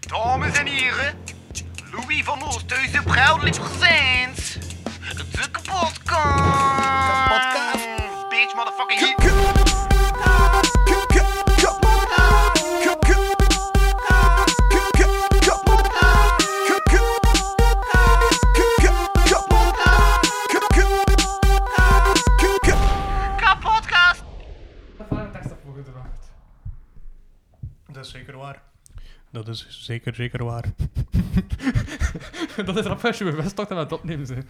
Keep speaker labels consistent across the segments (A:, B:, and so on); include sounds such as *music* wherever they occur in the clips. A: Dames en heren, Louis van Oosthuizen, proudly presents de kapotkast.
B: Kapotkast.
A: Bitch, motherfucking
B: K-
A: hit.
B: k- k- k- kapotkast. K- k- k- k- kapotkast. K- k- k- k- kapotkast. K- k- k- k-
A: Kapotkast.
C: Dat is zeker waar. Dat is zeker, zeker waar.
D: *laughs* dat is rap als je bewust toch aan het opnemen zijn.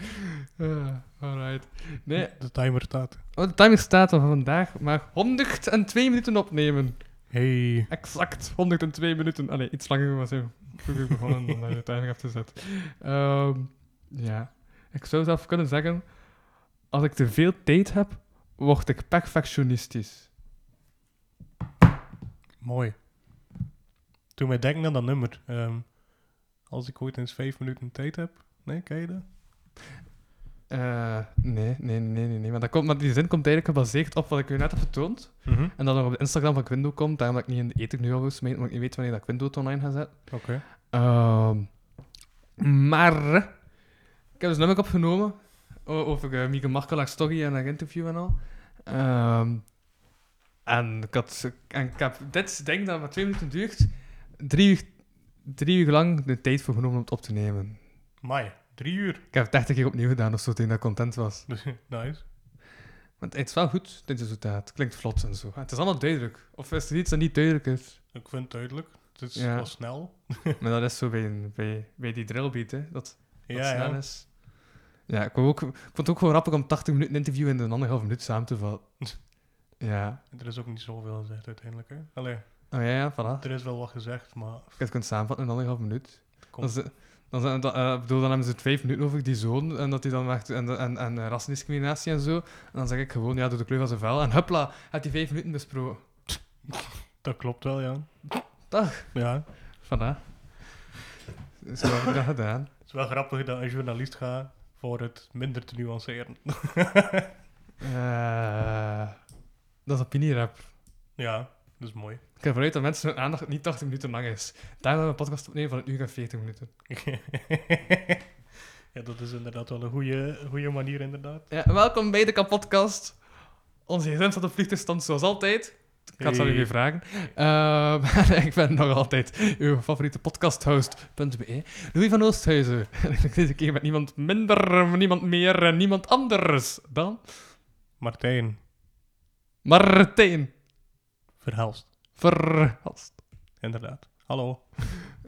D: alright. Nee,
C: De timer staat.
D: oh, de timing staat van vandaag maar 102 minuten opnemen.
C: Hey,
D: Exact 102 minuten. Allee, iets langer was ik vroeger begonnen dan dat je de timing af te zetten. Ehm, ja, ik zou zelf kunnen zeggen, als ik te veel tijd heb, word ik perfectionistisch.
C: mooi. Toen mij denken aan dat nummer. ehm, als ik ooit eens vijf minuten tijd heb. Nee, ken je dat?
D: Eh, nee, nee, nee, nee, nee. Want dat komt, maar die zin komt eigenlijk gebaseerd op wat ik u net heb getoond. En dat nog op de Instagram van Quindo komt, daarom dat ik niet in de ether nu al gesmeed, want ik niet weet wanneer dat Quindo het online gaat zetten.
C: Oké.
D: Ehm, maar, ik heb dus een nummer opgenomen o- over eh, Mieke Markelaar's story en haar interview en al. Ehm, en, ik had, en ik heb dit ding dat maar twee minuten duurt, drie uur, drie uur lang de tijd voor genomen om het op te nemen.
C: Mai, drie uur. *laughs*
D: Ik heb het 30 keer opnieuw gedaan of zo, toen dat ik content was.
C: nice.
D: Want het is wel goed, dit resultaat. Het klinkt vlot en zo. Het is allemaal duidelijk. Of is er iets dat niet duidelijk is?
C: Ik vind het duidelijk. Het is
D: Ja.
C: wel snel.
D: Maar dat is zo bij, een- bij, bij die drillbeat, hè. Dat, dat
C: Ja,
D: snel
C: ja.
D: is. Ja, ik, wou ook, ik vond het ook gewoon grappig om 80 minuten interview in een anderhalf minuut samen te vatten.
C: *laughs*
D: Ja.
C: Er is ook niet zoveel gezegd uiteindelijk. Hè? Allee,
D: Oh ja, ja, voilà.
C: er is wel wat gezegd, maar...
D: Je kunt samenvatten in anderhalf minuut.
C: Kom.
D: Dan, ze- dan, zijn- dan, eh, ik bedoel, dan hebben ze het vijf minuten over die zoon en, dat die dan maakt, en, en, en eh, rassendiscriminatie en zo. En dan zeg ik gewoon, ja, door de kleur van zijn vel. En hupla, had die vijf minuten besproken.
C: Dat klopt wel, ja.
D: Dag.
C: Ja.
D: Voilà. Zo hebben we dat gedaan.
C: Het is wel grappig dat een journalist gaat voor het minder te nuanceren.
D: Eh, dat is opinierap.
C: ja, dat is mooi.
D: Ik ga vanuit dat mensen hun aandacht niet 80 minuten lang is. Daarom hebben we een podcast opnemen van een uur en 40 minuten.
C: *laughs* ja, dat is inderdaad wel een goede, goede manier, inderdaad.
D: Ja, welkom bij de kapotcast. Onze gsm staat op vliegtuigstand zoals altijd. Ik had het aan
C: Hey.
D: u weer vragen. Ehm, *laughs* ik ben nog altijd uw favoriete podcasthost.be. E. Louis van Oosthuizen. *laughs* En ik ben deze keer met niemand minder, niemand meer en niemand anders dan
C: Martijn,
D: Martijn
C: verhelst.
D: Verhast.
C: Inderdaad. Hallo.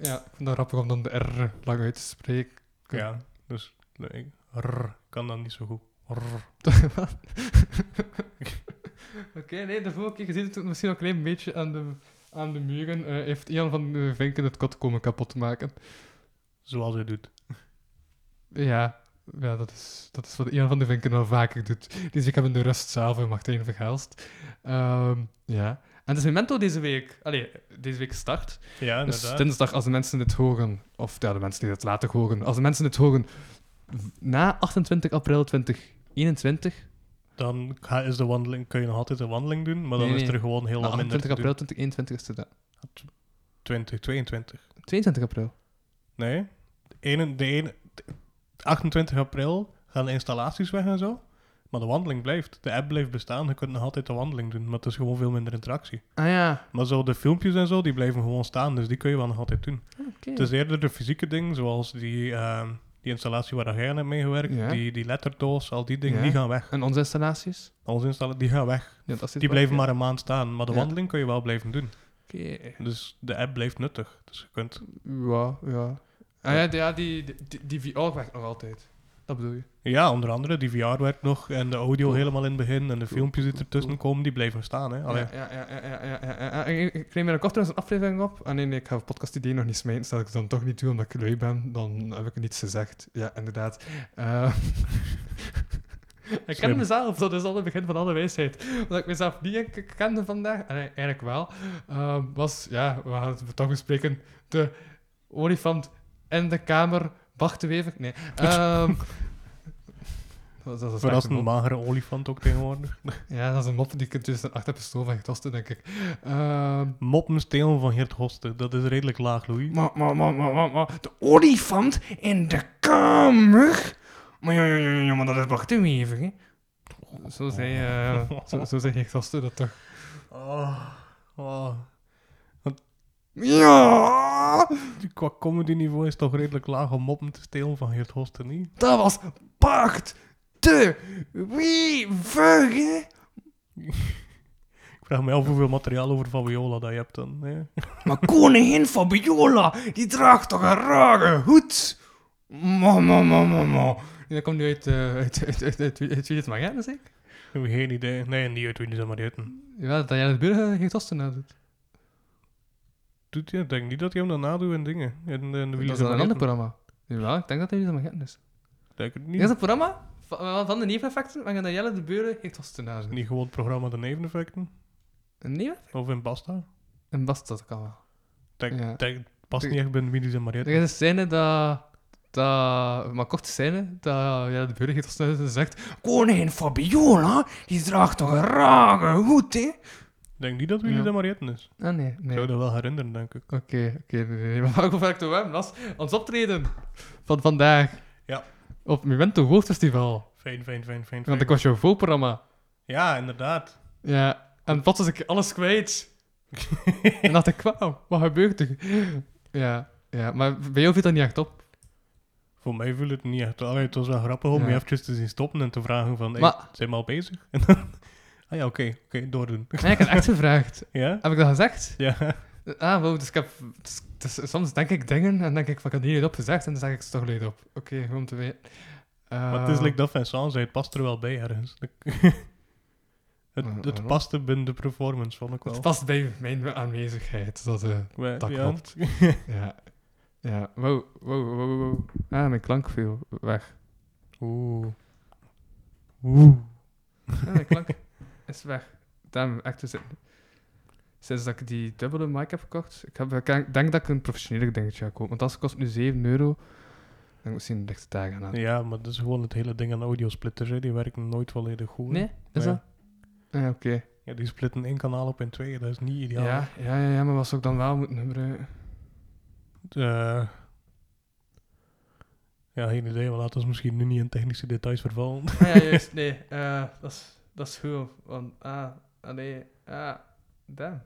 D: Ja, ik vind het grappig om dan de R lang uit te spreken. Oké.
C: Ja, dus nee, ik rrr, kan dan niet zo goed. Rrr.
D: Wat? Oké, nee, de vorige keer gezien het ook misschien nog een klein beetje aan de, aan de muren. eh, heeft Ian van de Vinken het kot komen kapot maken.
C: Zoals hij doet.
D: Ja, ja dat, is, dat is wat Ian van de Vinken al vaker doet. Dus ik heb in de rustzaal van Martijn Vergaalst. Ehm, ja. En het is Memento deze week. Allee, deze week start.
C: Ja,
D: Dus
C: inderdaad.
D: dinsdag, als de mensen dit horen, of ja, de mensen die dit later horen, als de mensen dit horen v- na 28 april 2021,
C: Dan ga, is de wandeling, kun je nog altijd een wandeling doen, maar dan
D: Nee,
C: is
D: nee.
C: er gewoon heel
D: na
C: wat minder
D: 28
C: te
D: april
C: doen.
D: 2021 is het dan.
C: 20, 22.
D: 22 april.
C: Nee. De ene, de ene, 28 april gaan de installaties weg en zo. Maar de wandeling blijft. De app blijft bestaan. Je kunt nog altijd de wandeling doen, maar het is gewoon veel minder interactie.
D: Ah ja,
C: Maar zo de filmpjes en zo, die blijven gewoon staan. Dus die kun je wel nog altijd doen.
D: oké.
C: Het is eerder de fysieke dingen, zoals die, ehm, die installatie waar jij aan hebt meegewerkt.
D: Ja.
C: Die, die letterdoos, al die dingen,
D: Ja.
C: die gaan weg.
D: En onze installaties?
C: Onze installatie, die gaan weg.
D: Ja, dat is dit
C: Die
D: wel,
C: blijven
D: ja.
C: maar een maand staan. Maar de
D: Ja.
C: wandeling kun je wel blijven doen.
D: Oké.
C: Dus de app blijft nuttig. Dus je kunt...
D: Ja, ja. Ah ja, die- ja die, die, die, die VR werkt nog altijd. Dat bedoel je?
C: Ja, onder andere, die VR werkt nog. En de audio
D: Cool.
C: helemaal in het begin. En de filmpjes die
D: cool,
C: ertussen komen, die blijven staan. Hè? Allee,
D: Ja, ja, ja, ja, ja, ja, ja, ja. Ik, ik neem binnenkort trouwens een aflevering op. Ah nee, nee, ik ga het podcastidee nog niet smijten. Stel ik het dan toch niet toe, omdat ik lui ben, dan heb ik niets gezegd. Ja, inderdaad. Eh, *laughs* ik
C: Slim.
D: ken mezelf, dat is al het begin van alle wijsheid. Wat ik mezelf niet k- k- kende vandaag, ah, nee, eigenlijk wel, eh, was, ja, we gaan het toch bespreken, de
C: *laughs*
D: olifant in de kamer, Bart de Wever, nee. ehm, *laughs* Dat is- dat is een slechte
C: Verrassend
D: mop.
C: magere olifant ook tegenwoordig.
D: Ja, dat is een mop die kunt tussen achter pistool van getasten, denk ik. Ehm,
C: Moppenstelen van Geert Hoste, dat is redelijk laag, Louis.
D: Maar, maar, maar, maar, maar, maar, de olifant in de kamer? Maar ja, ja, ja, ja, maar dat is wacht hem even, hè. Zo zei, eh zo, zo zei gasten dat toch.
C: Oh, oh.
E: Ah.
D: Ja,
C: Qua comedy niveau is het toch redelijk laag om moppen te stelen van Geert Hoste, niet?
D: dat was pacht te wievige.
C: Ik vraag me af hoeveel materiaal over Fabiola dat je hebt dan. Hè?
D: Maar koningin Fabiola, die draagt toch een rare hoed? Mama, mama, mama. Dat komt nu uit, eh, uit, uit, uit, uit, uit, uit Magana, zeg ik?
C: Ik heb Geen idee. Nee, niet uit wie die zijn maar eten.
D: Ja, dat jij het burger geen gasten nou doet.
C: Doet je? Ik denk niet dat hij hem dan nadoet en dingen. En, en de
D: Dat
C: wielen
D: is
C: zijn
D: een
C: maar
D: ander
C: eten.
D: programma. Ja, ik denk dat hij niet aan het is.
C: Ik Denk het
D: Is
C: niet.
D: dat het programma van, van de neveneffecten? Van Danielle de Beuren heeft was te nadenken.
C: Niet gewoon het programma De Neveneffecten.
D: Een neef?
C: Of in Basta.
D: Een bast, dat kan wel.
C: Denk,
D: Ja.
C: denk, past
D: Ik-
C: niet echt bij de Wielies en
D: Er
C: Mariette.
D: is een scène dat... dat maar korte scène, dat ja, de Beuren heeft was te nadenken en zegt... Koningin Fabiola, die draagt toch een rare hoed, hè?
C: Ik Denk niet dat Wielies
D: Ja.
C: en Mariette is.
D: Ah, nee,
C: Ik
D: nee.
C: zou
D: Oké,
C: dat wel herinneren, denk ik.
D: oké, nee, nee, nee. Maar waarom vraag ik toch hem? Dat is ons optreden van vandaag.
C: Ja.
D: Op Memento Hoofdfestival.
C: Fijn, fijn, fijn, fijn.
D: Want
C: fijn.
D: ik was jouw voorprogramma.
C: Ja, inderdaad.
D: Ja, en plots was ik alles kwijt. en dat ik kwam, wat gebeurt er? Ja, ja, maar bij jou viel dat niet echt op.
C: Voor mij viel het niet echt aan. Het was wel grappig om
D: Ja.
C: je eventjes te zien stoppen en te vragen van... Hey,
D: Maar-
C: Zijn we al bezig? *laughs* En dan... Ah ja, oké. Oké, doordoen. *laughs*
D: Nee, ik had echt gevraagd.
C: ja?
D: Heb ik dat gezegd?
C: Ja.
D: Ah, wow, dus ik heb... dus- dus soms denk ik dingen en denk ik, van, ik had die niet op gezegd en dan zeg ik ze toch leid op. Oké, gewoon om te weten.
C: Maar het is
D: Ah.
C: like dat Vincent zei, het past er wel bij ergens. *laughs*
D: Eh,
C: het het
D: waarom?
C: paste binnen de performance, vond ik wel.
D: Het past bij mijn aanwezigheid. Dat, eh,
C: Wij-
D: dat
C: ja. *laughs*
D: klopt. ja. Ja, wow, wow, wow, wow, wow. Ah, mijn klank viel weg.
C: Oeh. Oeh.
D: Ja, Ah, mijn klank *laughs* is weg. Daarom echt dus, sinds dat ik die dubbele mic heb gekocht, ik, heb, ik denk dat ik een professionele dingetje ga kopen. Want dat kost nu 7 euro. Dan moet ik zien de lichte dagen aan.
C: Ja, maar dat is gewoon het hele ding aan audiosplitters, hè. die werken nooit volledig goed. hè.
D: Nee? Is
C: Ja.
D: dat? Ja, Ah, oké.
C: Ja, die splitten één kanaal op in twee, dat is niet
D: Ja.
C: ideaal.
D: Ja, ja, ja, maar wat zou ik dan wel moeten gebruiken?
C: Eh, ja, geen idee, maar laten we misschien nu niet in technische details vervallen.
D: Ah, ja, juist. Nee, eh, dat, is, dat is goed. Want, ah, ah, nee, ah, damn.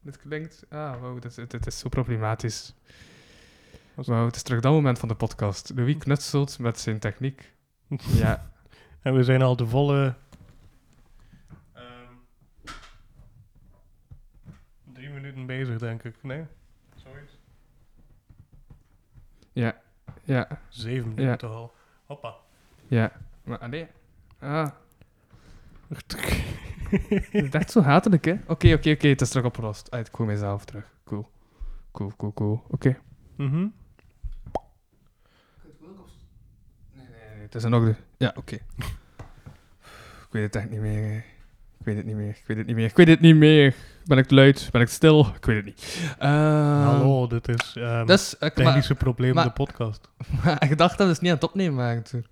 D: Dit klinkt, ah, wow, dit, dit- dit is zo problematisch. Wow, het is terug dat moment van de podcast. Louis knutselt met zijn techniek. Ja,
C: en we zijn al de volle... ehm, drie minuten bezig, denk ik. Nee? Zoiets.
D: ja, ja,
C: Zeven minuten
D: Ja.
C: toch al. Hoppa.
D: ja. Maar, ah, nee, ah. Het is echt zo hatelijk, hè? Oké, oké, oké, het is terug opgelost. Ah, ik kom mezelf terug. Cool. Cool, cool, cool. Oké.
C: Mhm.
D: Nee, nee, nee, het is een orde. Ja, oké. ik weet het echt niet meer. hè. Ik weet het niet meer. Ik weet het niet meer. Ik weet het niet meer. Ben ik te luid? Ben ik te stil? Ik weet het niet. Ehm,
C: Hallo, dit is ehm,
D: Dus, ik, maar,
C: technische probleem
D: maar-
C: de podcast.
D: *laughs* maar ik dacht dat we het niet aan het opnemen waren toen.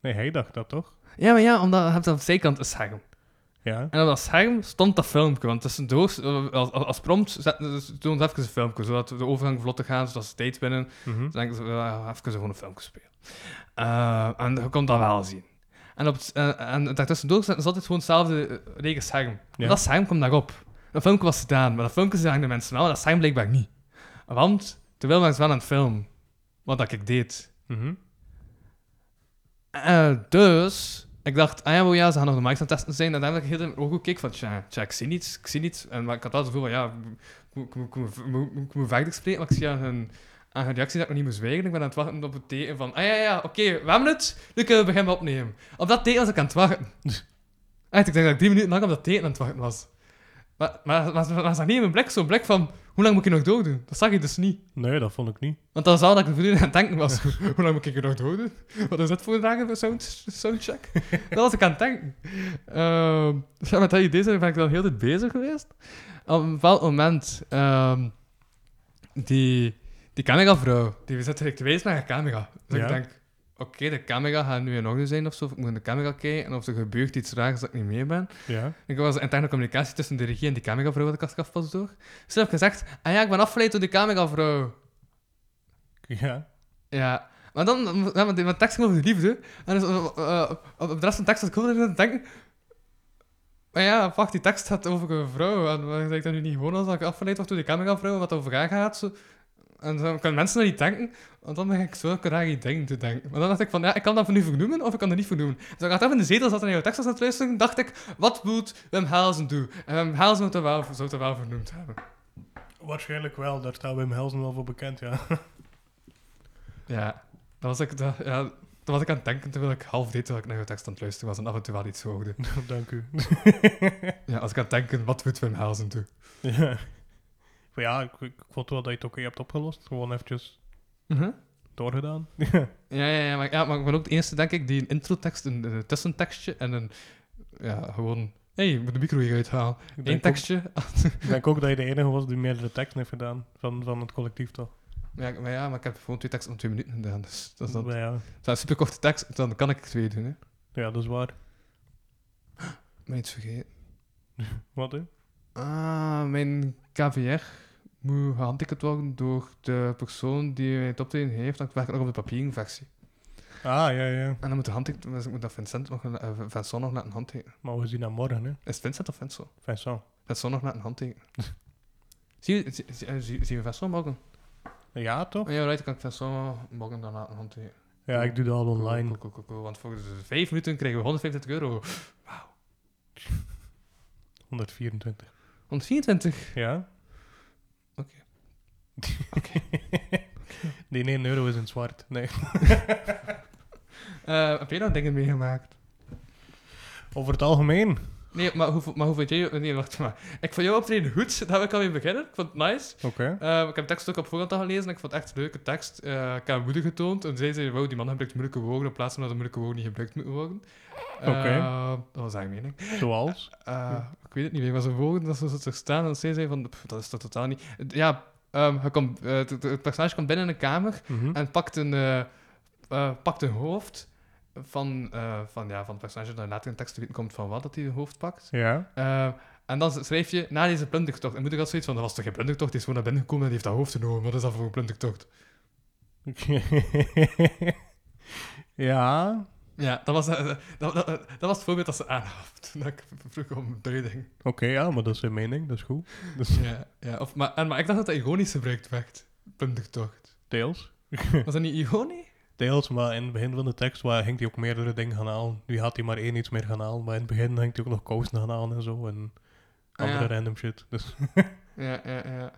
C: Nee, hij dacht dat toch?
D: Ja, maar ja, omdat je hebt aan de zijkant een scherm.
C: Ja.
D: En op dat scherm stond dat filmpje, want tussendoor, eh, als, als- als prompt, zetten ze doen ze even een filmpje, zodat de overgang vlot gaat, zodat ze tijd winnen.
C: Mhm.
D: Dan denk ik, eh, even gewoon een filmpje spelen. Eh, en je kon dat wel zien. En, op, het- eh, en daartussendoor zat zat het gewoon hetzelfde eh, lege scherm.
C: Ja.
D: Dat scherm kwam daarop. Dat filmpje was gedaan, maar dat filmpje zagen de mensen wel, maar dat scherm blijkbaar niet. Want, terwijl mensen wel aan het filmen, wat dat ik deed.
C: Mhm.
D: Eh, dus, ik dacht, ah ja, wel ja, ze gaan nog de mics aan het testen zijn. En dan heb ik heel erg ook keek van, tja, tja, ik zie niets, ik zie niets. En, maar ik had wel het gevoel van, ja, ik moet- ik moet- ik moet- ik moet- ik moet verder spreken, maar ik zie aan hun, aan hun reactie dat ik nog niet moest zwijgen. Ik ben aan het wachten op het teken van, ah ja, ja, oké, we hebben het, nu kunnen we beginnen opnemen. Op dat teken was ik aan het wachten. Echt, ik denk dat ik drie minuten lang op dat teken aan het wachten was. Maar, maar, maar, maar, maar zag niet in mijn blik zo'n blik van, hoe lang moet ik hier nog doordoen? Dat zag ik dus niet.
C: Nee, dat vond ik niet.
D: Want dan zou dat ik voortdurend aan het denken was. *laughs* Hoe lang moet ik er nog doden? Wat is dat voor dagen voor sound, soundcheck? dat was ik aan het denken. Ehm, dus ja, met dat idee zijn ben ik dan heel de tijd bezig geweest. Op een bepaald moment, ehm, die, die cameravrouw, die zit direct te wijzen naar haar camera. Dus
C: Ja.
D: ik denk, oké, de camera gaat nu in orde zijn of zo. Of ik moet in de camera kijken en of er gebeurt iets raars dat ik niet mee ben.
C: Ja.
D: Ik was interne communicatie tussen de regie en die cameravrouw dat ik had afpas door. Ze heb ik gezegd, ah ja, ik ben afgeleid door de cameravrouw.
C: Ja.
D: Ja. Maar dan, ja, maar die- mijn tekst ging over de liefde. En dus, eh, eh, op op de rest van de tekst had ik ook aan het denken. Maar ja, fuck, die tekst gaat over een vrouw. En waarom zeg ik dat nu niet gewoon als dat ik afgeleid word door de cameravrouw en wat over haar gaat? Zo. En dan kunnen mensen dat niet denken, want dan ben ik zo raar die dingen te denken. Maar dan dacht ik van, ja, ik kan dat voor nu vernoemen of ik kan dat niet vernoemen. Dus ik had even in de zetel zat en naar jouw tekst was aan het luisteren, dacht ik, wat moet Wim Helsen doen? En Wim Helsen zou het wel, zou het wel vernoemd hebben.
C: Waarschijnlijk wel, daar staat Wim Helsen wel voor bekend, ja. *laughs*
D: Ja, dat was ik, dat, ja, dat was ik aan het denken terwijl ik half deed terwijl ik naar jouw tekst aan het luisteren was en af en toe wel iets *laughs* hoorde.
C: Dank u. *laughs*
D: Ja, als ik aan het denken, wat moet Wim Helsen doen?
C: ja. Maar ja, ik, ik vond wel dat je het oké hebt opgelost. Gewoon eventjes doorgedaan. *laughs* Ja.
D: Mhm. Ja, ja, ja, maar, ja, maar ik ben ook de eerste, denk ik, die een introtekst, een, eh, tussentekstje en een, ja, gewoon, hé, hey, ik moet de micro hieruit halen.
C: Ik
D: Eén
C: denk, ook,
D: tekstje. *laughs*
C: ik denk ook dat je de enige was die meerdere teksten heeft gedaan van, van het collectief toch?
D: Ja, ik- maar ja, maar ik heb gewoon twee teksten van twee minuten gedaan, dus dat is dan...
C: Maar ja,
D: Het zijn superkorte tekst, dan kan ik twee doen, hè.
C: ja, dat is waar.
D: Maar iets vergeten.
C: Wat hè?
D: Ah, mijn KVR moet gehandicapted worden door de persoon die het optreden heeft. Dan werk ik nog op de papieren versie.
C: Ah, ja, ja.
D: En dan moet, de handtek- dus ik moet dat Vincent nog, la- eh, Vincent nog laten handtekenen.
C: Maar we zien dat morgen, hè.
D: Is het Vincent of Vincent?
C: Vincent.
D: Vincent nog laten handtekenen. zie, je- zie, zie, eh, zie, zie je Vincent morgen?
C: Ja, toch?
D: Oh Ja, right, dan kan ik Vincent morgen dan laten handtekenen.
C: Ja, ik doe dat al
D: Cool,
C: online.
D: Cool, cool, cool, cool. Want volgens de vijf minuten krijgen we 125 euro.
C: 124.
D: 124?
C: Ja?
D: Oké.
C: *laughs* Die 1 euro is in het zwart. Nee.
D: Eh, heb jij daar dingen meegemaakt?
C: Over het algemeen.
D: Nee, maar hoe, maar hoe vond jij... Nee, wacht maar. Ik vond jouw optreden goed, daar wil ik alweer beginnen. Ik vond het nice.
C: Oké.
D: Eh, ik heb de tekst ook op voorhand al gelezen en ik vond het echt een leuke tekst. Eh, ik heb haar moeder getoond en zij zei, wauw, die man gebruikt moeilijke woorden in plaats van dat de moeilijke woorden niet gebruikt moeten worden. Eh,
C: Oké.
D: dat was haar mening. Eh,
C: Zoals?
D: Ik weet het niet meer, was een woorden dat ze zo er staan en zij zei van, "Pff, dat is toch totaal niet... Ja, ehm, hij komt, eh, het- het- het personage komt binnen in een kamer
C: Mhm.
D: en pakt een, eh, eh, pakt een hoofd van, eh, van, ja, van het personage dat later in de tekst te weten komt van wat dat hij een hoofd pakt.
C: Ja. *laughs*
D: Eh, en dan schrijf je na deze plundertocht. En moet ik al zoiets van: dat was toch geen plundertocht? Die is gewoon naar binnen gekomen en die heeft dat hoofd genomen. Wat is dat voor een plundertocht?
C: ja.
D: Ja, dat was, eh, dat, dat, dat was het voorbeeld *laughs* dat ze aanhaf. Toen ik vroeg om duiding.
C: Oké, ja, maar dat is zijn mening. Dat is goed. Dus
D: Ja, ja of, maar, en, maar ik dacht dat dat ironisch gebruikt werd. Plundertocht.
C: deels.
D: Was dat niet ironisch?
C: Deels, maar in het begin van de tekst waar ging hij ook meerdere dingen gaan halen. Nu had hij maar één iets meer gaan halen, maar in het begin hangt hij ook nog kousen gaan halen en zo. En
D: Ah,
C: andere
D: ja.
C: random shit.
D: *laughs*
C: Dus
D: Ja, ja, ja.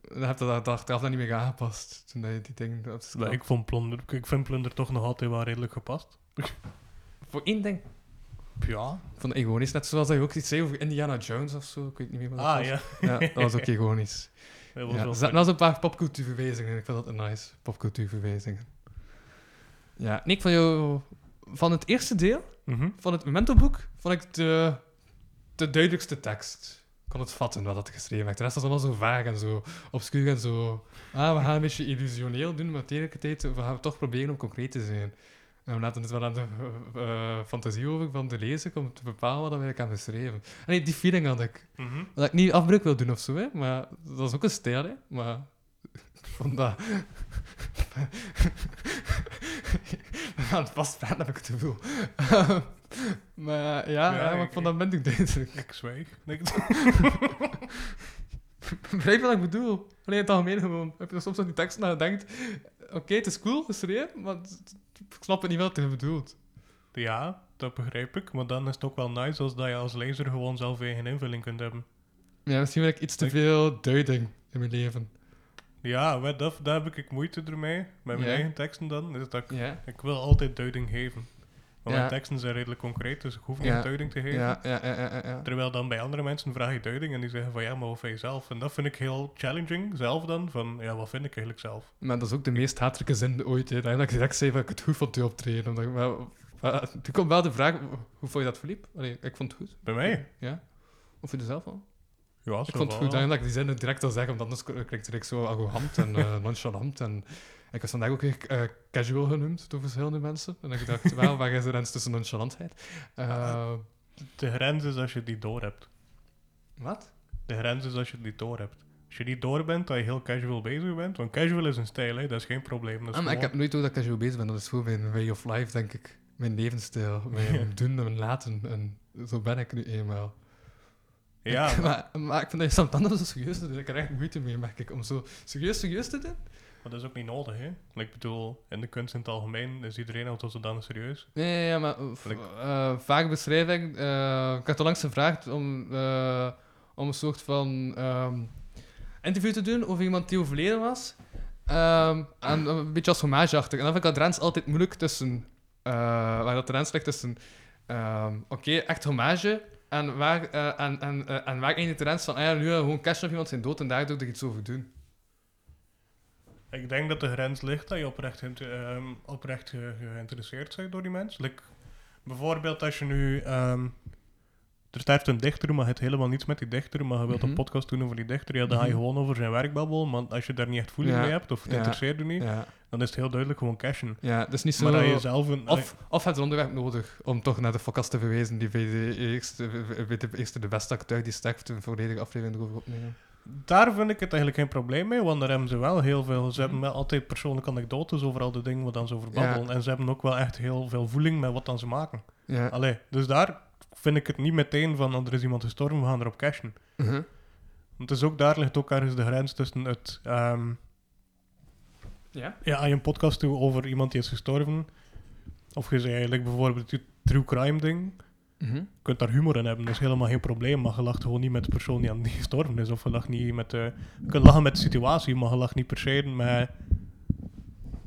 D: Dan heb je dat dat achteraf dan niet meer aangepast. Toen dat je die dingen. op de
C: maar
D: schaal-
C: ik, vond plunder, ik vind plunder toch nog altijd wel redelijk gepast.
D: *laughs* Voor één ding.
C: Ja.
D: Van ironisch. Net zoals dat je ook iets zei over Indiana Jones of zo. Ik weet niet meer wat dat
C: Ah
D: was.
C: ja.
D: ja. Dat was *laughs* ook ironisch.
C: Dat was
D: Ja,
C: wel
D: er zaten wel zo'n paar popcultuurverwijzingen. Ik vond dat een nice. Popcultuurverwijzingen. Ja, Nick, van jou... Van het eerste deel,
C: Mhm.
D: van het Memento-boek, vond ik de, de duidelijkste tekst. Ik kon het vatten wat dat geschreven werd. De rest was allemaal zo vaag en zo obscuur en zo... Ah, we gaan een beetje illusioneel doen, maar tegelijkertijd we gaan toch proberen om concreet te zijn. En we laten het wel aan de eh, eh, fantasie over van de lezer om te bepalen wat we eigenlijk hebben geschreven. En nee, die feeling had ik.
C: Mhm.
D: Dat ik niet afbreuk wil doen of zo, hè. Maar dat is ook een stijl, hè. Maar *laughs* ik vond dat... *laughs* Aan het vastpraten heb ik het gevoel. *laughs* maar ja, ja,
C: Ja,
D: maar
C: ik-
D: ik vond dat ben ik duidelijk.
C: Ik zweeg. *laughs* Nee,
D: *laughs* Begrijp je wat ik bedoel? Alleen in het algemeen gewoon. Heb je er soms aan die tekst naar denkt... Oké, het is cool, geschreven, maar het- ik snap het niet wat je bedoelt.
C: Ja, dat begrijp ik. Maar dan is het ook wel nice als dat je als lezer gewoon zelf eigen invulling kunt hebben.
D: Ja, misschien wil ik iets te veel duiding in mijn leven.
C: Ja, wel, dat, daar heb ik moeite ermee. Met mijn
D: Ja.
C: eigen teksten dan. Is dat ik,
D: Ja.
C: ik wil altijd duiding geven. Maar
D: Ja.
C: mijn teksten zijn redelijk concreet, dus ik hoef niet
D: Ja.
C: duiding te geven.
D: Ja, ja, ja, ja, ja, ja.
C: Terwijl dan bij andere mensen vraag je duiding en die zeggen van ja, maar wat vind je zelf? En dat vind ik heel challenging, zelf dan, van ja, wat vind ik eigenlijk zelf?
D: Maar dat is ook de meest hatelijke zin ooit. Hè. Dat ik direct zei van ik het goed vond te optreden. Omdat ik, maar, maar, toen komt wel de vraag, hoe vond je dat verliep? Allee, ik vond het goed.
C: Bij mij?
D: Ja? Of voor jezelf al?
C: Ja, Ja,
D: Ik vond het goed dat ik die zin ook direct al zeg, want anders k- klinkt het zo arrogant en eh, *laughs* nonchalant. En ik was vandaag ook weer eh, casual genoemd door verschillende mensen. En ik dacht, wel, waar is de grens tussen nonchalantheid? Eh,
C: De grens is als je die door hebt.
D: wat?
C: De grens is als je die door hebt. Als je niet door bent, dat je heel casual bezig bent. Want casual is een stijl, hè? dat is geen probleem. Dat is
D: Ah, maar ik heb
C: gewoon-
D: nooit door dat ik casual bezig ben. Dat is gewoon mijn way of life, denk ik. Mijn levensstijl, mijn
C: *laughs*
D: doen en mijn laten. En zo ben ik nu eenmaal. *laughs*
C: Ja, maar,
D: maar, maar ik vind dat je soms anders zo serieus te doen. Ik krijg echt moeite mee, merk ik, om zo serieus serieus te doen.
C: maar dat is ook niet nodig, hè? Ik bedoel, in de kunst in het algemeen is iedereen al tot zodanig serieus.
D: Nee, ja, ja, maar eh, v-
C: Like-
D: eh, vaak beschrijf ik... eh, ik had al langs gevraagd om, eh, om een soort van ehm, interview te doen over iemand die overleden was. Ehm, en een beetje als hommageachtig. En dan vind ik dat grens altijd moeilijk tussen... eh, waar dat de grens ligt tussen... ehm, Oké, echt hommage. En waar, eh, en, en, eh, en waar eindigt de grens van... Ah ja, nu eh, gewoon cash op iemand zijn dood en daar doe ik er iets over doen.
C: Ik denk dat de grens ligt dat je oprecht, int- ehm, oprecht ge- geïnteresseerd bent door die mens. Like, bijvoorbeeld als je nu... ehm, er sterft een dichter, maar het helemaal niets met die dichter, maar je wilt
D: Mhm.
C: een podcast doen over die dichter, ja, dan ga je
D: Mhm.
C: gewoon over zijn werk babbelen. Maar als je daar niet echt voeling
D: Ja.
C: mee hebt, of het
D: Ja.
C: interesseert je niet,
D: Ja,
C: dan is het heel duidelijk gewoon cashen.
D: ja dat is niet zo...
C: Maar dat je zelf een...
D: Of, of het onderwerp nodig om toch naar de forecast te verwijzen die bij de eerste, bij de, eerste de beste acteur die sterft een volledige aflevering erover opnemen.
C: Daar vind ik het eigenlijk geen probleem mee, want daar hebben ze wel heel veel. Ze hebben wel altijd persoonlijke anekdotes over al de dingen wat dan ze over
D: Mhm. Ja.
C: babbelen. En ze hebben ook wel echt heel veel voeling met wat dan ze maken.
D: Ja.
C: Allee, dus daar vind ik het niet meteen van, oh, er is iemand gestorven, we gaan erop cashen.
D: Mhm.
C: Want het is ook, daar ligt ook ergens de grens tussen het... ehm,
D: Ja.
C: ja, aan je een podcast toe over iemand die is gestorven. Of je zei eigenlijk bijvoorbeeld het true crime ding.
D: Mhm.
C: Je kunt daar humor in hebben, dat is helemaal geen probleem. Maar je lacht gewoon niet met de persoon die aan die gestorven is. Of je lacht niet met de... Je kunt lachen met de situatie, maar je lacht niet per se met,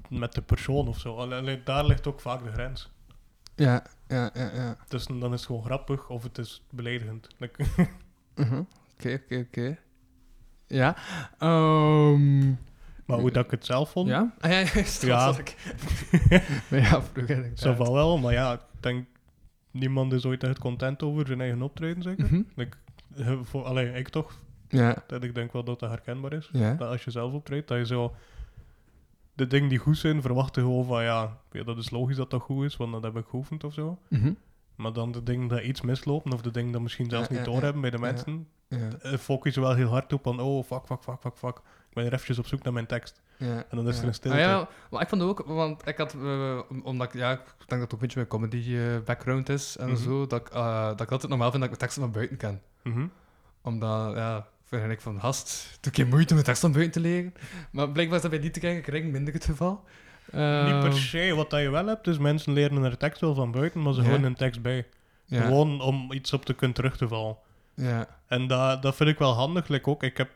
C: met de persoon of zo. Allee, allee, daar ligt ook vaak de grens.
D: ja. Ja, ja, ja.
C: Dus dan is het gewoon grappig of het is beledigend. Like, *laughs*
D: Mhm. Oké, oké, oké. Ja. Ehm,
C: maar hoe dat ik het zelf vond,
D: ja? Ah, ja, *laughs* ja, juist, dat
C: Ja.
D: was
C: *laughs*
D: ik. nee, ja, vroeger.
C: zo van wel. Maar ja, ik denk... Niemand is ooit echt content over zijn eigen optreden, zeker?
D: Mhm.
C: Like, eh, voor, allee, ik toch.
D: Ja,
C: Dat ik denk wel dat dat herkenbaar is.
D: ja.
C: Dat als je zelf optreedt, dat je zo... De dingen die goed zijn, verwachten gewoon van ja, ja, dat is logisch dat dat goed is, want dat heb ik geoefend of zo.
D: Mhm.
C: Maar dan de dingen dat iets mislopen, of de dingen dat misschien zelfs
D: Ja,
C: niet
D: ja,
C: doorhebben bij de
D: ja.
C: mensen,
D: ja,
C: eh, focus je wel heel hard op van oh, fuck, fuck, fuck, fuck, fuck. Ik ben er eventjes op zoek naar mijn tekst.
D: ja.
C: En dan is er een stilte.
D: Ah, ja, maar ik vond het ook, want ik had, eh, om- omdat ik, ja, ik denk dat het ook een beetje mijn comedy eh, background is en
C: Mhm.
D: zo, dat ik, eh, dat ik altijd normaal vind dat ik mijn teksten van buiten ken.
C: Mhm.
D: Omdat, ja, vind ik van, gast, doe ik geen moeite om mijn tekst van buiten te leren. Maar blijkbaar is dat bij die te kijken, krijg ik minder het geval.
C: niet per
D: Ehm,
C: se. Wat dat je wel hebt, is mensen leren er tekst wel van buiten, maar ze
D: Ja.
C: houden een tekst bij.
D: Ja,
C: Gewoon om iets op te kunnen terug te vallen.
D: ja,
C: En dat, dat vind ik wel handig. Like ook, ik heb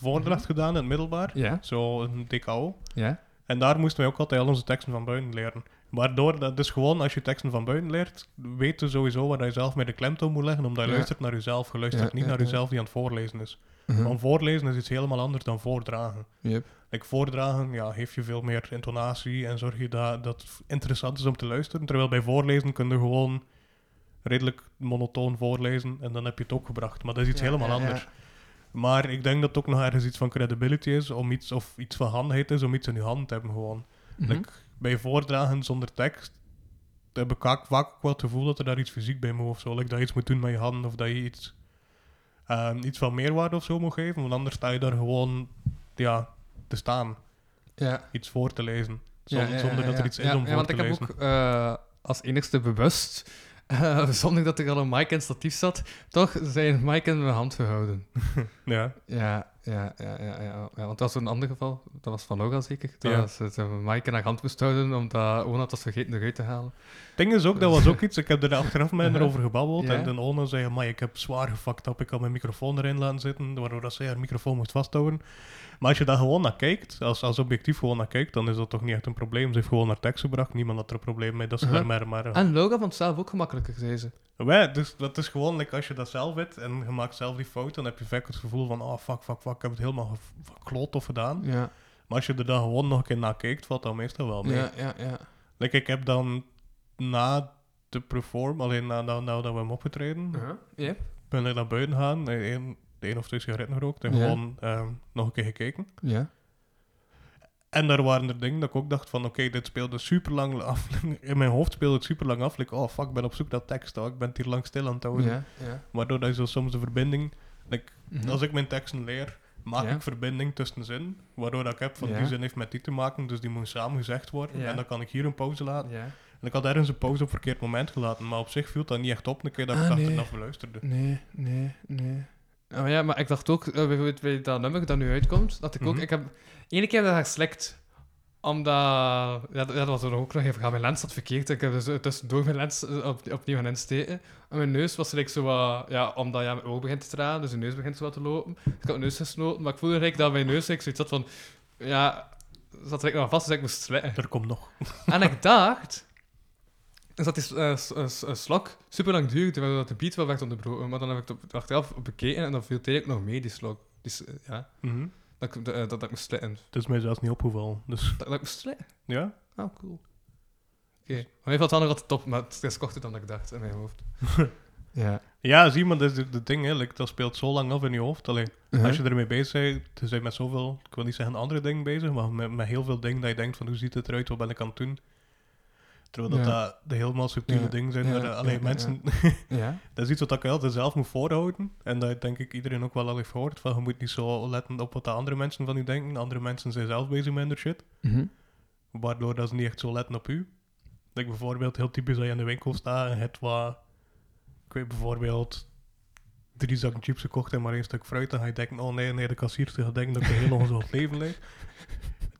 C: voordracht gedaan in het middelbaar.
D: Mhm. ja,
C: Zo een DKO.
D: ja.
C: En daar moesten wij ook altijd al onze teksten van buiten leren. Waardoor, dat dus gewoon als je teksten van buiten leert, weet je sowieso waar je zelf mee de klemtoon moet leggen, omdat je
D: Ja.
C: luistert naar jezelf. Je luistert
D: Ja,
C: niet
D: ja,
C: naar
D: ja.
C: jezelf die aan het voorlezen is.
D: Mhm.
C: Want voorlezen is iets helemaal anders dan voordragen.
D: Yep.
C: Like voordragen, ja, heeft je veel meer intonatie en zorg je dat, dat het interessant is om te luisteren. Terwijl bij voorlezen kun je gewoon redelijk monotoon voorlezen en dan heb je het ook gebracht. Maar dat is iets
D: Ja,
C: helemaal
D: ja, ja.
C: anders. Maar ik denk dat het ook nog ergens iets van credibility is, om iets, of iets van handigheid is om iets in je hand te hebben gewoon.
D: Mhm.
C: Like, bij voordragen zonder tekst heb ik vaak, vaak ook wel het gevoel dat er daar iets fysiek bij moet of zo. Like dat je iets moet doen met je handen of dat je iets, ehm, iets van meerwaarde of zo moet geven. Want anders sta je daar gewoon ja, te staan,
D: Ja.
C: iets voor te lezen.
D: Ja,
C: Zonder,
D: ja, ja,
C: zonder dat
D: ja.
C: er iets is
D: Ja,
C: om
D: ja,
C: voor
D: want
C: te
D: ik heb
C: lezen.
D: ook eh, als enigste bewust, *laughs* eh, zonder dat ik al een mic en statief zat, toch zijn mic in mijn hand gehouden.
C: Ja.
D: Ja, ja, ja, ja, ja, ja, want dat was een ander geval. Dat was van Olga zeker. Dat
C: Ja.
D: ze het Mike in haar hand moest houden, omdat Ona het was vergeten eruit te halen.
C: Het ding is ook, dat
D: *laughs*
C: was ook iets, ik heb er achteraf met haar over gebabbeld
D: Ja.
C: en dan Ona zei, maar ik heb zwaar gefucked up, ik kan mijn microfoon erin laten zitten, waardoor dat zij haar microfoon moest vasthouden. Maar als je daar gewoon naar kijkt, als, als objectief gewoon naar kijkt, dan is dat toch niet echt een probleem. Ze heeft gewoon haar tekst gebracht, niemand had er een probleem mee, dat ze
D: Mhm.
C: daar maar... maar
D: En Loga vond het zelf ook gemakkelijker, zei ze.
C: Wij, dus dat is gewoon, like, als je dat zelf weet en je maakt zelf die fout, dan heb je vaak het gevoel van, oh fuck, fuck, fuck, ik heb het helemaal ge- gekloot of gedaan.
D: Ja,
C: Maar als je er dan gewoon nog een keer naar kijkt, valt dat meestal wel mee.
D: ja, ja. ja.
C: Like, ik heb dan na de perform, alleen na, na, nadat we hem opgetreden,
D: Ja.
C: ben ik naar buiten gaan. En, en de één of twee sigaretten gerookt en
D: Ja.
C: gewoon ehm, nog een keer gekeken.
D: Ja.
C: En daar waren er dingen dat ik ook dacht van, oké, dit speelde super lang af. *laughs* In mijn hoofd speelde het super lang af. Like, oh fuck, ik ben op zoek naar tekst, oh, ik ben het hier lang stil aan het houden.
D: Ja. ja.
C: Waardoor dat je zo soms de verbinding... like,
D: Mhm.
C: Als ik mijn teksten leer, maak
D: Ja.
C: ik verbinding tussen zin. Waardoor dat ik heb van,
D: Ja.
C: die zin heeft met die te maken, dus die moet samen gezegd worden.
D: Ja.
C: En dan kan ik hier een pauze laten.
D: Ja.
C: En ik had ergens een pauze op verkeerd moment gelaten, maar op zich viel dat niet echt op, een keer dat ik
D: Ah,
C: het
D: nee.
C: achteraf beluisterde.
D: Nee, nee, nee. Oh ja, maar ik dacht ook, eh, bijvoorbeeld bij dat nummer dat nu uitkomt, dat ik ook,
C: Mhm.
D: ik heb, ene keer heb ik dat geslikt, omdat, ja, dat, ja, dat was er ook nog even, ja, mijn lens zat verkeerd, ik heb dus eh, tussendoor mijn lens eh, op, opnieuw gaan insteken, en mijn neus was like, zo wat, ja, omdat ja, mijn oog begint te traan, dus mijn neus begint zo wat te lopen, dus ik had mijn neus gesnoten, maar ik voelde eigenlijk dat mijn neus like, zoiets had van, ja, zat er like, nog vast, dus ik moest slikken.
C: Er komt nog.
D: En ik dacht. Dus dat is eh, s- eh, s- eh, slok super lang duurde, waardoor dat de beat wel werd onderbroken. Maar dan heb ik het op- achteraf bekeken en dan viel het eigenlijk nog mee, die slok. Die, s- eh, ja,
C: Mhm.
D: dat, ik- de- eh, dat, dat ik moest slitten.
C: Het is mij zelfs niet opgevallen. Dus
D: Dat, dat ik moest slitten.
C: ja,
D: Oh, cool. Oké.
C: Dus-
D: Maar even wat anders altijd top, maar het is korter dan ik dacht in mijn hoofd. ja.
C: *laughs* ja zie maar, dat is het- het ding. Hè. Like, dat speelt zo lang af in je hoofd. Allee, Als je ermee bezig bent, je bent met zoveel, ik wil niet zeggen andere dingen bezig, maar met, met heel veel dingen dat je denkt van hoe ziet het eruit, wat ben ik aan het doen. Terwijl dat,
D: Ja.
C: dat de helemaal subtiele
D: Ja,
C: dingen zijn.
D: ja,
C: waar, eh,
D: ja,
C: allee,
D: ja,
C: mensen, *laughs*
D: Ja.
C: dat is iets wat ik altijd zelf moet voorhouden. En dat denk ik iedereen ook wel al heeft gehoord. Van, je moet niet zo letten op wat de andere mensen van u denken. Andere mensen zijn zelf bezig met hun shit.
D: Eh,
C: Waardoor dat ze niet echt zo letten op u. Like bijvoorbeeld, heel typisch dat je in de winkel staat en het wat... Ik weet bijvoorbeeld drie zakken chips gekocht en maar één stuk fruit. Dan ga je denken, oh nee, nee, de kassier gaat denken dat ik een heel ongezond leven leid.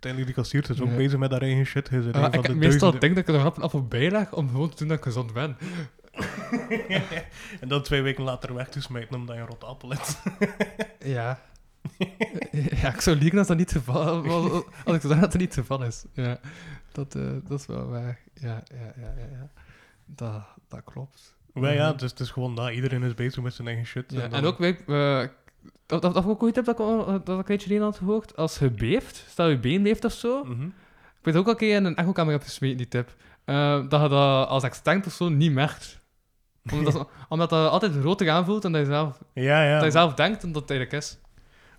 C: Uiteindelijk, die kassier is ook
D: Ja.
C: bezig met haar eigen shit. Hij is een
D: Ah,
C: van
D: ik
C: de
D: meestal
C: duizenden-
D: denk dat ik er een hap en appel bij leg om gewoon te doen dat ik gezond ben.
C: *laughs* En dan twee weken later weg te smijten omdat je een rotte appel hebt. *laughs*
D: Ja. *laughs* ja, ik zou liegen als dat niet het geval was. Als ik zou zeggen dat het niet het geval is. Ja, dat, eh, dat is wel waar. Ja, ja, ja, ja. ja. Dat, dat klopt.
C: Maar ja,
D: Mhm.
C: dus het is gewoon dat. Iedereen is bezig met zijn eigen shit.
D: Ja, en,
C: dan-
D: ook, weet, eh, dat, dat, dat ik ook ooit heb dat ik, al- dat ik een keertje had gehoord. Als je beeft, stel je been beeft of zo.
C: Mhm.
D: Ik weet ook al een keer in een echo-camera heb gesmeten, die tip. eh, dat je dat als extern persoon niet *laughs* merkt. Omdat, omdat dat altijd roter aanvoelt en dat je zelf,
C: Ja, ja.
D: dat je zelf denkt en dat het eigenlijk is.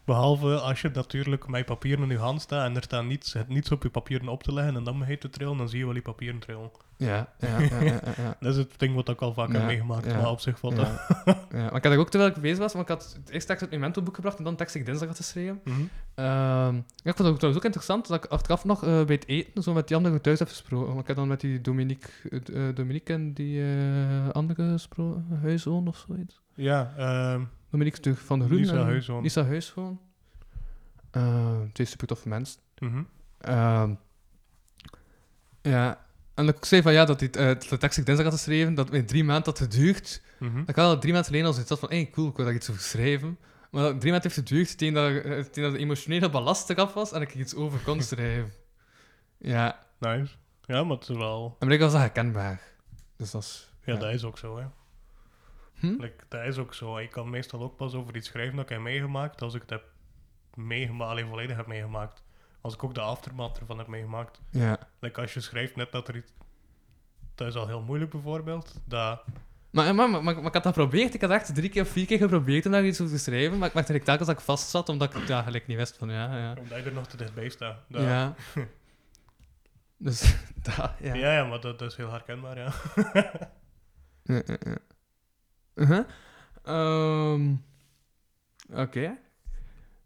C: Behalve als je natuurlijk met je papieren in je hand staat en er staat niets, het niets op je papieren op te leggen en dan begint te trillen, dan zie je wel die papieren trillen.
D: Ja, ja, ja, ja, ja, ja.
C: Dat is het ding wat ik al vaak
D: Ja,
C: heb meegemaakt,
D: ja.
C: maar op zich valt dat.
D: Ja. ja, maar ik had dat ook terwijl ik bezig was, want ik had het eerst tekst uit mijn mentorboek gebracht en dan tekst ik dinsdag had geschreven.
C: Mhm.
D: Ehm, ja, ik vond het ook, trouwens ook interessant dat ik achteraf nog eh, bij het eten zo met die andere thuis heb gesproken. Want ik heb dan met die Dominique, eh, eh, Dominique en die eh, andere gesproken, Huiszoon of zoiets.
C: Ja, ehm,
D: Dominique Stug van de Groen.
C: Lisa
D: en
C: Huiszoon.
D: Lisa Huiszoon. Eh, twee super toffe mensen.
C: mhm.
D: Ehm, ja, en ik zei van ja, dat die, eh, de tekst die ik dinsdag had geschreven, dat in drie maanden dat het duurt.
C: Mhm.
D: Ik had al drie maanden geleden al zoiets had van, hey, cool, ik wil daar iets over schrijven. Maar dat drie maanden heeft geduurd tegen dat, eh, tegen dat de emotionele ballast eraf was en ik er iets over
C: *laughs*
D: kon schrijven. ja,
C: Nice. Ja, maar het is wel...
D: en blijkbaar was dat herkenbaar. Dus dat is...
C: Ja, dat is ook zo, hè.
D: Hm?
C: Like, dat is ook zo. Ik kan meestal ook pas over iets schrijven dat ik heb meegemaakt als ik het heb meegemaakt, alleen volledig heb meegemaakt. Als ik ook de aftermath ervan heb meegemaakt.
D: Ja.
C: Like als je schrijft net dat er iets... Dat is al heel moeilijk bijvoorbeeld. Dat...
D: Maar, maar, maar, maar, maar ik had dat geprobeerd. Ik had echt drie keer of vier keer geprobeerd om daar iets over te schrijven, maar ik merkte eigenlijk telkens dat ik vast zat, omdat ik het ja, gelijk niet wist van, ja, ja.
C: Omdat je er nog te dichtbij staat. Dat- ja. *laughs*
D: Ja. dus, *laughs* dat, ja.
C: Ja, maar dat, dat is heel herkenbaar, ja. *laughs*
D: Ja, ja, ja. Uh-huh. Ehm, Oké.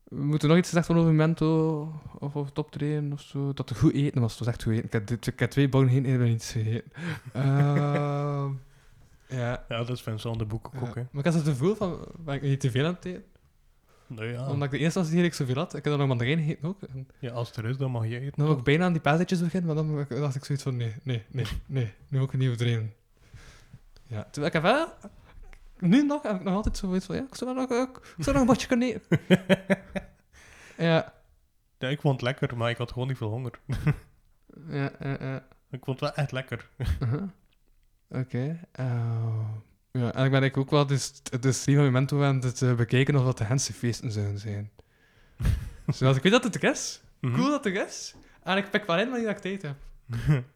D: We moeten nog iets gezegd worden over Mento of over het optreden of zo. Dat het goed eten was. Het was echt goed eten. Ik heb, dit- ik heb twee bouwen heen en ik heb niets gegeten. Ehm, *laughs* ja.
C: Ja, dat is Vincent de boeken
D: Ja.
C: ook, hè.
D: Maar ik had het gevoel van, ben ik niet te veel aan het eten?
C: Nou ja.
D: Omdat ik de eerste was die ik zoveel had. Ik heb dan nog mandarijn gegeten ook. En
C: ja, als het er is, dan mag je eten.
D: dan wil ik bijna aan die paasetjes beginnen, maar dan dacht ik zoiets van, nee, nee, nee, nee. Nu moet ik niet overdreven. Ja, terwijl ik heb wel... Nu nog heb ik nog altijd zoiets van, ja, ik zou wel nog, ik zou nog een bordje kunnen eten. ja,
C: Ja, ik vond het lekker, maar ik had gewoon niet veel honger.
D: ja, ja, ja.
C: Ik vond het wel echt lekker.
D: Uh-huh. Oké. eh, ja, en ik ben eigenlijk ook wel dus, de stream van Memento aan het eh, bekijken of dat de Hense feesten zouden zijn. Zodat ik weet dat het er is.
C: Mhm.
D: Cool dat het er is. En ik pik wel in wanneer ik tijd heb.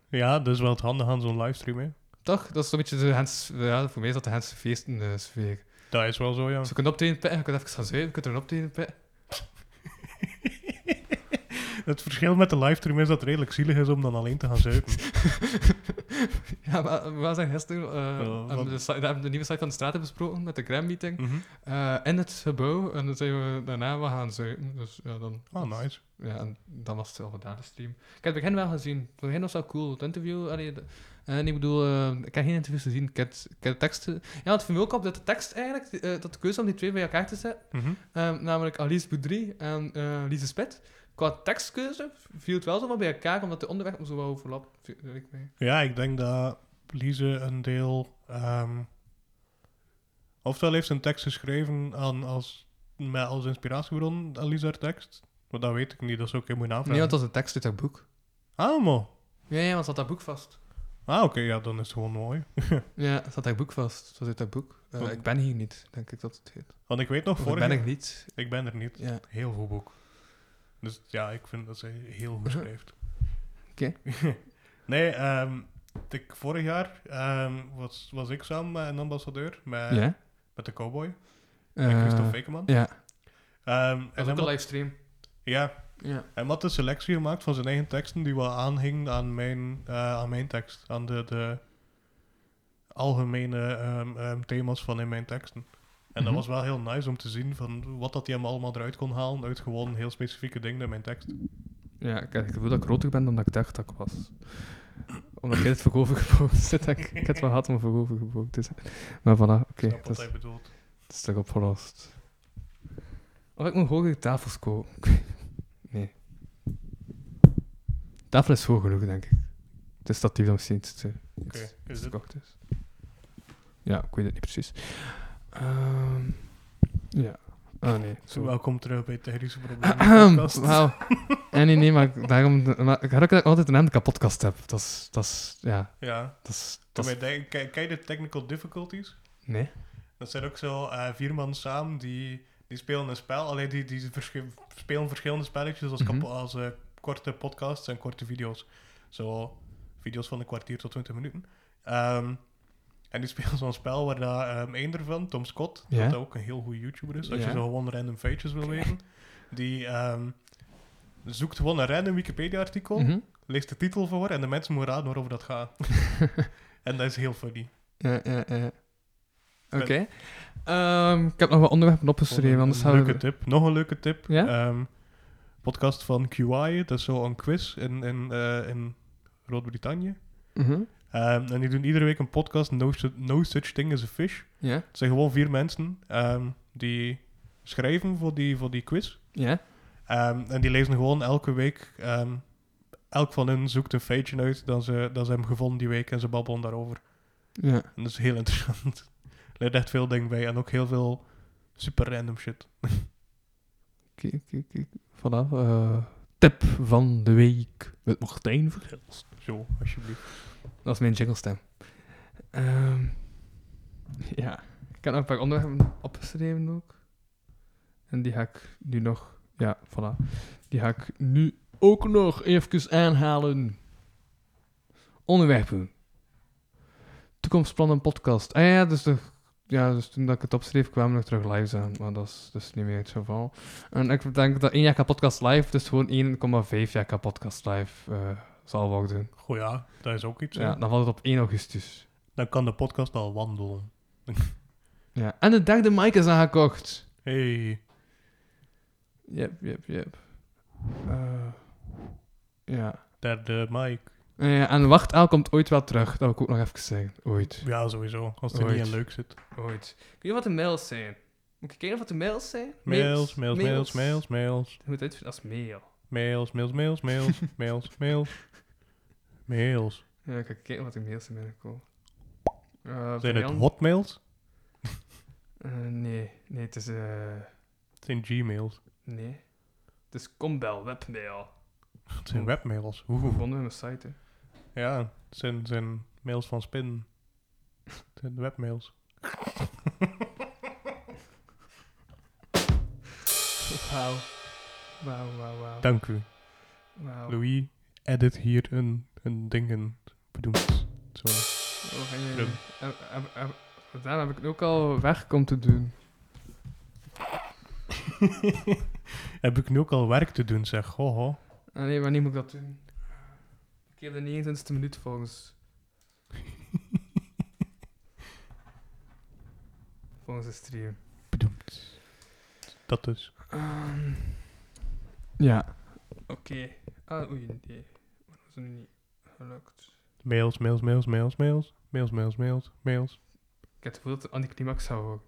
C: Ja, dat is wel het handig aan zo'n livestream, hè.
D: Toch? Dat is een beetje de Hens... Ja, voor mij is dat de Hense feesten eh, sfeer.
C: Dat is wel zo,
D: *laughs*
C: ja.
D: Ze kunnen optreden pitten, je kunt even gaan zitten, je kunt er een optreden pitten.
C: Het verschil met de livestream is dat het redelijk zielig is om dan alleen te gaan zuipen.
D: *laughs* Ja, maar we zijn gisteren eh, hebben
C: wat-
D: we de, site- hebben we de nieuwe site van de straten besproken met de Gram meeting
C: Mhm.
D: eh, in het gebouw. En dan zijn we daarna we gaan zuipen. Dus ja, dan,
C: Ah, nice.
D: ja, en dan was het wel gedaan, de stream. Ik heb het begin wel gezien. Het begin was wel cool. Het interview. Allee, de- en ik bedoel, eh, ik heb geen interviews gezien. Ik heb, ik heb de teksten. Ja, het viel me ook op dat de tekst eigenlijk, eh, dat de keuze om die twee bij elkaar te zetten,
C: Mhm.
D: Ehm, namelijk Alice Boudry en eh Lise Spit. Qua tekstkeuze viel het wel zo wat bij elkaar, omdat de onderweg zo wel overlap. vind ik mee.
C: Ja, ik denk dat Lize een deel. ehm, ofwel heeft zijn tekst geschreven aan als, met als inspiratiebron aan Lize haar tekst. Maar dat weet ik niet, dat is ook helemaal
D: Nee,
C: aanvragen.
D: want dat is een tekst uit haar boek.
C: Ah, mo.
D: Ja, ja, want zat haar boek vast.
C: Ah, oké, ja, dan is het gewoon mooi.
D: Ja, zat haar boek vast. Het was uit haar boek. Eh,
C: Wat-
D: ik ben hier niet, denk ik dat het heet.
C: Want ik weet nog,
D: Of ik
C: Oh. vorig
D: ben
C: jaar-
D: ik niet.
C: ik ben er niet.
D: Ja.
C: Heel goed boek. Dus ja, ik vind dat zij
D: *laughs*
C: heel goed
D: Uh-huh.
C: schrijft.
D: Oké.
C: *laughs* nee, ehm, ik, vorig jaar ehm, was, was ik samen met een ambassadeur, met,
D: ja.
C: met de cowboy,
D: Eh,
C: met Eh, Christophe Fekeman.
D: Ja.
C: Ehm, en
D: Dat is
C: hem
D: ook een
C: had-
D: livestream.
C: ja,
D: Ja.
C: hij had een selectie gemaakt van zijn eigen teksten die wel aanhingen aan mijn, eh, aan mijn tekst. Aan de, de algemene ehm, ehm, thema's van in mijn teksten. En dat
D: Mhm.
C: was wel heel nice om te zien van wat dat hij hem allemaal eruit kon halen uit gewoon heel specifieke dingen in mijn tekst.
D: Ja, ik heb het gevoel dat ik groter ben dan dat ik dacht dat ik was. Omdat ik in het vergoven gebouwd *laughs* zit. Ik, ik heb het wel gehad om vergoven gebouwd te zijn. Maar voilà, oké. dat
C: Ik snap wat
D: is-
C: hij bedoelt.
D: Het is toch opgelost. Of ik moet hogere tafels kopen. Nee. De tafel is hoog genoeg, denk ik. Het eh, is statief dan misschien iets te
C: Oké,
D: iets
C: is
D: te
C: dit?
D: kort is. Ja, ik weet het niet precies. Ehm, ja. Oh nee.
C: Zo,
D: *clears throat* Zo.
C: welkom terug bij Technische
D: Ahem, *clears throat*
C: Problemen. podcast.
D: Wauw. En nee, nee, maar daarom... Maar ik had ook altijd een naam de kapotkast heb. Dat is... Dat is... Ja.
C: Ja,
D: Dat is... Dat
C: Toen
D: is
C: wij denken- kijk kijk de technical difficulties.
D: nee.
C: Dat zijn ook zo eh, vier man samen die, die spelen een spel. Alleen die, die verschi- spelen verschillende spelletjes als, kapo-
D: Mhm.
C: als eh, korte podcasts en korte video's. Zo video's van een kwartier tot 20 minuten. Ehm, en die *laughs* spelen zo'n spel waar dat, ehm één ervan, Tom Scott,
D: Ja.
C: dat ook een heel goede YouTuber is, als
D: Ja.
C: je zo gewoon random feitjes wil weten, die ehm, zoekt gewoon een random Wikipedia-artikel,
D: Mhm.
C: leest de titel voor en de mensen moeten raden waarover dat gaat.
D: *laughs*
C: en dat is heel funny.
D: Ja, ja, ja. Oké.
C: Ben-
D: Ehm, ik heb nog wat onderwerpen opgeschreven, anders
C: een
D: zouden
C: leuke
D: we...
C: tip. Nog een leuke tip.
D: Ja?
C: Ehm, podcast van QI. Dat is zo'n quiz in, in, eh, in Groot-Brittannië.
D: Mhm.
C: Ehm, en die doen iedere week een podcast, no, Su- no Such Thing as a Fish.
D: Ja,
C: Het zijn gewoon vier mensen ehm, die schrijven voor die, voor die quiz.
D: ja.
C: Ehm, en die lezen gewoon elke week... ehm, elk van hen zoekt een feitje uit dat ze, dat ze hem gevonden die week en ze babbelen daarover.
D: Ja,
C: En dat is heel *laughs* interessant. Er leert echt veel dingen bij en ook heel veel super random shit.
D: kijk, kijk, kijk. Voilà. eh, tip van de week met Martijn Vergils.
C: Zo, alsjeblieft.
D: Dat is mijn jinglestem. Ehm *laughs* ja, ik heb nog een paar onderwerpen opgeschreven ook. En die ga ik nu nog... Ja, voilà. Die ga ik nu ook nog even aanhalen. Onderwerpen. Toekomstplannen podcast. Ah ja, dus, de, ja, dus toen dat ik het opschreef kwamen we nog terug live aan. Maar dat is dus niet meer het geval. En ik denk dat 1 jaar podcast live, dus gewoon 1,5 jaar podcast live eh, zal worden.
C: Goh ja, dat is ook iets. hè.
D: Ja, dan valt het op 1 augustus.
C: Dan kan de podcast al wandelen.
D: Ja. En de derde mic is aangekocht.
C: Hey.
D: Yep, yep, yep. Eh, ja.
C: Derde Mike.
D: Eh, ja. En Wachtaal komt ooit wel terug. Dat wil ik ook nog even zeggen. Ooit.
C: Ja, sowieso. Als het er
D: Ooit.
C: niet in leuk zit.
D: Ooit. Kun je wat de mails zijn? Moet ik kijken of wat de mails zijn?
C: Mails, mails, mails, mails, mails.
D: Je moet uitvinden als mail.
C: Mails, mails, mails, mails, *laughs* mails, mails. Mails.
D: Ja, ik ga kijken wat de mails zijn binnenkomen. Eh,
C: Zijn het
D: Jan-
C: hotmails?
D: Eh, nee, nee, het is... eh,
C: Het zijn gmails.
D: nee. Het is Combel, webmail.
C: Het zijn
D: Oh.
C: webmails.
D: Hoe
C: Oeh.
D: vonden we mijn site, hè?
C: Ja, het zijn, zijn mails van spin. Het zijn webmails.
D: Wauw. Wauw, wauw, wauw.
C: Dank u.
D: Wauw.
C: Louis, edit hier een, een ding in. Bedoeld. Zo.
D: Oh, ga je-
C: Rum.
D: eh, eh, eh, Daar heb ik het ook al werk om te doen.
C: Heb ik nu ook al werk te doen, zeg. Goh, goh.
D: Ah, nee, wanneer moet ik dat doen? Ik heb de 29e minuut *laughs* volgens. volgens de stream.
C: Bedoemd. Dat dus.
D: Ehm, ja. Oké. Ah, oei, nee. Maar dat is nu niet gelukt.
C: Mails, mails, mails, mails, mails. Mails, mails, mails, mails.
D: Ik heb het gevoel dat het anticlimax zou *laughs* worden.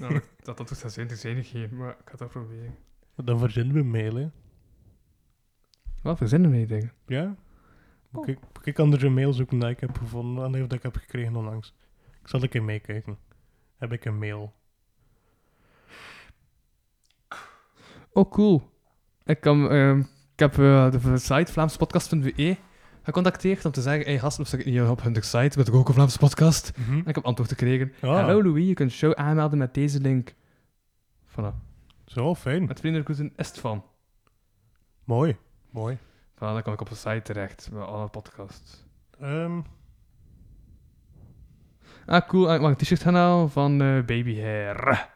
D: Namelijk dat dat toch zou zijn, te zijn geen, maar ik ga dat proberen.
C: Dan verzinnen we mail, hè.
D: Wat verzinnen we die dingen?
C: Ja?
D: Oh.
C: Ik, ik kan er een mail zoeken dat ik heb gevonden. Allee, of dat ik heb gekregen onlangs. Ik zal een keer meekijken. Heb ik een mail?
D: Oh, cool. Ik, kan, ehm, ik heb eh, de site vlaamspodcast.be E gecontacteerd om te zeggen, hey gasten, of ze hier op hun site met ook een Vlaamse podcast.
C: Mhm.
D: En ik heb antwoord gekregen.
C: Ah.
D: Hallo Louis, je kunt show aanmelden met deze link. Voilà.
C: Zo, fijn.
D: Met vriendelijk groeten Estvan.
C: Mooi. Mooi.
D: Voilà, dan kan ik op de site terecht, met alle podcasts.
C: Ehm,
D: Ah, cool. Ah, Ik mag een t-shirt gaan halen van eh, Baby Hair.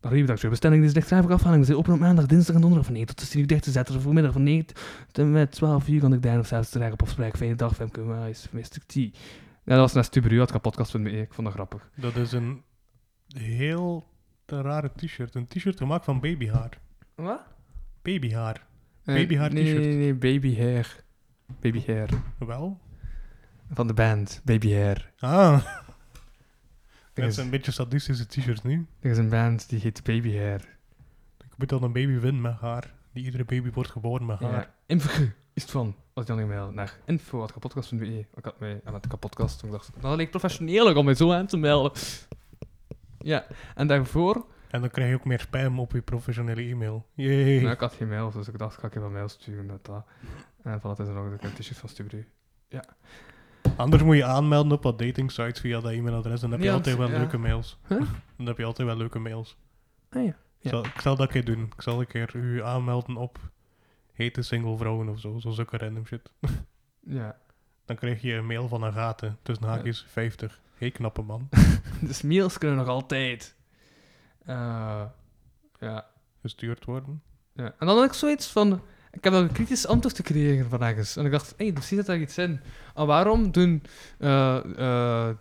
D: Dag lieve dag, bestelling is dicht ik afhaling. We zijn open op maandag, dinsdag en donderdag van 9 tot 10 uur dicht te zetten. Vanmiddag van 9 tot en met 12 uur kan ik daar nog s'avonds dragen op afspraak. Fijne dag, Femke Maais, Mr. T. Ja, dat was naast Stuberu, had ik een podcast met me. Ik vond dat grappig.
C: dat is een heel te rare t-shirt. Een t-shirt gemaakt van babyhaar.
D: Wat?
C: Babyhaar. Babyhaar
D: Eh, nee,
C: t-shirt.
D: Nee, nee, nee, Baby Hair. Baby Hair.
C: Wel?
D: Van de band, Baby Hair.
C: *laughs* Ah,
D: Er
C: dat
D: is,
C: zijn een beetje sadistische t-shirts nu.
D: er is een band die heet Baby Hair.
C: Ik moet dan een baby winnen met haar. Die iedere baby wordt geboren met haar.
D: Ja. Info *laughs* is het van. Als je dan een mail naar info.kapodcast.be. Ik had mij aan het kapodcast. Ik dacht, nou, dat leek professioneler om mij zo aan te melden. Ja, en daarvoor.
C: En dan krijg je ook meer spam op je professionele e-mail. Jee.
D: Nou, ik had geen mail, dus ik dacht, ga ik even een mail sturen. Dat, dat. En van het is er nog een t-shirt van Stubru.
C: Anders moet je aanmelden op wat dating sites via dat e-mailadres. Dan heb je
D: Ja,
C: altijd wel
D: ja.
C: leuke mails.
D: Huh?
C: Dan heb je altijd wel leuke mails.
D: Ah ja.
C: Ik zal- ik zal dat een keer doen. Ik zal een keer u aanmelden op hete single vrouwen of zo. Zo zulke random shit.
D: Ja. *laughs*
C: Dan krijg je een mail van Agathe. Tussen haakjes 50. Hé, knappe man.
D: Dus mails kunnen nog altijd. Eh, ja.
C: Gestuurd worden.
D: Ja. En dan had ik zoiets van... Ik heb dan een kritisch antwoord gekregen van ergens. En ik dacht, hé, hey, misschien zit daar iets in. En waarom doen... eh, eh,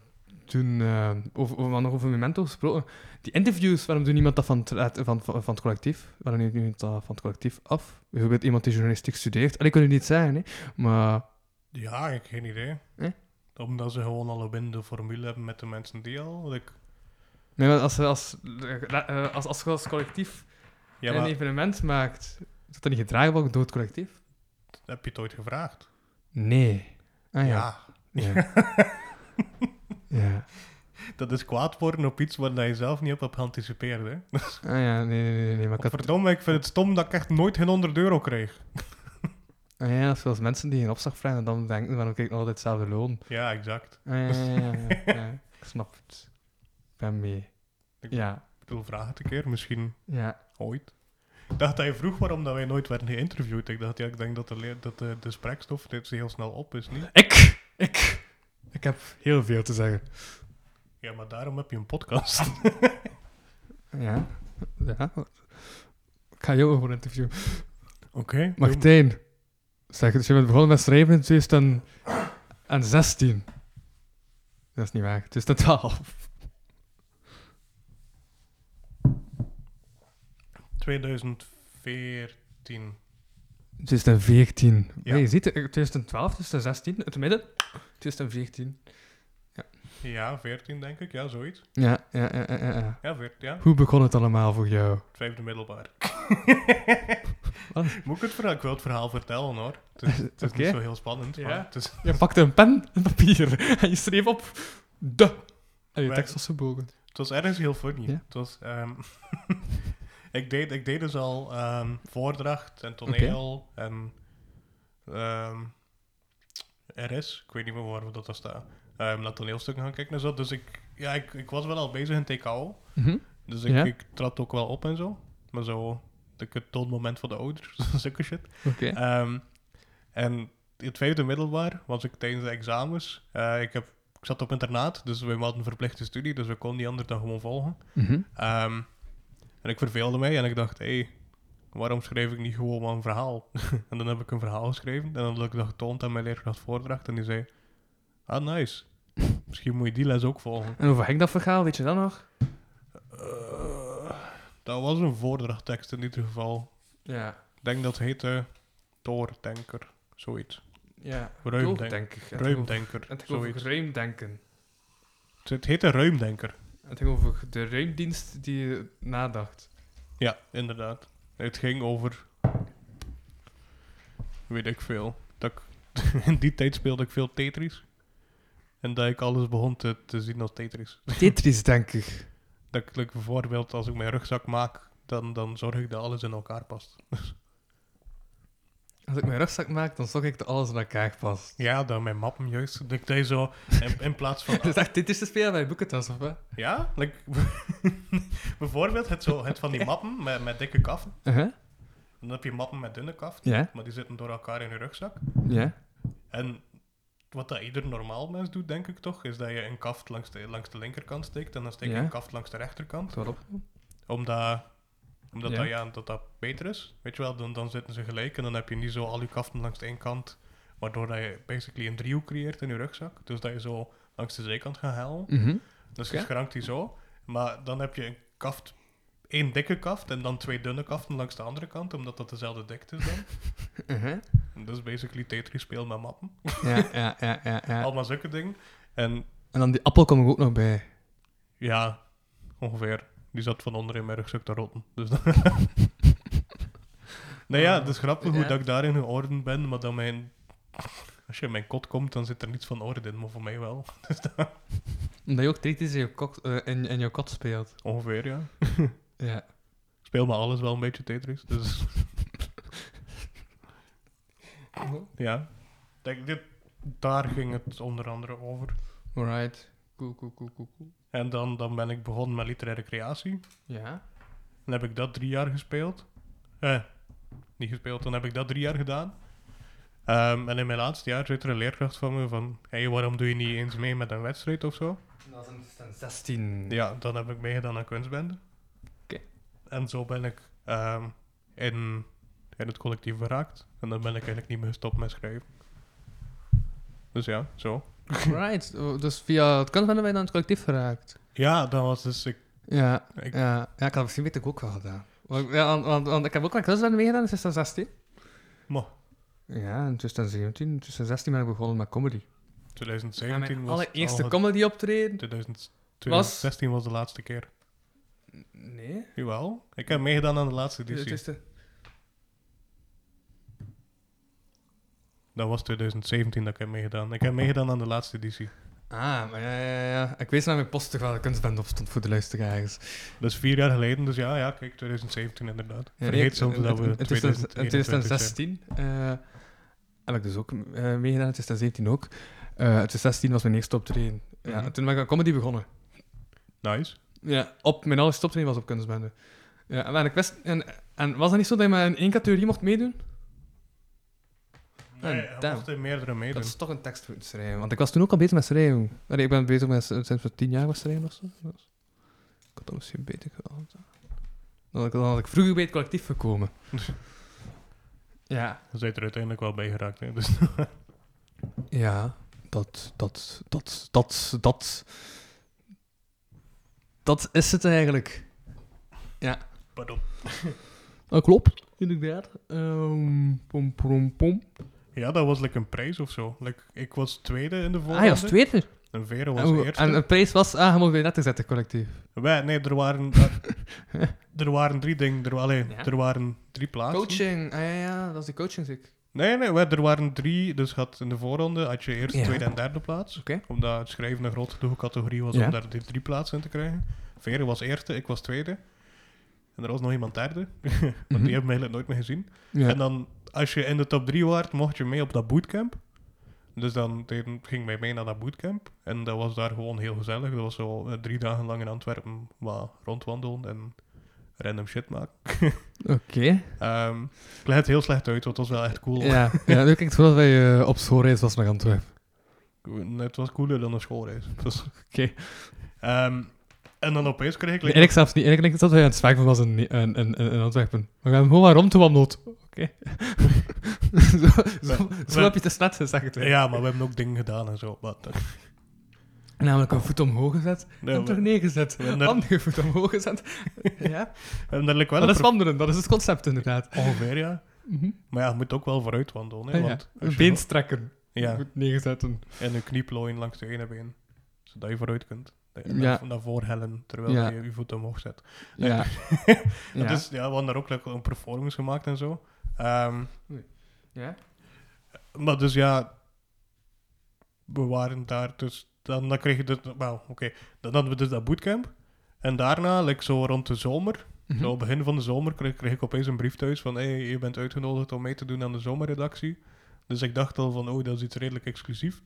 D: doen eh, over, over, we hadden nog over Memento gesproken. Die interviews, waarom doet niemand dat van, het- uit- van, van, van het collectief? Waarom neemt niemand dat van het collectief af? Bijvoorbeeld iemand die journalistiek studeert. En ik kan het niet zeggen, hè. Maar...
C: Ja, ik heb geen idee.
D: Eh?
C: Omdat ze gewoon al een winnende formule hebben met de mensen die al... like-
D: Nee, maar als, als, eh, als, als je als collectief
C: ja,
D: een
C: maar
D: evenement maakt, is dat dan niet gedragen door het collectief?
C: heb je het ooit gevraagd?
D: Nee. Ah ja. Ja. ja.
C: Dat is kwaad worden op iets waar je zelf niet op hebt geanticipeerd. Hè?
D: Ah ja, nee, nee, nee, nee, maar ik had...
C: Verdomme, ik vind het stom dat ik echt nooit geen 100 euro kreeg.
D: Ah ja, zoals mensen die een opslag vragen en dan denken van, oké, ik nog altijd hetzelfde loon.
C: Ja, exact.
D: Ah ja, ja, ja, ja, ja. *laughs* ik snap het. Ik ben mee.
C: Ik-
D: Ja,
C: Ik bedoel, vraag het een keer, misschien
D: ja.
C: ooit. Ik dacht dat je vroeg waarom dat wij nooit werden geïnterviewd. Ik dacht, ja, ik denk dat de, leer- dat de, de spraakstof dit heel snel op is, niet?
D: Ik, ik, ik heb heel veel te zeggen.
C: Ja, maar daarom heb je een podcast.
D: Ja, ja. Ik ga jou gewoon interviewen.
C: Oké. doe-
D: Martijn, zeg, dus je bent begonnen met schrijven in 2016. Dat is niet waar, 2012.
C: 2014.
D: 2014.
C: Ja.
D: Ja. je ziet, eh, 2012, 2016, het midden, 2014.
C: Ja, 14 denk ik. Ja, zoiets.
D: Ja, ja, ja, ja, ja, ja.
C: Ja, 14, ja.
D: Hoe begon het allemaal voor jou?
C: Het vijfde middelbaar.
D: *laughs* Wat?
C: Moet ik het verhaal? Ik wil het verhaal vertellen, hoor. Het is, het is
D: Oké.
C: niet zo heel spannend,
D: Ja.
C: maar het is...
D: Je pakte een pen en papier *laughs* en je schreef op de. En je
C: Wij-
D: tekst was gebogen.
C: Het was ergens heel funny.
D: Ja?
C: Het was, ehm, *laughs* ik, deed, ik deed dus al ehm, voordracht en toneel en ehm, RS. Ik weet niet meer waarom dat daar staat. Ehm naar toneelstukken gaan kijken en zo. Dus ik, ja, ik, ik was wel al bezig in TKO.
D: Mhm.
C: Dus ik,
D: Ja?
C: ik trad ook wel op en zo. Maar zo, ik het toonmoment van de ouders. *laughs* Zulke shit.
D: Oké.
C: *laughs* Ehm, en in het vijfde middelbaar was ik tijdens de examens. eh, ik heb ik zat op internaat, dus wij hadden een verplichte studie, dus we konden die ander dan gewoon volgen.
D: Mhm.
C: Ehm, en ik verveelde mij en ik dacht, hé, hey, waarom schrijf ik niet gewoon maar een verhaal? *laughs* en dan heb ik een verhaal geschreven en dan had ik dat getoond aan mijn leerkracht voordracht en die zei, ah nice, misschien moet je die les ook volgen.
D: En over hek dat verhaal, weet je dat nog?
C: Eh, dat was een voordrachttekst in ieder geval.
D: Ja.
C: Ik denk dat heette Doordenker, zoiets.
D: Ja.
C: Ruimdenk-
D: Doordenken. Het ging over-
C: Ruimdenker,
D: Het ging over
C: zoiets.
D: ruimdenken.
C: Het heette Ruimdenker.
D: Het ging over de ruimdienst die je nadacht.
C: Ja, inderdaad. Het ging over. Weet ik veel. Dat ik- *laughs* in die tijd speelde ik veel Tetris. En dat ik alles begon te, te zien als Tetris.
D: Tetris, denk ik.
C: Dat ik like, bijvoorbeeld, als ik mijn rugzak maak, dan, dan zorg ik dat alles in elkaar past.
D: Als ik mijn rugzak maak, dan zorg ik dat alles in elkaar past. *laughs*
C: Ja, dan mijn mappen juist. Dat ik deed zo in, in plaats *laughs* van.
D: Het is echt Tetris te spelen bij boekentas, of wat?
C: Ja, like, *laughs* bijvoorbeeld het, zo, het van die mappen met, met dikke kaften.
D: Uh-huh.
C: Dan heb je mappen met dunne kaften,
D: Ja,
C: maar die zitten door elkaar in je rugzak.
D: ja.
C: En wat dat ieder normaal mens doet, denk ik toch, is dat je een kaft langs de, langs de linkerkant steekt en dan steek je
D: Ja.
C: een kaft langs de rechterkant.
D: Het wordt op.
C: Omdat, omdat
D: Ja.
C: Dat, ja, dat dat beter is. Weet je wel, dan, dan zitten ze gelijk en dan heb je niet zo al je kaften langs de één kant, waardoor dat je basically een driehoek creëert in je rugzak. Dus dat je zo langs de zijkant gaat halen.
D: Mhm.
C: Dus je
D: Oké.
C: schrankt die zo. Maar dan heb je een kaft, één dikke kaft en dan twee dunne kaften langs de andere kant, omdat dat dezelfde dikte is dan. *laughs*
D: Uh-huh.
C: En dat is basically Tetris speel met mappen.
D: Ja, ja, ja, ja, ja.
C: Allemaal zulke dingen. En
D: En dan die appel kom ik ook nog bij.
C: Ja, ongeveer. Die zat van onder in mijn rugzak te rotten. Dus *laughs* dan... nou ja, het is grappig hoe
D: Ja.
C: dat ik daarin geordend ben, maar dan mijn... Als je in mijn kot komt, dan zit er niets van orde in, maar voor mij wel.
D: Omdat je ook Tetris in je, kot, eh, in, in je kot speelt.
C: Ongeveer, ja.
D: Ja.
C: Ik Speel maar alles wel een beetje Tetris, *laughs* dus ja. Ik Denk, dit, daar ging het onder andere over.
D: Alright. Cool, cool, cool, cool, cool.
C: En dan, dan ben ik begonnen met literaire creatie.
D: Ja.
C: Dan heb ik dat drie jaar gespeeld. Eh, niet gespeeld, dan heb ik dat drie jaar gedaan. Ehm, en in mijn laatste jaar zit er een leerkracht van me van... hey, waarom doe je niet eens mee met een wedstrijd of zo?
D: Dat is dan 16. *laughs*
C: Ja, dan heb ik meegedaan aan kunstbende.
D: Oké.
C: En zo ben ik ehm, in, in het collectief geraakt. En dan ben ik eigenlijk niet meer gestopt met schrijven. Dus ja, zo.
D: Right. Oh, Dus via het kant ben je aan het collectief geraakt.
C: Ja, dat was dus... Ik,
D: Ja,
C: ik-
D: ja. ja ik had misschien weet ik ook wel gedaan. Want, ja, want, want, want ik heb ook wel kunstbende meegedaan in 2016.
C: Moh,
D: Ja, in 2017, in 2016 ben ik begonnen met comedy. En
C: 2017
D: mijn
C: was... het
D: allereerste
C: al-
D: comedy optreden?
C: 2000 2016 was de laatste keer.
D: Nee.
C: Jawel. Ik heb meegedaan aan de laatste
D: Het
C: editie.
D: is de-
C: Dat was 2017 dat ik heb meegedaan. Ik heb meegedaan aan de laatste editie.
D: Ah, maar ja, ja, ja. Ik wees naar mijn poster waar de kunstband op stond voor de luisteraars.
C: Dat is vier jaar geleden, dus ja, ja kijk, 2017 inderdaad.
D: Ja, nee,
C: Vergeet soms
D: het-
C: dat we
D: het- het is dan- In
C: 2021 zijn.
D: 2016 eh, heb ik dus ook eh, meegedaan, in 2017 ook. Eh, In 2016 was mijn eerste optreden. Ja,
C: Mhm.
D: en toen ben ik aan comedy begonnen.
C: Nice.
D: Ja, op mijn allereerste optreden was op kunstbende. Ja, maar ik wist... En, en was het niet zo dat je maar in één categorie mocht meedoen?
C: Nee,
D: En
C: hij
D: dan-
C: mocht in meerdere meedoen.
D: Dat is toch een tekst voor het schrijven. Want ik was toen ook al bezig met schrijven. Allee, ik ben bezig met sinds ik tien jaar met schrijven of zo. Dus ik had dat misschien beter gehad. Dan had ik, dan had ik vroeger bij het collectief *laughs* gekomen. ja.
C: Je bent er uiteindelijk wel bij geraakt. Hè? Dus, *laughs*
D: Ja. Dat, dat, dat, dat, dat... Dat is het eigenlijk.
C: pardon.
D: Dat klopt, inderdaad. Ehm pom, pom, pom.
C: Ja, dat was like, een prijs of zo. Like, ik was tweede in de
D: Ah,
C: volgende.
D: hij was tweede.
C: En Vero was
D: En,
C: eerste.
D: en de prijs was ah, aangeboden bij Netten zetten, collectief.
C: Wij, nee, er
D: *laughs*
C: waren, er, er waren drie dingen. Er, allee,
D: Ja.
C: er waren drie plaatsen.
D: Coaching. Ah, ja, ja, dat is die coaching, zeg ik.
C: Nee, nee, we- er waren drie. Dus had in de voorronde had je eerst
D: Ja.
C: tweede en derde plaats.
D: Oké.
C: Omdat het schrijven een grote genoeg categorie was
D: Ja.
C: om daar die drie plaatsen in te krijgen. Veren was eerste, ik was tweede. En er was nog iemand derde. *laughs* Want
D: Mhm.
C: die hebben mij eigenlijk nooit meer gezien.
D: Ja.
C: En dan, als je in de top drie waart, mocht je mee op dat bootcamp. Dus dan deden- ging mij mee naar dat bootcamp. En dat was daar gewoon heel gezellig. Dat was zo eh, drie dagen lang in Antwerpen wat rondwandelen en random shit maken.
D: Oké.
C: Ehm ik leg het heel slecht uit, want het was wel echt cool.
D: eh, Ja, ja, nu klinkt vooral dat je op schoolreis was naar Antwerpen.
C: net wat cooler dan een schoolreis. *laughs* Dus,
D: Oké.
C: ehm, en dan opeens kreeg ik...
D: Eigenlijk zelfs niet. Eigenlijk dacht dat wij aan het zwijgen was in, in, in, in Antwerpen. We gaan gewoon maar rond te wandelen. Oké. *laughs* zo zo, zo
C: we-
D: heb je het net gezegd. hè.
C: ja, maar we hebben ook dingen gedaan en zo. Maar,
D: *laughs* Namelijk een voet omhoog gezet
C: Nee,
D: en
C: we-
D: terug neergezet.
C: we hebben daar-
D: Andere voet omhoog gezet. *laughs* ja.
C: we hebben dadelijk wel
D: Dat
C: een
D: is wandelen, dat is het concept inderdaad.
C: pro- Ongeveer, ja.
D: Mhm.
C: Maar ja, je moet ook wel vooruit wandelen. Hè,
D: Ah, ja.
C: want als
D: Een
C: je-
D: been strekken.
C: Ja,
D: Goed neerzetten.
C: en een knieplooien langs de ene been. Zodat je vooruit kunt. Dat je
D: Ja.
C: naar, naar voren hellen, terwijl
D: Ja.
C: je je voet omhoog zet. *laughs*
D: Ja. ja.
C: Dus ja, we hadden daar ook lekker een performance gemaakt en zo. Ehm,
D: ja.
C: maar dus ja, we waren daar dus... Dan, dan kreeg je dus... Wel, oké. Dan hadden we dus dat bootcamp. En daarna, like, zo rond de zomer...
D: Mhm.
C: Zo begin van de zomer kreeg, kreeg ik opeens een brief thuis van... hey, je bent uitgenodigd om mee te doen aan de zomerredactie. Dus ik dacht al van, oh, dat is iets redelijk exclusief.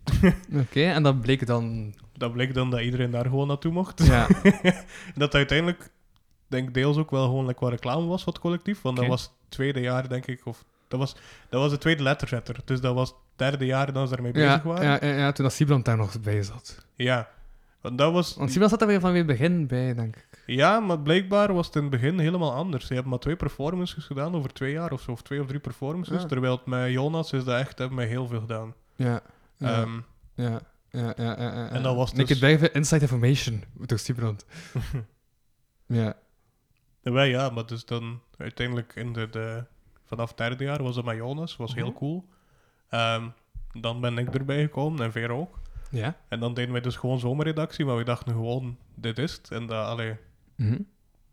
D: Oké, en dat bleek dan.
C: Dat bleek dan dat iedereen daar gewoon naartoe mocht.
D: Ja.
C: En *laughs* dat uiteindelijk, denk ik, deels ook wel gewoon like, wat reclame was voor het collectief. Want
D: Oké.
C: dat was het tweede jaar, denk ik, of... Dat was, dat was de tweede letterzetter. Dus dat was het derde jaar dat ze daarmee
D: Ja,
C: bezig waren.
D: ja, ja, ja, toen dat Sibland daar nog bij zat.
C: Ja, want dat was...
D: Want Sibland zat er weer van weer het begin bij, denk ik.
C: Ja, maar blijkbaar was het in het begin helemaal anders. Ze hebben maar twee performances gedaan over twee jaar of zo, of twee of drie performances.
D: Ja.
C: Terwijl het met Jonas is dat echt, hebben we heel veel gedaan.
D: Ja. ja,
C: Ehm,
D: ja, ja, ja, ja, ja,
C: en
D: ja.
C: dat was
D: Ik
C: dus-
D: het bij Inside Information door
C: *laughs*
D: Sibland. ja.
C: en wij ja, maar dus dan uiteindelijk in de, de, vanaf het derde jaar was dat met Jonas, was heel
D: Mhm.
C: cool. Ehm, dan ben ik erbij gekomen en Veer ook.
D: Ja.
C: En dan deden wij dus gewoon zomerredactie, maar we dachten gewoon, dit is het. En dat, allee,
D: Mhm.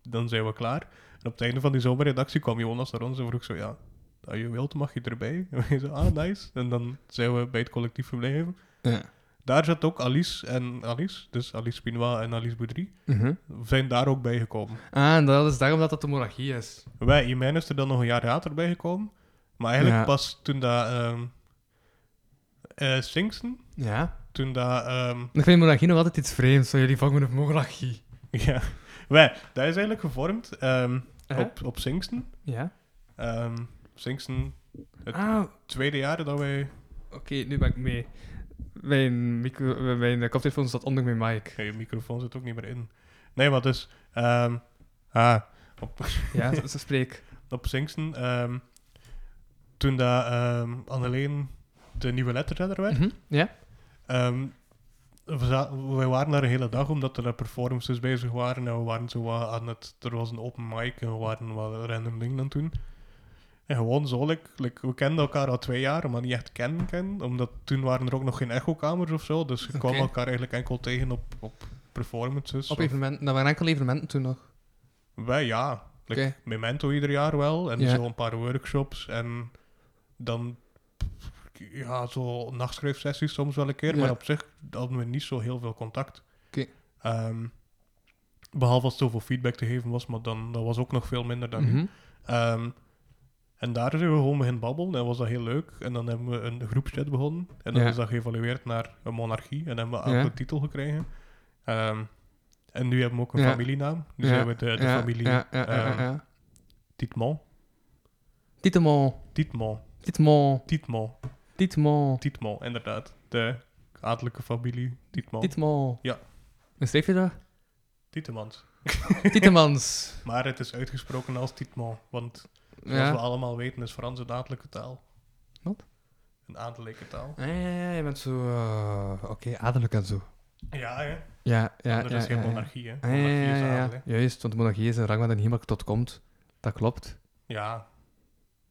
C: dan zijn we klaar. En op het einde van die zomerredactie kwam Jonas naar ons en vroeg zo, ja, als je wilt mag je erbij. *laughs* En wij zo, ah, nice. En dan zijn we bij het collectief gebleven.
D: Ja.
C: Daar zat ook Alice en Alice, dus Alice Pinois en Alice Boudry,
D: Mhm.
C: zijn daar ook bij gekomen.
D: Ah, en dat is daarom dat dat de monarchie is.
C: Wij, Imijn is er dan nog een jaar later bij gekomen. Maar eigenlijk
D: Ja.
C: pas toen dat... ehm eh, Singsten,
D: Ja.
C: toen dat... ehm, *laughs*
D: Ik vind monarchie nog altijd iets vreemds, zo jullie vangen een monarchie.
C: ja, wij, dat is eigenlijk gevormd ehm,
D: Uh-huh.
C: op, op Singsten.
D: Ja.
C: Ehm, Singsten, Het-
D: Ah,
C: tweede jaar dat wij
D: Oké, nu ben ik mee. Mijn, micro, mijn eh, koptelefoon staat onder mijn mic.
C: Ja, je microfoon zit ook niet meer in. Nee, maar dus... ehm, ah, op, *laughs*
D: Ja, *laughs* ze, ze spreek.
C: op Singsten... ehm, toen dat ehm Anneleen de nieuwe letterredder werd...
D: Mhm, Ja?
C: ehm, we za- wij waren daar een hele dag, omdat er performances bezig waren. En we waren zo wat aan het... Er was een open mic en we waren wat random dingen aan het doen. En gewoon zo, like, like, we kenden elkaar al twee jaar, maar niet echt kennen kennen. Omdat toen waren er ook nog geen echokamers of zo. Dus je kwam
D: Oké.
C: elkaar eigenlijk enkel tegen op, op performances.
D: Op
C: of-
D: evenementen. Dat waren enkele evenementen toen nog.
C: Wij ja. Like,
D: Oké.
C: Memento ieder jaar wel. En
D: Ja.
C: zo een paar workshops. En dan ja, zo nachtschrijfsessies soms wel een keer.
D: Ja.
C: Maar op zich hadden we niet zo heel veel contact.
D: Oké.
C: Ehm, behalve als zoveel feedback te geven was, maar dan dat was ook nog veel minder dan nu.
D: Mhm.
C: Ehm, en daar zijn we gewoon beginnen babbelen en was dat heel leuk. En dan hebben we een groepschat begonnen. En dan
D: Ja.
C: is dat geëvalueerd naar een monarchie. En hebben we ook
D: Ja.
C: een titel gekregen. Ehm, en nu hebben we ook een
D: Ja.
C: familienaam. Nu
D: Ja.
C: zijn dus we de, de
D: Ja,
C: familie
D: Ja, ja, ja, ja,
C: ehm,
D: ja.
C: Tietman.
D: Tietemon,
C: Tietman.
D: Tietemon,
C: Tietman.
D: Tietemon,
C: Tietman, inderdaad. De adellijke familie Tietman.
D: Tietemon.
C: Ja.
D: Hoe schreef je dat? *laughs*
C: Tietemans.
D: Tietemans.
C: Maar het is uitgesproken als Tietman. Want zoals we
D: Ja.
C: allemaal weten is Frans een adellijke taal.
D: Wat?
C: Een adellijke taal.
D: Ja, ja, ja, je bent zo... eh, Oké, adellijk en zo.
C: Ja, hè.
D: Ja, ja,
C: er
D: ja.
C: is geen
D: ja, ja.
C: monarchie, hè.
D: Ah, ja,
C: Monarchie
D: ja,
C: is
D: ja,
C: adel,
D: ja.
C: hè.
D: Juist, want de monarchie is een rang waar dan niemand tot komt. Dat klopt.
C: Ja,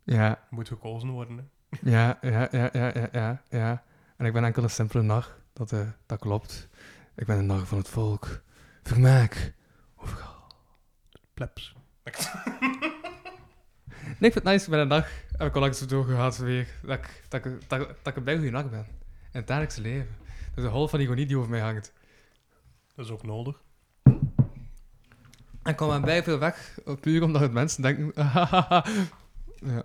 D: Ja,
C: moet gekozen worden. hè.
D: Ja, ja, ja, ja, ja, ja, ja. En ik ben enkel een simpele nacht. Dat, eh, dat klopt. Ik ben een nacht van het volk. Vermaak. Overal.
C: Plebs. *laughs*
D: Nee, ik vind het nice. Ik ben een dag. Heb ik al langs doorgehaald weer. Dat ik, dat, ik, dat, ik- dat ik een blij goede nacht ben. In het dagelijks leven. Dat is de hol van die gonie die over mij hangt.
C: Dat is ook nodig.
D: En ik kwam aan bij veel weg. Puur omdat het mensen denken. *laughs* ja.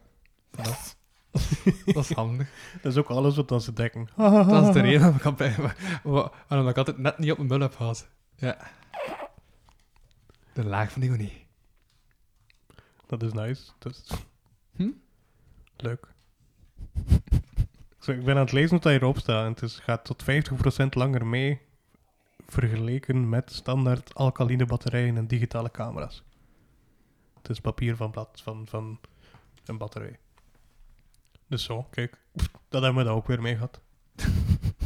D: Dat, dat is handig.
C: Dat is ook alles wat dan ze denken.
D: Dat is de reden waarom ik, al bij, wa- wa- waarom ik altijd net niet op mijn bul heb gehad. Ja. De laag van de ironie.
C: Dat is nice. Dat is...
D: Hm?
C: Leuk. Ik zeg, Ik ben aan het lezen wat daar hierop staat. En het is, gaat tot 50% langer mee vergeleken met standaard alkaline batterijen en digitale camera's. Het is papier van, blad, van, van een batterij. Dus zo, kijk. Pff, Dat hebben we dan ook weer mee gehad.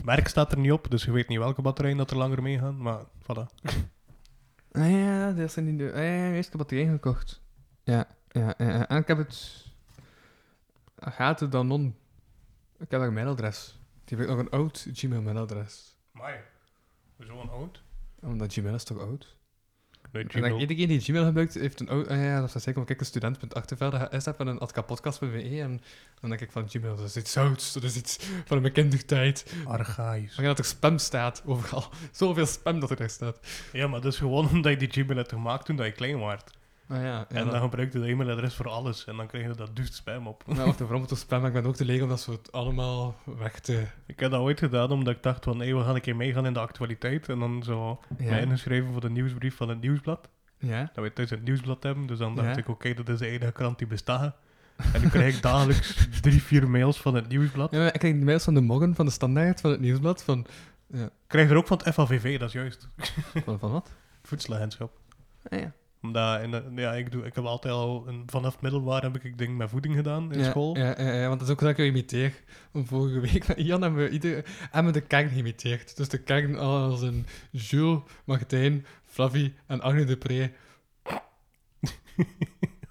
C: Merk staat er niet op, dus je weet niet welke batterijen dat er langer mee gaan. Maar voilà.
D: Ah ja, dat zijn die de... Ah ja, eerst heb ik batterij gekocht. Ja, ja, ja, ja. En ik heb het... Gaat het dan om? Ik heb nog een mailadres. Die heb ik nog een oud Gmail mailadres.
C: Maar zo'n oud?
D: Omdat Gmail is toch oud?
C: Nee,
D: En dan
C: Gmail.
D: iedereen die Gmail gebruikt, heeft een oud... Ah ja, dat is zeker. Want kijk, een student.achtervelde is dat en een adkapodcast.be. E En dan denk ik van, Gmail, dat is iets ouds. Dat is iets van mijn kindertijd.
C: Archaïs.
D: Maar dat er spam staat overal. *laughs* Zoveel spam dat er echt staat.
C: Ja, maar dat is gewoon *laughs* omdat je die Gmail hebt gemaakt toen dat je klein was.
D: Ah ja, ja,
C: en
D: dat-
C: dan gebruikte je dat e-mailadres voor alles. En dan kreeg je dat duft spam op.
D: Nou, wacht, waarom het spam? Maar ik ben ook te leeg om dat soort allemaal weg te...
C: Ik heb dat ooit gedaan omdat ik dacht van... Hé, we gaan een keer meegaan in de actualiteit. En dan zo mij ingeschreven voor de nieuwsbrief van het nieuwsblad.
D: Ja?
C: Dat we thuis het nieuwsblad hebben. Dus dan dacht
D: Ja.
C: ik, oké, dat is de enige krant die bestaat. En dan kreeg
D: *laughs*
C: ik dagelijks drie, vier mails van het nieuwsblad.
D: ja maar ik kreeg de mails van de morgen, van de standaard, van het nieuwsblad,
C: *laughs*
D: van...
C: Ik kreeg er ook van het FAVV, dat is juist.
D: Van, van wat?
C: Het voedselagentschap.
D: Ah, ja.
C: Omdat, en, eh, ja, ik, doe, ik heb altijd al... Een, vanaf het middelbaar heb ik, ik denk mijn voeding gedaan in
D: ja,
C: school.
D: Ja, ja, ja, want dat is ook wat ik jou imiteer. Want Vorige week met Ian hebben we, ieder, hebben we de kern geïmiteerd. Dus de kern als een Jules, Martijn, Flavie en Arne Depree.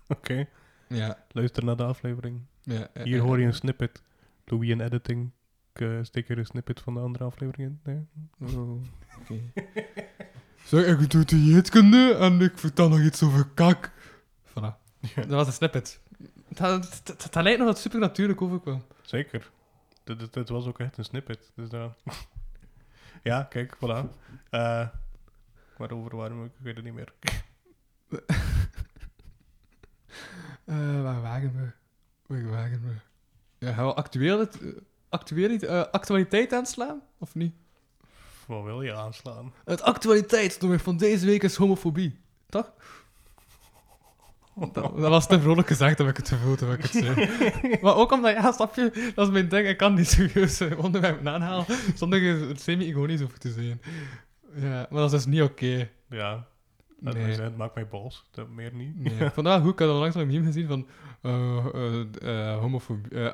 C: Oké,
D: Ja.
C: luister naar de aflevering.
D: ja ja,
C: Hier
D: ja.
C: hoor je een snippet. Louis in editing. Ik eh, steek er een snippet van de andere aflevering in. Nee.
D: Oh, oké. *laughs* Zeg, ik doe de jeetkunde en ik vertel nog iets over kak. Voilà. Dat was een snippet. Dat, dat, dat, dat lijkt nog wat supernatuurlijk overkwam.
C: Zeker. Dit, dit, dit was ook echt een snippet. Dus daar- *laughs* ja, kijk, voilà. Eh waarover waren we? Ik weet het niet meer.
D: Eh, waar waren we? Waar waren we? Ja, gaan we actueel het, eh, actueel, eh, actualiteit aanslaan? Of niet?
C: Wat wil je aanslaan?
D: Het actualiteitsnummer van deze week is homofobie. Toch? Dat, dat was te vrolijk gezegd, heb ik het gevoel, heb ik het
C: *laughs*
D: zei. Maar ook omdat, ja, snap je, dat is mijn ding. Ik kan niet serieus eh, onderwerpen aanhalen zonder er semi-ironisch over te zijn. Ja, maar dat is dus niet oké.
C: Ja, dat
D: Nee.
C: het maakt mij boos. Dat meer niet.
D: Nee. Vandaag hoe ik had onlangs nog een meme gezien van eh, eh, eh, homofobie. eh,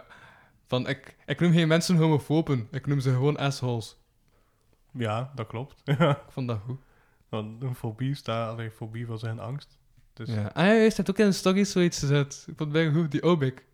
D: van ik, ik noem geen mensen homofoben, ik noem ze gewoon assholes.
C: Ja, dat klopt. *laughs* Ja.
D: Ik vond dat goed.
C: Want een fobie staat... Allee, fobie wil zijn angst. Dus
D: Ja. Ah ja, juist, hij heeft ook in een story zoiets gezet. Ik vond het bij goed, die Obik.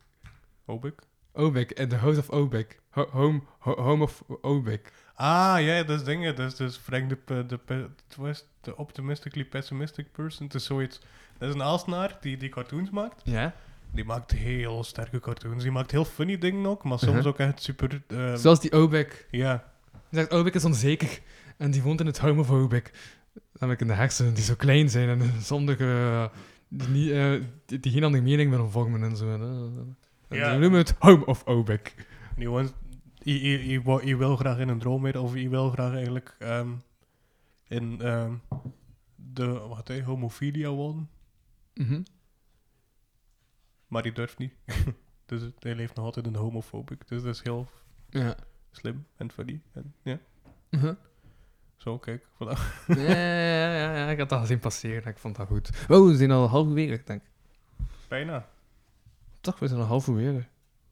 C: hoop ik.
D: Obik, in the house of Obik. Ho- home, ho- home of Obik.
C: Ah, ja, dat is dingen. Dat is dus Frank de, pe- de, pe- het was de optimistically pessimistic person. Het is zoiets. Dat is een Aalsnaar die, die cartoons maakt.
D: Ja?
C: Die maakt heel sterke cartoons. Die maakt heel funny dingen ook, maar soms
D: Mhm.
C: ook echt super. eh,
D: Zoals die Obik.
C: Ja,
D: Hij zegt, Obik is onzeker. En die woont in het home of Obik. Namelijk in de hersenen die zo klein zijn en zondige... eh, die, niet, eh, die, die geen andere mening willen vormen en zo. En, eh,
C: Ja.
D: Die noemen het home of Obik.
C: die wants- je- je- je wou- je wil graag in een droom weer, of je wil graag eigenlijk ehm, in ehm, de wat hè, homofilia wonen,
D: Mhm.
C: maar die durft niet. *laughs* dus hij leeft nog altijd in de homofobic. Dus dat is heel
D: Ja.
C: slim en funny. En, ja,
D: Mhm.
C: zo kijk. Voilà.
D: ja, ja, ja, ja, ik had dat gezien passeren. Ik vond dat goed. Wow, Oh, we zijn al halverwege, denk ik.
C: Bijna.
D: Toch, we zijn al halverwege.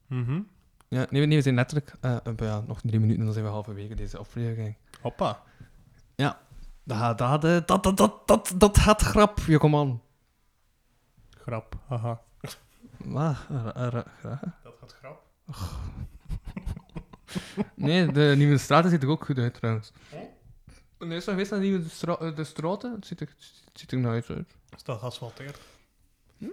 C: Mhm.
D: Ja, nee, nee, we zijn letterlijk eh, eh, ja, nog drie minuten en dan zijn we halverwege deze aflevering.
C: Hoppa.
D: Dat, dat, eh, dat, dat, dat, dat, dat gaat grap. Je kom aan.
C: Grap, haha.
D: Waar? Ah, Ra- ra- ra- ra-
C: Dat gaat grap.
D: Nee, de Nieuwe Straten ziet er ook goed uit trouwens. Nee, is nog geweest naar de Nieuwe stra eh, de Straten? Het ziet er, het ziet er nooit uit.
C: Is dat geasfalteerd?
D: Hm?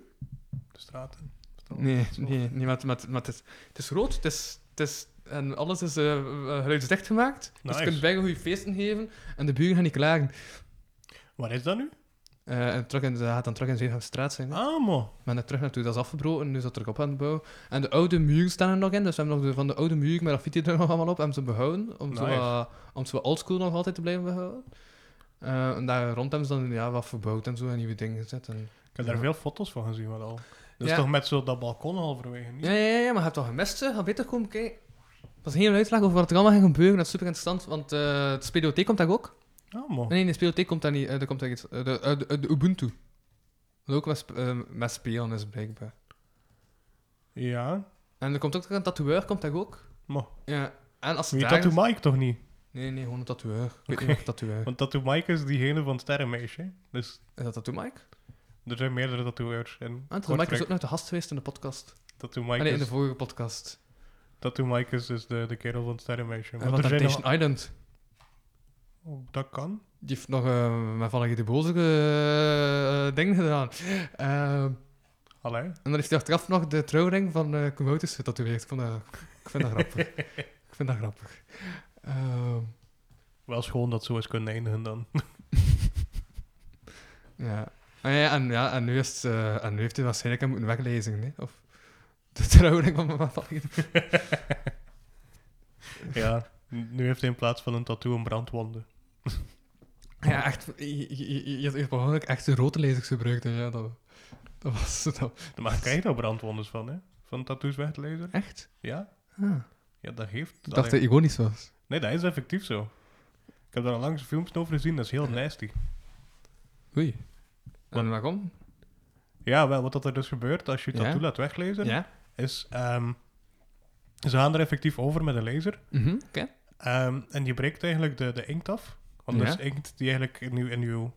C: De straten?
D: Nee, nee, nee maar, het- maar, het- maar het, is, het is rood, het is, het is, en alles is eh, eh, geluidsdicht gemaakt. Dus
C: Nice.
D: je kunt bijna goede feesten geven en de buren gaan niet klagen.
C: Waar is dat nu?
D: Eh, en terug in, ze gaat dan terug in Zeehamstraat zijn. hè.
C: Ah, mo.
D: Maar net terug naartoe, dat is afgebroken, nu is dat terug op aan het bouwen. En de oude muur staan er nog in, dus we hebben nog de, van de oude muur met graffiti er nog allemaal op, hebben ze behouden, om zo,
C: Nice.
D: wat- om zo wat oldschool nog altijd te blijven behouden. Eh, en daar rond hebben ze dan ja, wat verbouwd en zo, en nieuwe dingen gezet. En...
C: Ik heb daar
D: Ja.
C: veel foto's van gezien, wat al. Dat is
D: Ja.
C: toch met zo dat balkon halverwege, niet?
D: Ja, ja, ja, maar je hebt toch gemist, ze? Ga beter komen kijken. was een hele uitslag over wat er allemaal ging gebeuren. Dat is super interessant, want eh het speeldotheek komt daar ook.
C: Ah, man.
D: Nee, in de speeldotheek komt daar niet. eh, er komt daar iets. eh, de, eh, de, eh, de Ubuntu. Dat ook met, sp- eh, met spelen is blijkbaar.
C: Ja,
D: En er komt ook een tatoeëur, komt daar ook.
C: maar
D: Ja. En als ze
C: wie
D: daar...
C: tattoo Mike toch niet?
D: Nee, nee, gewoon een tatoeëur. Ik weet
C: Oké.
D: niet of een tatoeëur.
C: Want tattoo Mike is diegene van Sterrenmeisje. Dus
D: Is dat tattoo Mike?
C: er zijn meerdere tattooers. En
D: Ah, tattoo
C: kort
D: Mike is ook
C: rek-
D: nog de gast geweest in de podcast.
C: tattoo
D: Ah,
C: Mike
D: nee, in de
C: is,
D: vorige podcast.
C: tattoo Mike is dus de, de kerel van Sterrenmeisje.
D: En
C: Maar er zijn
D: Temptation
C: nog,
D: Island.
C: oh, dat kan.
D: Die heeft nog eh met Valerie de Boze eh, dingen gedaan. Ehm,
C: Allee.
D: en dan heeft hij achteraf nog de trouwring van eh Commodus getatoeëerd. Ik, vond dat- ik vind dat grappig.
C: *laughs*
D: ik vind dat grappig. Ehm,
C: Wel schoon dat zo is kunnen eindigen dan.
D: ja. Ah, ja, en, ja, en, nu is, het, eh, en nu heeft hij waarschijnlijk hem moeten weglezen. Nee? Of de *laughs* trouwring van van Valerie de
C: ja, n- nu heeft hij in plaats van een tattoo een brandwonde.
D: Ja, echt. Je, je, je, je hebt behoorlijk echt de rode lezers gebruikt. hè. Ja, dat, dat was dat.
C: Maar krijg je daar brandwondes van, hè? Van tattoos weg te lezen?
D: Echt?
C: Ja?
D: Ah.
C: Ja, dat heeft...
D: Ik dacht dat hij ironisch was.
C: Nee, dat is effectief zo. Ik heb daar al langs filmpjes over gezien, dat is heel nasty.
D: Oei. En waarom?
C: Ja, wel, wat dat er dus gebeurt als je je
D: Ja?
C: tattoo laat weglezen,
D: Ja.
C: is... ehm, ze gaan er effectief over met een laser.
D: Mhm, Oké.
C: ehm, en je breekt eigenlijk de, de inkt af. Want dat
D: Ja.
C: is inkt die eigenlijk in je, in uw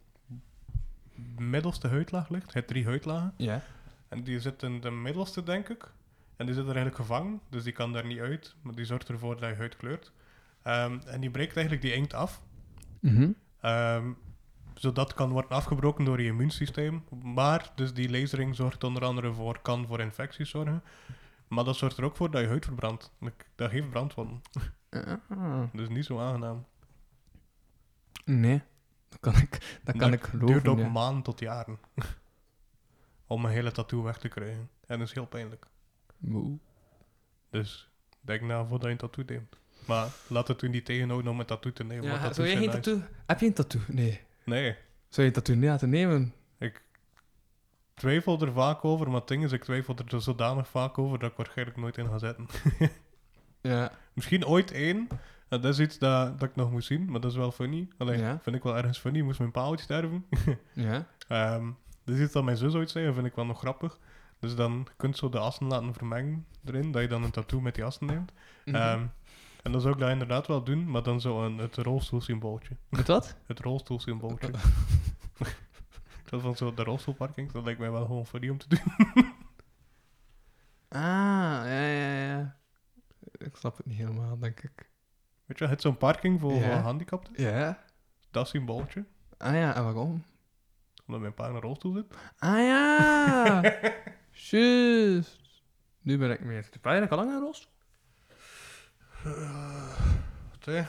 C: middelste huidlaag ligt. Het drie huidlagen.
D: Ja.
C: En die zit in de middelste, denk ik. En die zit er eigenlijk gevangen, dus die kan daar niet uit. Maar die zorgt ervoor dat je huid kleurt. Ehm, en die breekt eigenlijk die inkt af.
D: Mhm.
C: Ehm, zodat kan worden afgebroken door je immuunsysteem. Maar dus die lasering zorgt onder andere voor, kan voor infecties zorgen. Maar dat zorgt er ook voor dat je huid verbrandt. Ik- Dat geeft brandwonden.
D: Ah.
C: Dus niet zo aangenaam.
D: Nee. Dat kan ik, dat kan
C: Dat
D: ik
C: duurt
D: geloven.
C: ook
D: ja.
C: maanden tot jaren. *laughs* Om een hele tattoo weg te krijgen. En dat is heel pijnlijk.
D: Moe.
C: Dus denk na voordat je een tattoo neemt. Maar laat het u niet tegenhouden om een tattoo te nemen. want tattoos zijn nice.
D: Heb je een tattoo? Nee.
C: Nee,
D: Zou je een tattoo niet laten nemen?
C: ik twijfel er vaak over. Maar het ding is, ik twijfel er dus zodanig vaak over dat ik waarschijnlijk nooit in ga zetten.
D: Ja.
C: Misschien ooit één. En dat is iets dat, dat ik nog moet zien, maar dat is wel funny. Alleen
D: Ja.
C: vind ik wel ergens funny. Moest mijn pa ooit sterven.
D: Ja.
C: Ehm, dit is iets dat mijn zus ooit zei, dat vind ik wel nog grappig. Dus dan je kunt zo de assen laten vermengen erin, dat je dan een tattoo met die assen neemt.
D: Mhm.
C: Ehm, en dan zou ik dat inderdaad wel doen, maar dan zo een, het rolstoelsymbooltje.
D: Met wat?
C: Het rolstoelsymbooltje. *laughs* dat van zo de rolstoelparking, dat lijkt mij wel gewoon funny om te doen. *laughs*
D: Ah, ja, ja, ja. Ik snap het niet helemaal, denk ik.
C: Weet je, wel, het is zo'n parking voor
D: Ja.
C: eh, gehandicapten.
D: Ja?
C: Dat symbooltje,
D: Ah ja, en waarom?
C: omdat mijn pa in een rolstoel zit.
D: Ah
C: *laughs*
D: ja! Juist. Nu ben ik meer. Ben je al lang aan rolstoel?
C: Eh, Wat, hè?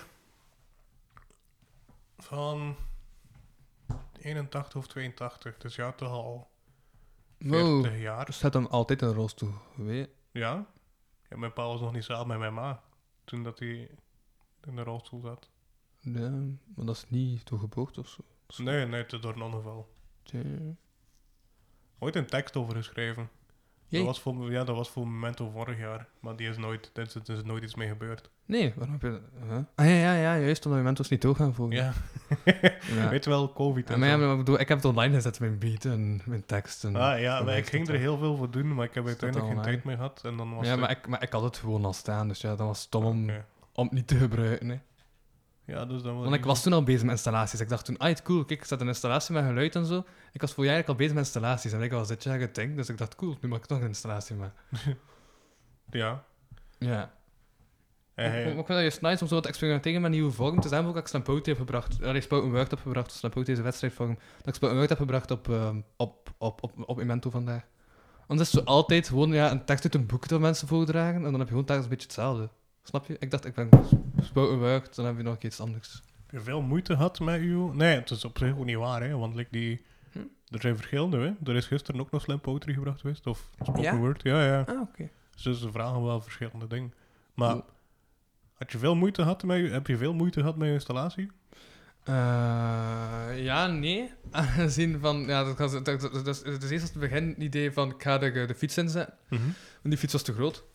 C: Van 81 of 82, dus ja, toch al 40 jaar.
D: Er staat hem altijd een rolstoel. Weet
C: Ja. ja mijn pa was nog niet samen met mijn ma. Toen dat hij in de rolstoel zat.
D: Ja, maar dat is niet doorgeboord of zo.
C: Nee, nee, het is door een ongeval.
D: Ja.
C: Ooit een tekst over geschreven. Dat
D: Jee.
C: was, voor, ja, dat was voor Memento vorig jaar. Maar die is nooit, er is, er is nooit iets mee gebeurd.
D: Nee, waarom heb je dat? Huh? Ah ja, ja, ja, juist omdat mijn was niet doorgaan voor.
C: Ja.
D: *laughs* ja.
C: Weet je wel, COVID en
D: maar ja,
C: zo.
D: maar ik, bedoel, ik heb het online gezet, mijn beat en mijn tekst. En
C: Ah
D: voor
C: ja, maar
D: mij
C: ik
D: is
C: ging
D: dat
C: er heel veel voor doen, maar ik heb
D: Is dat
C: uiteindelijk geen
D: online?
C: tijd meer gehad. En dan
D: wel-
C: was
D: Ja,
C: het-
D: maar ik, maar ik had het gewoon al staan, dus ja, dat was stom om,
C: Oké.
D: om het niet te gebruiken. Hè.
C: Ja, dus dan wel
D: Want ik
C: iets-
D: was toen al bezig met installaties. Ik dacht toen, ah, het cool, kijk, ik zet een installatie met geluid en zo. Ik was voorjaar al bezig met installaties en ik was dit jaar het ding, dus ik dacht, cool, nu maak ik nog een installatie mee.
C: Ja.
D: Ja.
C: En
D: Ik,
C: hij-
D: ik vind dat juist nice om zo wat te experimenteren met nieuwe vorm. Het is daarom ook dat ik Stampout heb gebracht. Allee, Spout een Word heb gebracht. Stampout deze wedstrijdvorm. Dat ik Spout een Word heb gebracht op, ehm, op, op, op, op Memento vandaag. Anders is het zo altijd gewoon ja, een tekst uit een boek dat mensen voordragen. En dan heb je gewoon telkens een beetje hetzelfde. Snap je? Ik dacht, ik ben Spout een Word, dan heb je nog een keer iets anders.
C: Heb je veel moeite gehad met uw... Nee, het is op zich ook niet waar, hè. Want like die...
D: Hm?
C: Er zijn verschillende, hè. Er is gisteren ook nog slam poetry gebracht geweest. Of spoken
D: Ja?
C: word. Ja, ja.
D: Ah, oké.
C: Dus ze vragen wel verschillende dingen. Maar
D: Oeh.
C: had je veel moeite gehad met je... Heb je veel moeite gehad met je installatie?
D: Eh, ja, nee. *laughs* Aangezien van... Ja, dat, dat, dat, dat, dat is eerst als het begin het idee van ik ga er, eh, de fiets inzetten. Want die fiets was te groot. Ehm,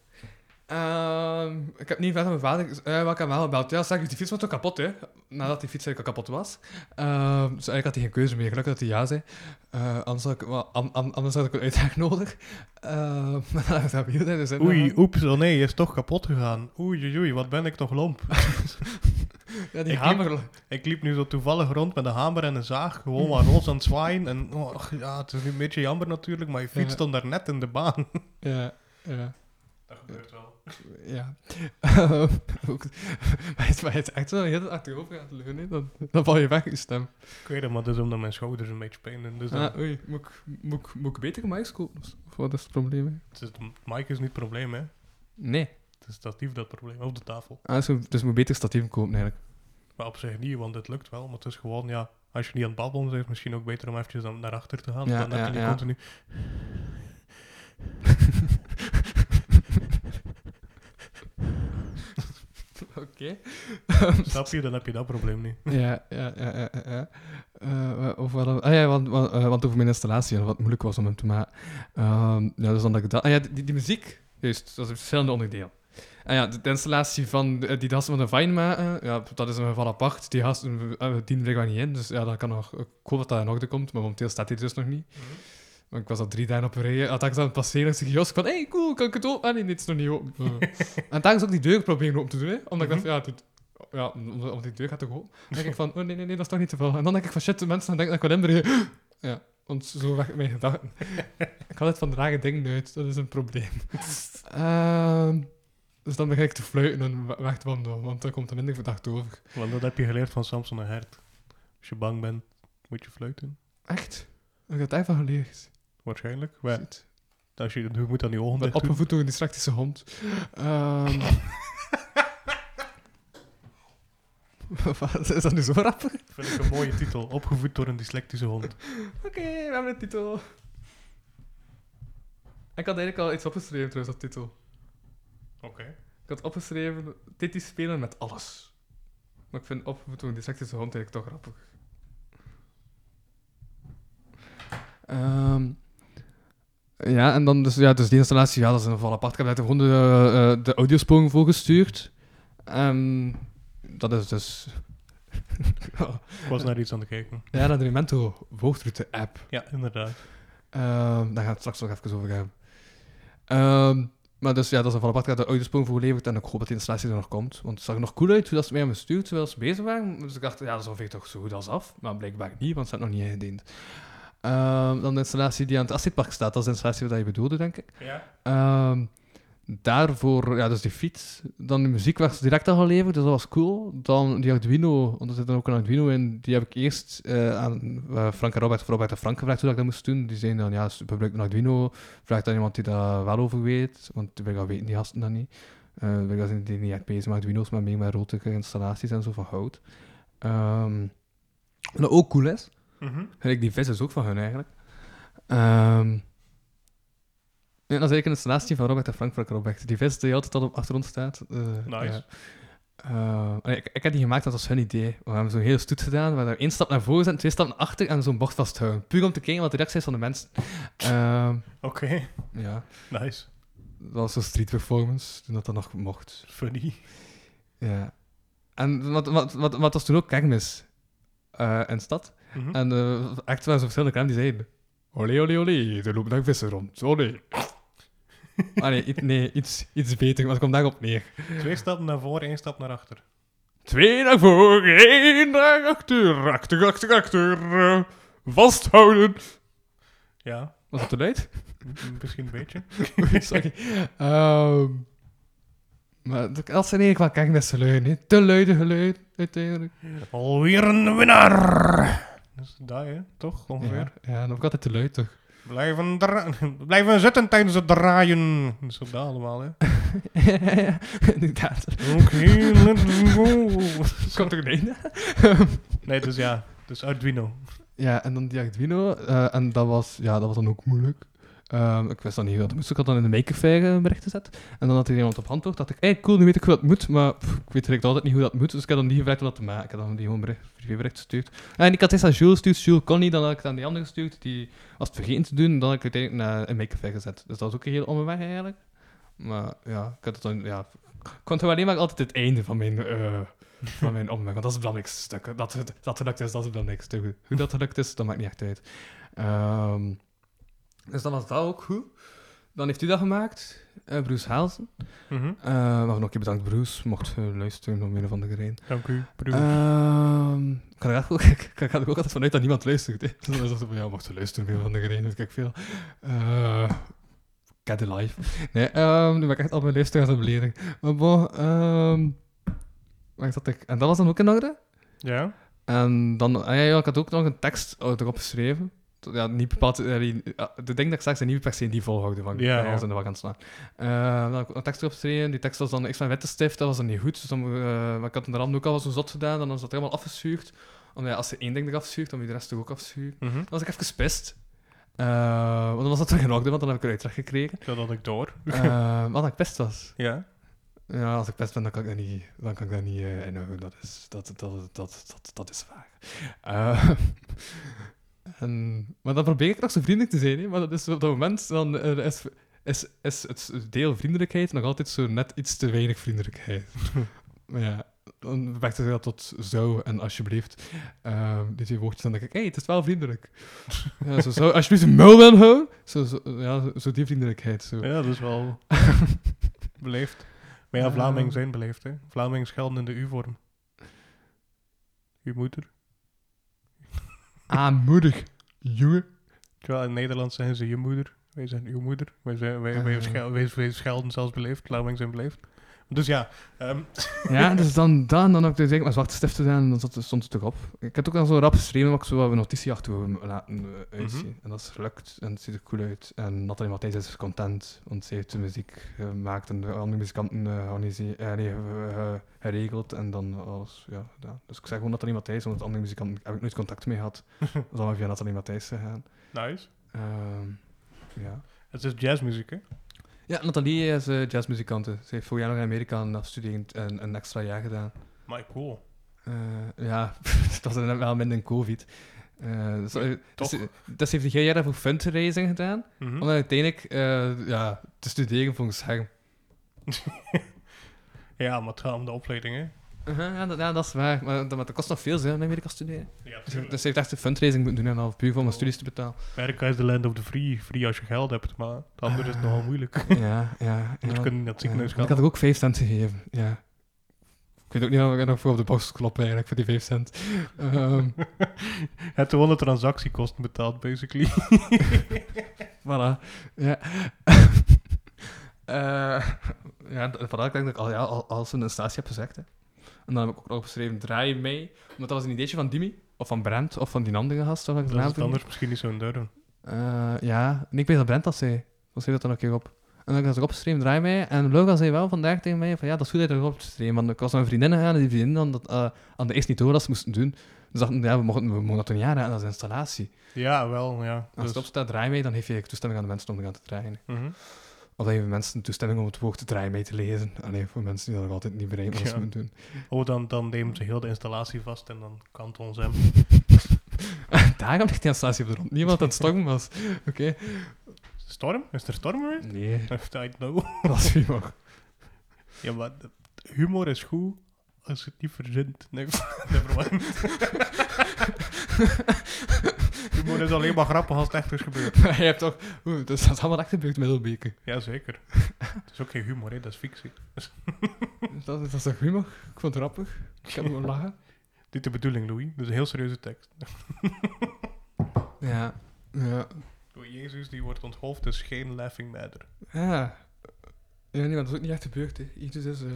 D: Ehm, ik heb niet verder met mijn vader eh, wat ik hem wel gebeld. Ja, zeg, die fiets was toch kapot, hè? Nadat die fiets eigenlijk al kapot was. Ehm, dus eigenlijk had hij geen keuze meer. Gelukkig dat hij ja zei. Eh, anders, had ik, wel- an- an- anders had ik een uitleg *laughs* nodig. Ehm, *laughs* maar dat heb ik dus in.
C: Oei, oeps, oh nee, je is toch kapot gegaan. Oei, oei, oei, wat ben ik toch lomp.
D: Ja, die
C: ik
D: hamer.
C: Ik liep nu zo toevallig rond met een hamer en een zaag, gewoon maar roze aan het zwaaien. En och, ja, het is nu een beetje jammer natuurlijk, maar je fiets
D: Ja.
C: stond daar net in de baan.
D: Ja, ja.
C: Dat
D: gebeurt
C: wel.
D: Ja. *laughs* Ehm, ook, *laughs* maar het maar het is echt zo heel achterover gaat leunen, hè, dan, dan val je weg in stem.
C: Ik weet het, maar het is omdat mijn schouders een beetje pijn doen. Dus dan-
D: Ah, oei, moet ik, moet, ik, moet ik betere mics kopen? Of wat is het probleem? hè?
C: het, is, het mic is niet het probleem, hè.
D: Nee.
C: Het is statief dat probleem, op de tafel.
D: Ah, dus, moet- dus moet beter statief kopen eigenlijk.
C: Maar op zich niet, want het lukt wel. Maar het is gewoon, ja, als je niet aan het babbelen bent, is het misschien ook beter om eventjes dan naar achter te gaan.
D: Ja,
C: dan heb
D: ja,
C: je niet
D: ja.
C: continu...
D: *laughs* Oké.
C: Snap je? Dan heb je dat probleem niet.
D: ja, ja, ja, ja, ja, ja. Eh, wa- of wat, ah ja, want, want, eh, want over mijn installatie en wat moeilijk was om hem te maken. Ehm, ja, dus dan dat ik dat... Ah ja, die, die muziek, juist, dat is een verschillende onderdeel. En ja, de, de installatie van de- die gasten van de Vine maken, ja, dat is een geval apart. Die gasten eh, die breken we niet in, dus ja, dat kan nog... Ik hoop dat dat in orde komt, maar momenteel staat die dus nog niet. Want ik was al drie dagen op een rij, had ik aan het passeren, ik zeg Jos, van, hey, cool, kan ik het open? Ah nee, dit is nog niet open. Eh. en daar is ook die deur proberen open te doen, hè, omdat ik dacht, ja, dit, ja, om- om die deur gaat toch open? Dan denk ik van, oh nee, nee, nee, dat is toch niet te veel. En dan denk ik van, shit, de mensen gaan denken dat ik wel inbreken. *laughs* Ja, want zo weg mijn gedachten. ik haal het van de rare dingen uit, dat is een *laughs* probleem. Ehm, dus dan begin ik te fluiten en we- weg te wandelen, want dan komt er minder verdacht over.
C: Want dat heb je geleerd van Samson en Hert. Als je bang bent, moet je fluiten.
D: Echt? Ik heb het even geleerd.
C: Waarschijnlijk. Maar
D: Shit.
C: als je, je moet aan die ogen
D: Ik ben
C: dicht doen.
D: opgevoed door een dyslectische hond. Ehm. *laughs* Wat, is dat nu zo rap? Oké,
C: Vind ik een mooie titel. Opgevoed door een dyslectische hond.
D: we hebben een titel. Ik had eigenlijk al iets opgeschreven trouwens, dat titel.
C: Oké.
D: Ik had opgeschreven, dit is spelen met alles. Maar ik vind opgevoed door een dyslectische hond eigenlijk toch grappig. Ehm, ja, en dan dus, ja, dus die installatie, ja, dat is een geval apart. Ik heb net gewoon de, eh, de audiosporen voor gestuurd. Ehm, dat is dus... *laughs*
C: Ik was naar iets aan het kijken.
D: ja, dat Remento woordroute-app.
C: Ja, inderdaad.
D: Ehm, daar gaan we het straks nog even over hebben. Ehm, maar dus ja, dat is een van apart. Ik had de uitsprong voor geleverd en ik hoop dat die installatie er nog komt. Want het zag er nog cool uit hoe dat ze mij hebben gestuurd terwijl ze bezig waren. Dus ik dacht, ja, dat is ongeveer toch zo goed als af. Maar blijkbaar niet, want ze had nog niet ingediend. Ehm, dan de installatie die aan het Assetpark staat. Dat is de installatie waar je bedoelde, denk ik.
C: Ja.
D: Ehm, daarvoor, ja, dus die fiets. Dan de muziek werd direct al geleverd, dus dat was cool. Dan die Arduino, want er zit dan ook een Arduino in. Die heb ik eerst eh, aan eh, Frank en Robert, of Robert en Frank gevraagd hoe dat ik dat moest doen. Die zeiden dan, ja, super, gebruik een Arduino. Vraag dan iemand die daar wel over weet, want ik al weten die gasten dat niet. Eh ik zijn die niet echt bezig met Arduino's, maar meer met rotige installaties en zo van hout. Ehm, wat ook cool is,
C: Mhm.
D: Gelijk die vis is ook van hun eigenlijk. Ehm ja, dat is eigenlijk een installatie van Robert en Frank van Robert. Die vis die altijd al op achtergrond staat. eh,
C: Nice.
D: ja. Eh, allee, ik, ik heb die gemaakt, dat was hun idee. We hebben zo'n hele stoet gedaan, waar we één stap naar voren zijn, twee stappen naar achter en zo'n bocht vasthouden. Puur om te kijken wat de reactie is van de mensen. Ehm,
C: Oké.
D: ja,
C: *laughs* Nice.
D: dat was zo'n street performance, toen dat dat nog mocht.
C: Funny.
D: Ja. En wat, wat, wat, wat was toen ook kermis eh, in de stad?
C: Mhm.
D: En eh, echt wel zo'n verschillende kraam die zeiden... Olé, olé, olé, er lopen daar vissen rond. Olé. *laughs* ah nee, iets, nee iets, iets beter, maar het komt daarop neer.
C: Twee stappen naar voren, één stap naar achter.
D: Twee naar voren, één naar achter, achter, achter, achter. eh, vasthouden.
C: Ja,
D: Was dat te luid? *laughs*
C: m- misschien een beetje.
D: Sorry. Ehm, maar dat- dat zijn eigenlijk wel kermisgeluiden, hè. Te luide geluid, uiteindelijk.
C: Alweer een winnaar! Dus daar, hè? toch? Ongeveer.
D: Ja, ja, dan ook altijd te luid, toch? *laughs*
C: Blijven, dra- *laughs* blijven zitten tijdens het draaien. Zo dat allemaal, hè?
D: ja, inderdaad.
C: Oké, let's go.
D: Komt er een
C: Nee, dus ja, dus Arduino.
D: Ja, en dan die Arduino. eh, en dat was, ja, dat was dan ook moeilijk. Ehm, ik wist dan niet hoe dat moest. Ik had dan in de maker file een bericht gezet. En dan had er iemand op antwoord. dacht ik, hey, cool, nu weet ik hoe dat moet. Maar pff, ik weet direct altijd niet hoe dat moet. Dus ik had dan niet gevraagd om dat te maken. Ik had dan die gewoon bericht, privébericht gestuurd. Ah, En ik had eerst aan Jules gestuurd. Jules kon niet. Dan had ik het aan die andere gestuurd. Die was het vergeten te doen. Dan had ik het uiteindelijk naar een maker file gezet. Dus dat was ook een hele omweg eigenlijk. Maar ja, ik had het dan... Ja, ik kon toch alleen maar altijd het einde van mijn... eh *laughs* van mijn opmerking, want dat is het belangrijkste stuk. hè. Dat, het- dat gelukt is, dat is het belangrijkste. Hoe- Hoe dat gelukt is, dat maakt niet echt uit. Ehm, dus dan was dat ook goed. Dan heeft u dat gemaakt, eh, Bruce Haalsen.
C: Mhm.
D: Eh, maar nog een keer bedankt, Bruce. Mocht je luisteren om een of andere reden.
C: Dank u, broer.
D: Ehm, ik ga er echt ook- ik ga er ook *laughs* altijd vanuit dat niemand luistert. Hè. Dus dan is het zo van, ja, mocht je luisteren, om een of andere reden, weet ik veel. Eh get a life. Nee, ehm, nu ben ik echt al mijn luisteraars aan het beledigen. Maar bon, ehm, waar zat ik? En dat was dan ook in orde?
C: Ja?
D: En dan, ah ja, ja, ik had ook nog een tekst eh, erop geschreven. T- Ja, niet bepaald, eh, die- eh, ik denk dat ik straks niet per se in die volgorde van
C: Ja,
D: van alles
C: ja.
D: in de wagen slaan. Eh, dan had ik een tekst erop geschreven, die tekst was dan X van Wettenstift, dat was dan niet goed. Dus dan, eh, maar ik had hem de rand ook al zo zot gedaan, en dan is dat helemaal afgeschuurd. Omdat ja, als je één ding eraf schuurt, dan moet je de rest toch ook afschuren.
C: Mhm.
D: Dan was ik even gespist. Eh, want dan was dat terug in orde, want dan heb ik eruit uitleg
C: *laughs*
D: gekregen.
C: Dat had ik door.
D: Eh, wat ik pest was.
C: Ja?
D: Ja, als ik pest ben, dan kan ik dat niet, dan kan ik dat niet eh, inhouden. Dat is, dat, dat, dat, dat, dat is waar. Eh, *laughs* en, maar dan probeer ik nog zo vriendelijk te zijn. Hè? Maar dat is op dat moment dan, eh, is, is, is het deel vriendelijkheid nog altijd zo net iets te weinig vriendelijkheid. maar ja, dan beperkte zich dat tot zou en alsjeblieft. Eh, die twee woordjes, dan denk ik, hé, hey, het is wel vriendelijk. ja, zo zou alsjeblieft een muil willen houden. Zo, zo, ja, zo, zo die vriendelijkheid. Zo.
C: Ja, dat is wel beleefd. Maar ja,
D: Eh.
C: Vlamingen zijn beleefd, hè. Vlamingen schelden in de U-vorm. Uw moeder.
D: Aanmoedig, jongen.
C: Terwijl in Nederland zijn ze je moeder. Wij zijn uw moeder. Wij, zijn, wij, wij,
D: Eh.
C: schel- wij- wij schelden zelfs beleefd. Vlamingen zijn beleefd. Dus ja, ehm,
D: Ja, dus dan, dan, dan heb ik dus eigenlijk mijn zwarte stift gedaan en dan zat- stond het erop. Ik heb ook dan zo rap geschreven, maar ik zo wel een notitie achter hem laten eh, uitzien. En dat is gelukt en het ziet er cool uit. En Nathalie Matthijs is content, want zij heeft de muziek gemaakt en de andere muzikanten eh, organise- eh, nee, eh, eh, geregeld en dan alles. Ja, gedaan. Dus ik zeg gewoon Nathalie Matthijs, want met andere muzikanten heb ik nooit contact mee gehad. Dus dan ben ik via Nathalie Matthijs gegaan.
C: nice.
D: Ehm, ja.
C: Het is jazzmuziek, hè.
D: ja, Nathalie is eh, jazzmuzikante. Ze heeft vorig jaar nog in Amerika een afstudie en een extra jaar gedaan.
C: Maar cool.
D: Eh, ja, *laughs* het was inderdaad wel minder COVID. Eh, dus, eh,
C: toch.
D: Dus, dus heeft hij jaar daarvoor fundraising gedaan,
C: Mhm.
D: om dan uiteindelijk eh, ja, te studeren volgens scherm.
C: Ja, maar het gaat om de opleiding, hè.
D: ja, dat, ja, dat is waar. Maar, dat, maar dat kost nog veel, hè, in Amerika studeren. *laughs*
C: Ja,
D: Dus, dus hij heeft echt een fundraising moeten doen en half puur om mijn studies te *laughs* betalen.
C: Amerika is de land of the free. Free als je geld hebt, maar het andere is nogal moeilijk. Anders
D: Ah. ja, ja. ja.
C: kun *laughs* je niet naar het ziekenhuis
D: Ja,
C: gaan. *laughs*
D: Ik had er ook 5 cent gegeven, ja. Ik weet ook niet of ik nog voor op de box klop eigenlijk, voor die 5 cent. *laughs* Ehm
C: Het hebt gewoon de transactiekosten betaald, basically.
D: Voilà. Ja. *laughs* Eh ja, d- vandaar ik denk dat ik al, ja, al, als we een statie heb gezegd. Hè. En dan heb ik ook nog beschreven, draai mee. Want dat was een ideetje van Dimi, of van Brent, of van die andere gast. Of ik de
C: Dat is
D: naam
C: het anders misschien niet zo'n duur.
D: vergeet. Eh, ja, en ik weet dat Brent dat zei. Dan schreef dat dan een keer op. En dan heb ik dat ook opgeschreven, draai mee. En Logan zei wel vandaag tegen mij, van ja, dat is goed dat je erop streamen. Want ik was naar een vriendin gegaan en die vriendin dan dat, eh, aan de eerst niet door dat ze moesten doen. Dus dachten, ja, we mochten, we mochten dat toen jaren aan als installatie.
C: Ja, wel, ja.
D: Als
C: Dus,
D: het opstaat, draai mee, dan geef je toestemming aan de mensen om te gaan te draaien.
C: mhm.
D: Of dat je mensen toestemming om het woord te draaien mee te lezen. Alleen voor mensen die dat nog altijd niet bereiken wat ze
C: Ja.
D: moeten doen. *laughs*
C: Oh, dan, dan nemen ze heel de installatie vast en dan kan het ons hem.
D: Daarom ligt die installatie op de grond. Niemand aan het stormen was. Oké.
C: Storm? Is er storm geweest?
D: Nee,
C: I don't know.
D: *laughs* dat was humor.
C: *laughs*
D: *laughs*
C: Ja, maar de- humor is goed als je het niet verzint. Nee, *laughs* never mind. humor is alleen maar grappig als het echt is gebeurd.
D: Maar je hebt toch... Oeh, dus dat is allemaal achterbeurt middelbeke.
C: Jazeker. Het is ook geen humor, hè. dat is fictie.
D: Dat, dat is toch humor? Ik vond het grappig. Ik heb gewoon lachen.
C: Dit de bedoeling, Louis. Dit is een heel serieuze tekst.
D: Ja. Ja.
C: Door Jezus, die wordt onthoofd, dus geen laughing matter.
D: Ja. Ja, nee, maar dat is ook niet echt gebeurd, hè. Jezus is, eh,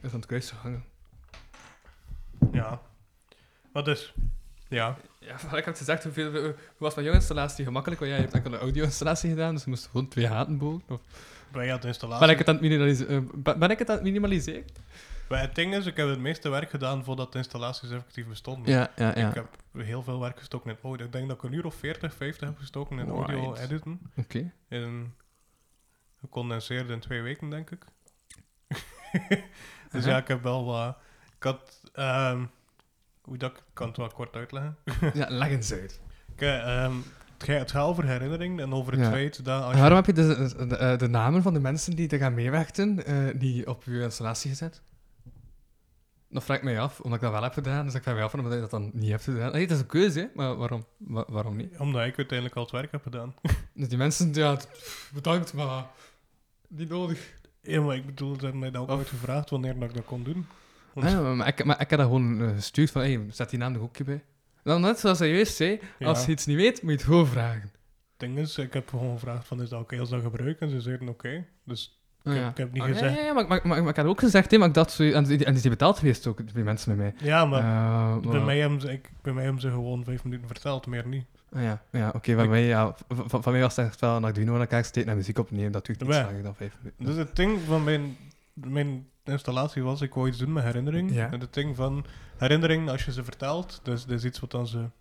D: is aan het kruis gehangen.
C: Ja. Wat dus? Ja.
D: Ja, maar ik had gezegd, hoeveel, hoe was mijn jonginstallatie gemakkelijk? Want jij hebt enkel een audio-installatie gedaan, dus je moest gewoon twee haten bogen. Of
C: Wij hadden installatie.
D: Ben ik het aan het minimaliseren? Eh, Ben ik het aan het minimaliseren?
C: Wij, het ding is, ik heb het meeste werk gedaan voordat de installaties effectief bestonden.
D: Ja, ja,
C: Ik heb heel veel werk gestoken in audio. Ik denk dat ik een uur of 40, 50 heb gestoken in
D: Right.
C: audio editen.
D: *laughs* Oké.
C: In gecondenseerd in twee weken, denk ik. *laughs* dus
D: Aha.
C: ja, ik heb wel wat... Ik had... ehm, hoe dat... Ik kan het wel kort uitleggen.
D: Ja, leg eens uit.
C: Ik, eh, ehm, het gaat het gaat over herinneringen en over het
D: Ja. Uh-huh.
C: feit dat als je...
D: Waarom heb je de, de, eh, de- de namen van de mensen die er gaan meewerken eh, niet op je installatie gezet? Dat vraag ik mij af, omdat ik dat wel heb gedaan. Dus ik vraag mij af omdat je dat dan niet hebt gedaan. Nee, dat is een keuze, hè, maar waarom, Wa- waarom niet?
C: Omdat ik uiteindelijk al het werk heb gedaan. *laughs*
D: Dus die mensen, ja, t- pff, bedankt, maar niet nodig.
C: Ja, maar ik bedoel, ze hebben mij dat ook nooit gevraagd wanneer dat ik dat kon doen. Want-
D: Ah, *laughs* ja, maar, ik, maar ik heb dat gewoon eh, gestuurd van, hey, zet die naam er ook een keer bij. Dan net zoals hij juist zei, als
C: Ja.
D: je iets niet weet, moet je het gewoon vragen.
C: Het ding is, ik heb gewoon gevraagd van, is dat oké als dat gebruiken? En ze zeiden oké. Dus
D: Ah,
C: ik,
D: ja.
C: heb, ik heb niet
D: Ah, ja,
C: gezegd...
D: Ja, ja, maar, maar, maar, maar ik had ook gezegd, hè, maar ik dacht, zo- en, die- en die zijn betaald geweest ook, die mensen met mij.
C: Ja, maar
D: Eh,
C: bij,
D: maar-
C: mij hebben ze, ik, bij mij hebben ze gewoon vijf minuten verteld, meer niet.
D: Ah ja, ja oké. van, mij, ja, van, van- van mij was het echt wel een Arduino aan elkaar steken en muziek opnemen. Dat duurt niet
C: Ja.
D: langer dan vijf minuten.
C: Dus het ding van mijn, mijn installatie was, ik wou iets doen met herinnering.
D: Ja.
C: En het ding van herinnering, als je ze vertelt, dus dat is iets wat dan ze een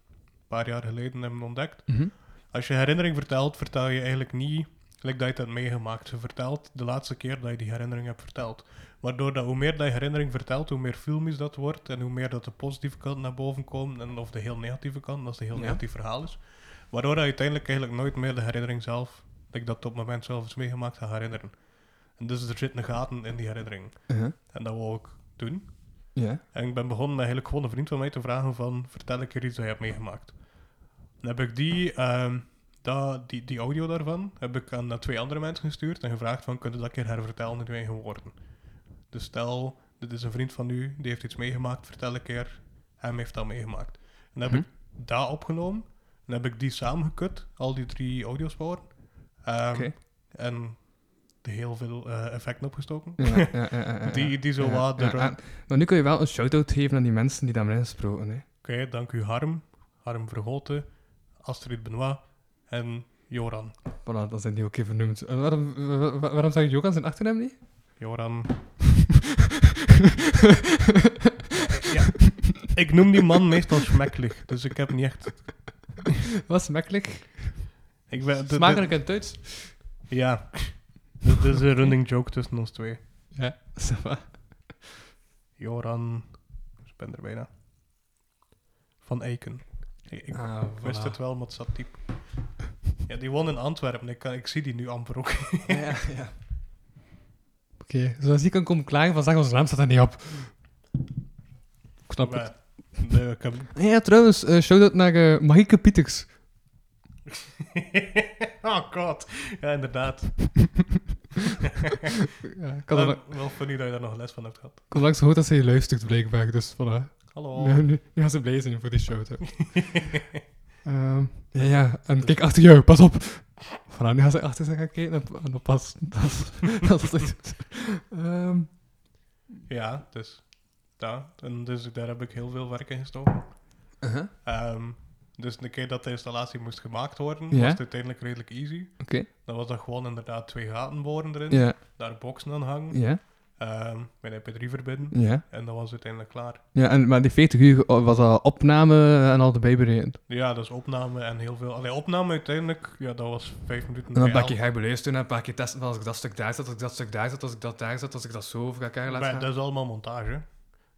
C: paar jaar geleden hebben ontdekt.
D: Mhm.
C: Als je herinnering vertelt, vertel je eigenlijk niet like dat je dat meegemaakt. Ze vertelt de laatste keer dat je die herinnering hebt verteld. Waardoor dat hoe meer dat je herinnering vertelt, hoe meer filmisch dat wordt en hoe meer dat de positieve kant naar boven komt en of de heel negatieve kant, als het een heel
D: Ja.
C: negatief verhaal is. Waardoor dat je uiteindelijk eigenlijk nooit meer de herinnering zelf, dat ik dat op het moment zelf is meegemaakt, gaat herinneren. En dus er zitten gaten in die herinnering.
D: Uh-huh.
C: En dat wou ik doen.
D: Ja.
C: En ik ben begonnen met eigenlijk gewoon een vriend van mij te vragen van... Vertel ik er iets dat je hebt meegemaakt. Dan heb ik die, ehm, da- die, die audio daarvan heb ik aan eh, twee andere mensen gestuurd. En gevraagd van, kun je dat een keer hervertellen in uw eigen woorden? Dus stel, dit is een vriend van u, die heeft iets meegemaakt. Vertel een keer, hem heeft dat meegemaakt. En dan heb
D: Mhm.
C: ik dat opgenomen. En dan heb ik die samengekut, al die drie audiosporen. Ehm,
D: Oké.
C: En er heel veel eh, effecten opgestoken.
D: *laughs* Ja, ja, ja, ja, ja, ja.
C: Die- die zo wat er-
D: en- Maar nu kun je wel een shout-out geven aan die mensen die daarmee gesproken hè.
C: Oké, dank u Harm, Harm Vergoten, Astrid Benoit en Joran.
D: Voilà, dat zijn die ook even vernoemd. Eh, waarom, wa- wa- waarom zag je ook aan zijn achternaam niet? *laughs*
C: Joran. ja. Ik noem die man meestal smekkelijk, dus ik heb niet echt...
D: Was makkelijk.
C: Ik ben, de- de-
D: Smakelijk en Duits.
C: ja. Dit is een running joke tussen ons twee.
D: Ja, ça va.
C: Joran... Ik ben er bijna. Van Eiken. Ik, ik
D: Ah,
C: wist
D: voilà.
C: het wel, maar het zat diep. Ja, die woont in Antwerpen. Ik, kan, ik zie die nu amper ook.
D: Ja, ja. *laughs* Oké, zoals ik kan komen klagen van zeg, ons naam staat daar niet op. Ik snap het.
C: *laughs* Maar, nee, ik heb,
D: Ja, trouwens, eh, shout-out naar eh Marieke Pieters.
C: *laughs* oh god. Ja, inderdaad.
D: Ja, ik had
C: Wel,
D: al-
C: wel funny dat je daar nog les van hebt gehad.
D: ik had langs gehoord dat ze je luistert, blijkbaar. Dus voilà.
C: Hallo.
D: Nu, nu, nu gaan ze blij zijn voor die shout-out. Ehm, ja, ja. En kijk achter jou, pas op. Voilà, nu gaan ze achter zich gaan kijken en- en oppassen. Dat *laughs* is, dat is echt... Ehm,
C: Ja, dus. Ja, en dus daar heb ik heel veel werk in gestoken.
D: uh-huh,
C: Ehm, dus de keer dat de installatie moest gemaakt worden,
D: Ja.
C: was het uiteindelijk redelijk easy.
D: Oké.
C: Dan was dat gewoon inderdaad twee gaten boren erin,
D: Ja,
C: daar boksen aan hangen,
D: ja,
C: ehm, mijn mp3 verbinden,
D: ja.
C: en dat was uiteindelijk klaar.
D: Ja, en, maar die 40 uur was al opname en al erbij berekend.
C: Ja, dus opname en heel veel... Allee, opname uiteindelijk, ja, dat was vijf minuten
D: En dan
C: bij
D: pak je
C: elk.
D: ga je beluisteren en een paar keer testen van als ik dat stuk daar zet, als ik dat stuk daar zet, als ik dat daar zet, als ik dat zo over elkaar laat
C: Maar
D: gaan.
C: dat is allemaal montage.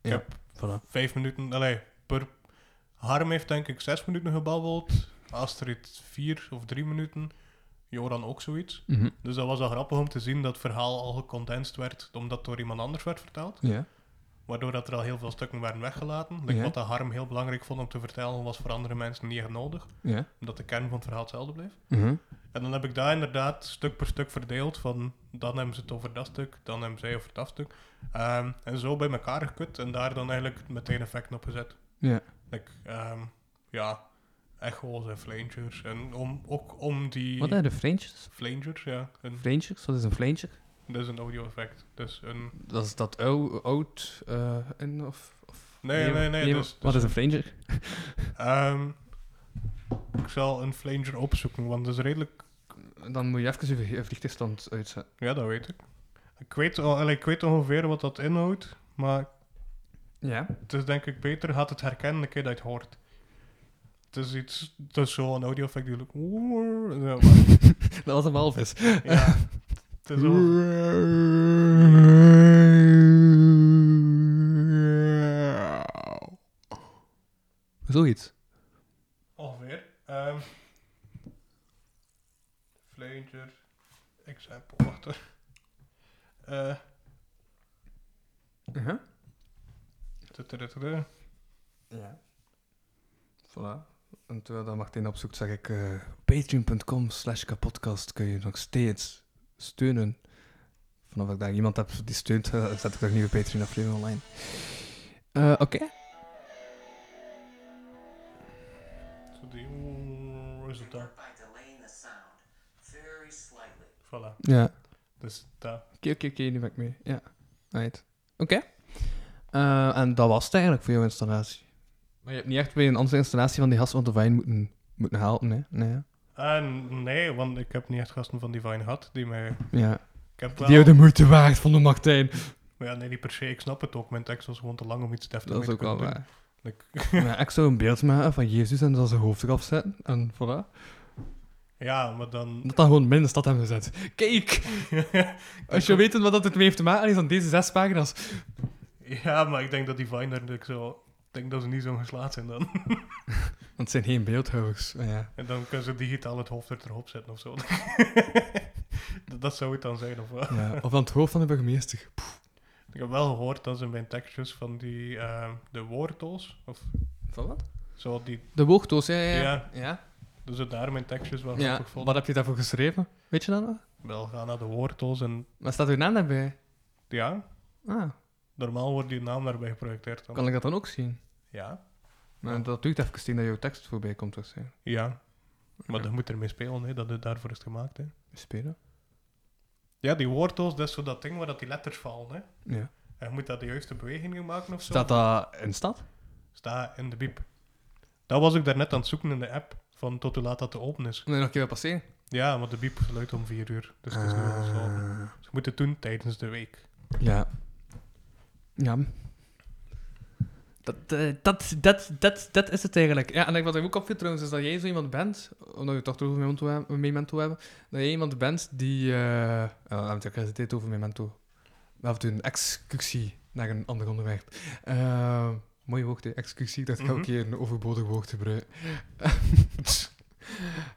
C: Ik
D: Ja,
C: heb vijf minuten, allee, per... Harm heeft denk ik zes minuten gebabbeld, Astrid vier of drie minuten, Joran ook zoiets.
D: Mhm.
C: Dus dat was al grappig om te zien dat het verhaal al gecondenseerd werd, omdat het door iemand anders werd verteld.
D: Ja.
C: Waardoor dat er al heel veel stukken werden weggelaten. Like,
D: Ja.
C: Wat dat Harm heel belangrijk vond om te vertellen, was voor andere mensen niet echt nodig.
D: Ja.
C: Omdat de kern van het verhaal hetzelfde bleef.
D: Mhm.
C: En dan heb ik daar inderdaad stuk per stuk verdeeld. Van dan hebben ze het over dat stuk, dan hebben zij over dat stuk. Ehm, en zo bij elkaar gekut en daar dan eigenlijk meteen effecten op gezet.
D: Ja.
C: Like, ehm, ja, echo's en flangers. En om, ook om die...
D: Wat zijn de flanges?
C: Flangers, ja. Een,
D: Flanges? Wat is een flange?
C: dat is een audio-effect. Dus een...
D: Dat is dat ou- oud eh, en of... of
C: Nee, nee, nee, dus-
D: wat
C: dus-
D: is een flanger?
C: ehm, ik zal een flanger opzoeken, want dat is redelijk...
D: Dan moet je even je vlie- vliegtuigstand uitzetten.
C: Ja, dat weet ik. Ik weet, al- allee, ik weet ongeveer wat dat inhoudt, maar
D: Ja. *laughs*
C: Het is denk ik beter, gaat het herkennen de keer dat je het hoort. Het is iets, het is zo'n audio effect die doet oer, zo, maar-
D: Dat was een walvis.
C: ja,
D: *laughs*
C: het is zo,
D: Zoiets.
C: ongeveer. Ehm, example, wacht hoor. Eh,
D: Uh-huh.
C: tudurudu.
D: Ja. Voilà. En terwijl dat Martijn opzoekt, zeg ik... eh, Patreon.com slash kapodcast kun je nog steeds steunen. Vanaf dat ik daar iemand heb die steunt, *laughs* eh, zet ik er een nieuwe Patreon-aflevering online. Eh, Oké.
C: Zo die- oeh, Is het daar?
E: by delaying the sound very slightly.
C: Voilà.
D: Ja.
C: Dus daar.
D: Oké, oké, oké, nu ben ik mee. Ja, right. Oké. Eh, en dat was het eigenlijk voor jouw installatie. Maar je hebt niet echt bij een andere installatie van die gast van de wijn moeten, moeten helpen, hè? Nee. hè?
C: Eh, nee, want ik heb niet echt gasten van Divine gehad die mij...
D: Ja.
C: Ik heb
D: Die
C: wel...
D: de moeite waard van de Martijn.
C: Maar ja, nee, niet per se. Ik snap het ook. Mijn tekst was gewoon te lang om iets deftig
D: Dat
C: mee
D: is
C: te
D: ook wel
C: kunnen doen.
D: waar.
C: Ik-
D: *laughs* Maar ik zou een beeld maken van Jezus en dan zijn hoofd eraf zetten. En voilà.
C: *laughs* Ja, maar dan...
D: Dat dan gewoon midden in de stad hebben gezet. *laughs* Kijk! Als je weet wat dat het mee heeft te maken is aan deze zes pagina's.
C: Ja, maar ik denk dat Divine daar natuurlijk zo... Ik denk dat ze niet zo geslaagd zijn dan.
D: Want het zijn geen beeldhouwers. Maar Ja.
C: En dan kunnen ze digitaal het hoofd er erop zetten of zo. *laughs* dat, dat zou het dan zijn, of wat?
D: Ja. Of aan het hoofd van de burgemeester.
C: Ik heb wel gehoord dat ze mijn tekstjes van die... eh, de woorddoos, of
D: Van wat?
C: zo, die...
D: De woogdoos, ja, ja. ja.
C: Ja.
D: ja.
C: Dus ze daar mijn tekstjes wel
D: Ja,
C: grappig vonden.
D: wat heb je daarvoor geschreven? Weet je dat nog?
C: Wel, ga naar de woorddoos en...
D: Waar staat uw naam daarbij?
C: Ja,
D: Ah,
C: normaal wordt die naam daarbij geprojecteerd dan.
D: kan ik dat dan ook zien?
C: Ja,
D: Maar dat duurt even zien dat jouw tekst voorbij komt waarschijnlijk.
C: ja. Maar dan moet ermee spelen, hè. Dat het daarvoor is gemaakt, hè.
D: Spelen?
C: Ja, die woorddoos, dat is zo dat ding waar dat die letters vallen, hè.
D: Ja.
C: En je moet dat de juiste bewegingen maken of zo.
D: Staat dat in stad?
C: Sta in de biep. Dat was ik daarnet aan het zoeken in de app, van tot hoe laat dat te open is.
D: Moet je nog een keer wel passeren?
C: Ja, want de biep sluit om vier uur. Dus het is nu al gesloten. Ze moeten het doen tijdens de week.
D: Ja. Ja. Dat, eh, dat, dat, dat, dat is het eigenlijk. Ja, en ik- wat ik ook opviel trouwens, is dat jij zo iemand bent, omdat je het toch over Memento, heb- memento hebben, dat jij iemand bent die... eh oh, we hebben het ook gezeten over Memento. We hebben een excursie naar een ander onderwerp. Eh, mooi woord, hè, excursie. Dat ga ik
C: Mhm.
D: een keer een overbodig woord gebruiken. *laughs*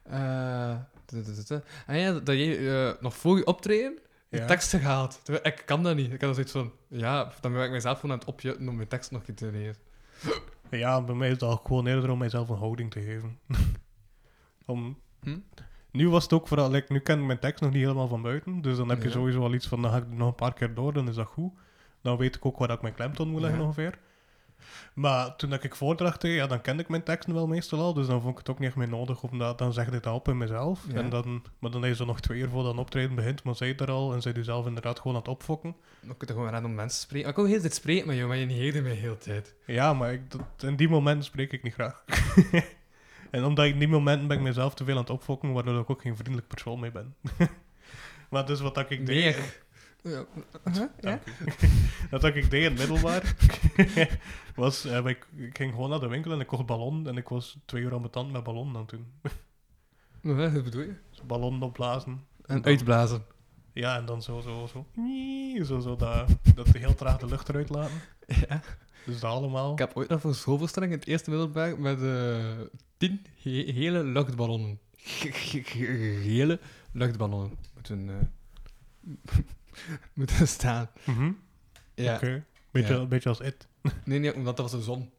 D: Eh, t- t- t- en Ah ja, dat jij eh, nog voor je optreden je
C: Ja.
D: teksten gehaald. Terwijl Ik kan dat niet. Ik had zoiets van, ja, dan ben ik mezelf gewoon aan het opjutten om mijn tekst nog iets te leren.
C: Ja, bij mij is het al gewoon eerder om mijzelf een houding te geven. *laughs* om...
D: Hm?
C: Nu was het ook vooral, like, nu ken ik mijn tekst nog niet helemaal van buiten, dus dan heb je
D: Ja.
C: sowieso al iets van, dan ga ik er nog een paar keer door, dan is dat goed. Dan weet ik ook waar ik mijn klemtoon moet leggen
D: Ja.
C: ongeveer. Maar toen dat ik voordracht deed, ja, dan kende ik mijn teksten wel meestal al, dus dan vond ik het ook niet echt meer nodig, omdat dan zeg ik dat op in mezelf.
D: Ja.
C: En dan, maar dan is er nog twee uur voordat een optreden begint, maar zij daar al en zij jezelf inderdaad gewoon aan het opfokken.
D: Dan kun je gewoon random mensen spreken. Maar ik wil heel de tijd spreken met jou, maar je negeerde mij heel de tijd.
C: Ja, maar ik, dat- in die momenten spreek ik niet
D: *laughs*
C: graag. en omdat ik in die momenten ben ik mezelf te veel aan het opfokken, waardoor ik ook geen vriendelijk persoon mee ben. *laughs* maar dus wat dat ik deed...
D: Meer. Ja. Huh? Ja?
C: Dank u. dat dat ik deed in het
D: *laughs*
C: middelbaar, was... eh, ik, ik ging gewoon naar de winkel en ik kocht ballon. En ik was twee uur aan mijn tand met ballon aan toen.
D: Huh, Wat bedoel je?
C: *laughs* Dus ballon opblazen.
D: En uitblazen.
C: Ja, en dan zo, zo, zo. Zo, zo, dat, dat heel traag de lucht eruit laten.
D: Ja.
C: Dus dat allemaal.
D: Ik heb ooit nog voor schoolverstelling in het eerste middelbaar met eh, tien he- hele luchtballonnen. *laughs* Ge- ge- ge- Gele luchtballonnen moeten, eh, *laughs* moeten staan.
C: Mhm.
D: Ja.
C: Oké. Beetje,
D: Ja.
C: beetje als it.
D: Nee, nee, omdat dat was de zon.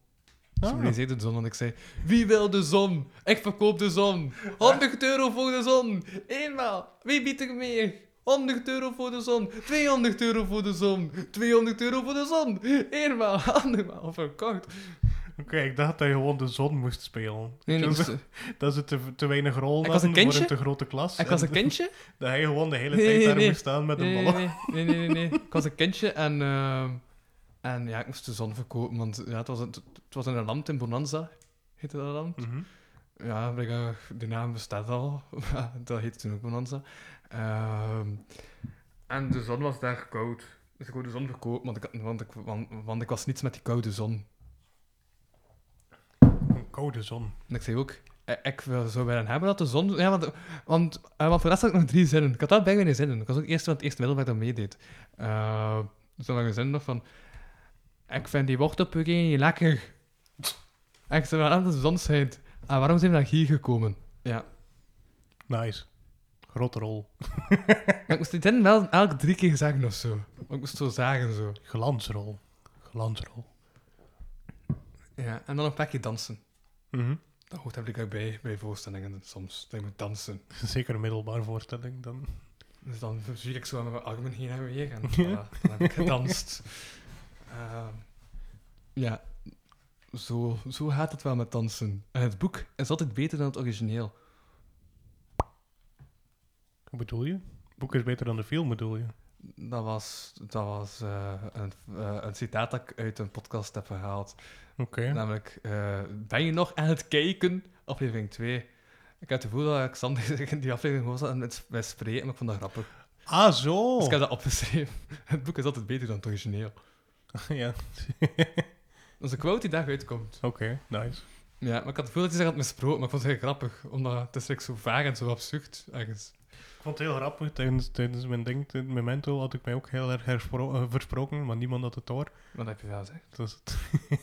C: Ah.
D: Ze realiseerde de zon, want ik zei: Wie wil de zon? Ik verkoop de zon. 100 euro voor de zon. Eenmaal. Wie biedt er meer? 100 euro voor de zon. 200 euro voor de zon. 200 euro voor de zon. Eenmaal. *laughs* Andermaal. Verkocht.
C: Oké, ik dacht dat je gewoon de zon moest spelen.
D: Nee, nee,
C: Dus
D: dus,
C: dat ze te, te weinig rol
D: Ik was een
C: hadden voor
D: kindje.
C: een te grote klas.
D: ik was
C: En
D: een kindje.
C: *laughs* Dat hij gewoon de hele
D: Nee,
C: tijd
D: nee,
C: daar
D: nee.
C: moest staan met een
D: Nee,
C: ballon.
D: nee, nee, nee, nee, nee. Ik was een kindje en, ehm, en ja, ik moest de zon verkopen, want ja, het, was een, het was in een land in Bonanza, heette dat land.
C: Mhm.
D: Ja, blijkbaar, de naam bestaat al. *laughs* maar dat heette toen ook Bonanza. Ehm, en de zon was daar koud. Dus ik wou de zon verkopen, want ik, had- want, ik, want, want ik was niets met die koude zon.
C: Een *laughs* koude zon.
D: En ik zei ook, eh, ik wil- zou willen hebben dat de zon... Ja, want, want, eh, want voor de rest had ik nog drie zinnen. Ik had dat bijna geen zinnen. Ik was ook eerst van het eerste middelbaar dat meedeed. Eh, dus dan had ik een zin nog van... Ik vind die wortelpuree lekker. En ik zei, Ah, wel aan de zon schijnt. En waarom zijn we naar hier gekomen? Ja.
C: Nice. Rotrol.
D: Maar ik moest dit dan wel elke drie keer zeggen of zo. Want ik moest zo zagen zo.
C: Glansrol. Glansrol.
D: Ja, en dan een pakje dansen.
C: Mhm. *laughs*
D: Dat hoort heb ik ook bij, bij voorstellingen soms. Dat je moet dansen.
C: Zeker een middelbare voorstelling dan.
D: Dus dan zie ik zo aan mijn armen heen en weer. *laughs* En
C: Ja.
D: voilà, dan heb ik gedanst. Ehm, ja, zo, zo gaat het wel met dansen. En het boek is altijd beter dan het origineel.
C: Wat bedoel je? Het boek is beter dan de film, bedoel je?
D: Dat was, dat was eh, een, eh, een citaat dat ik uit een podcast heb gehaald.
C: Oké.
D: Namelijk, eh, ben je nog aan het kijken? Aflevering 2. Ik had het gevoel dat Alexander *laughs* in die aflevering gewoon zat en met mij spreken, maar ik vond dat grappig.
C: Ah, zo!
D: Dus ik heb dat opgeschreven. *laughs* Het boek is altijd beter dan het origineel.
C: *laughs*
D: Dus
C: ja,
D: Dat is een quote die daaruit komt.
C: oké, nice.
D: Ja, maar ik had het gevoel dat hij zich had misproken, maar ik vond het heel grappig. Omdat het is eigenlijk zo vaag en zo absurd, ergens.
C: Ik vond het heel grappig. Tijdens, tijdens mijn ding, tijdens Memento, had ik mij ook heel erg herspro- eh, versproken, maar niemand had het door.
D: Wat heb je wel gezegd?
C: Dus het,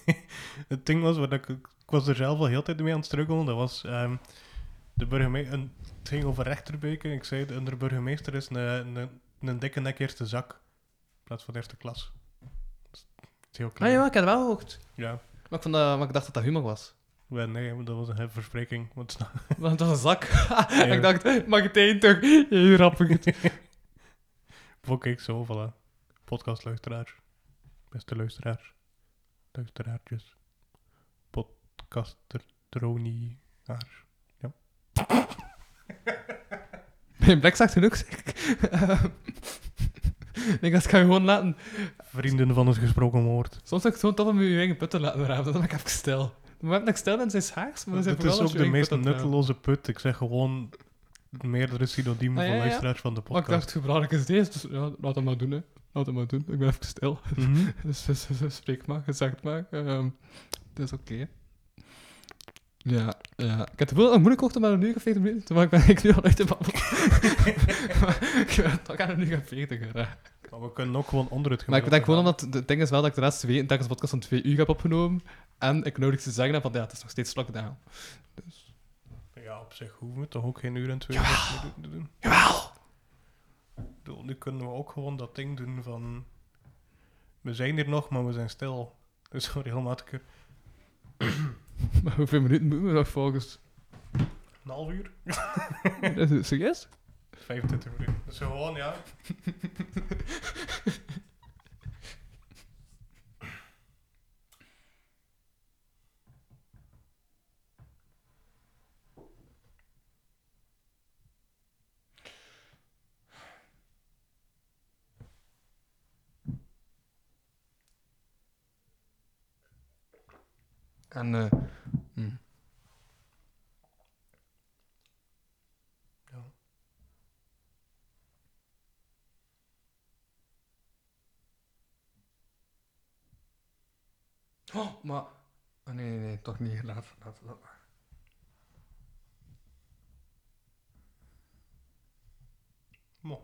C: *laughs* het ding was, wat ik, ik was er zelf al heel de tijd mee aan het struggelen, dat was ehm, de burgemeester... Het ging over rechterbeken. Ik zei, de de burgemeester is een, een, een dikke nek eerste zak. In plaats van eerste klas. Dat is heel
D: Ah
C: klein.
D: ja, ik had het wel gehoord.
C: ja.
D: Maar ik, vond dat, maar ik dacht dat dat humor *laughs* was.
C: Ja, Nee, dat was een verspreking. Want
D: Want dat was een zak. En *laughs* ik dacht, mag het één toch? Je grappig.
C: *laughs* Vond ik zo, voilà. Podcastluisteraars. Beste luisteraars. Luisteraartjes. Podcastertroniaars.
D: *laughs* Mijn blik zegt genoeg, zeg ik. Eh, *laughs* ik denk, dat kan je gewoon laten.
C: Vrienden van het gesproken woord.
D: Soms is het gewoon tof om je eigen put te laten raven. Dan ben ik even stil. Maar dat ik stil ben, zijn schaars. Maar dan zijn
C: Dit is
D: vooral eh, als
C: ook
D: je
C: de
D: eigen
C: meest
D: put aan het raven.
C: nutteloze put. Ik zeg gewoon meerdere synoniemen
D: Ah,
C: voor
D: ja, ja.
C: luisteraars van de
D: Maar ik
C: podcast.
D: dacht, hoe belangrijk is deze? Dus ja, laat dat maar doen, hè. Laat dat maar doen. Ik ben even stil.
C: Mhm.
D: *laughs* Dus, dus, dus, dus spreek maar, gezegd maar. Ehm dat is oké. Ja, ja. Ik heb het gevoel dat het moeilijk wordt om aan een uur en 40 minuten te maken, maar *laughs* ik ben nu al uit de babbel. maar ik ben toch aan een uur en 40 geraakt.
C: Maar we kunnen ook gewoon onder het
D: Maar ik
C: gemiddelde
D: denk gewoon
C: gaan.
D: omdat het ding is wel dat ik de laatste twee een podcast van twee uur heb opgenomen. En ik nodig te zeggen heb van ja, het is nog steeds lockdown. *laughs*
C: Ja, op zich hoeven we toch ook geen uur en twee uur te doen- te doen.
D: Jawel!
C: Ik bedoel, Nu kunnen we ook gewoon dat ding doen van... We zijn hier nog, maar we zijn stil. Dus *laughs* gewoon regelmatig
D: Maar hoeveel minuten moeten we nog volgens? *laughs*
C: een half uur.
D: Is het serieus?
C: 25 minuten. Dus gewoon, ja.
D: En eh, Oh, maar... Oh, nee, nee, nee, toch niet. Laat, laat, laat maar.
C: Mo.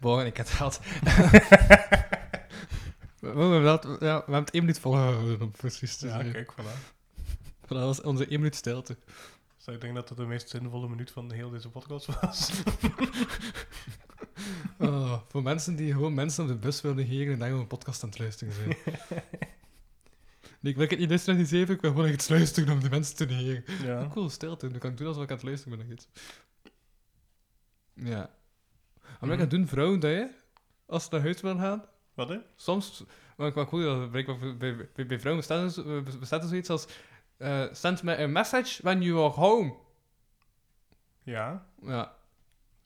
D: Morgen, ik had het *laughs* gehad. we, we, hebben dat- ja, we hebben het één minuut volgehouden, om precies te
C: Ja,
D: zijn.
C: kijk, voilà.
D: Voilà, Dat was onze één minuut stilte.
C: Dus ik denk dat dat de meest zinvolle minuut van heel deze podcast
D: *laughs*
C: was.
D: Oh, voor mensen die gewoon mensen op de bus willen negeren en dan gewoon een podcast aan het luisteren
C: *laughs*
D: zijn. Nee, ik wil het niet neutraliseren, ik wil gewoon echt iets luisteren om die mensen te negeren.
C: ja.
D: Cool, stilte. Dan kan ik doen alsof ik aan het luisteren ben naar iets. Ja. Maar
C: Mhm.
D: ik ga doen vrouwen dat je, als ze naar huis willen gaan,
C: Wat, hè?
D: Soms, maar ik hoor dat blijkbaar voor- bij, bij, bij vrouwen bestaat er, zo- eh, bestaat er zoiets als eh, send me a message when you are home.
C: Ja.
D: Ja.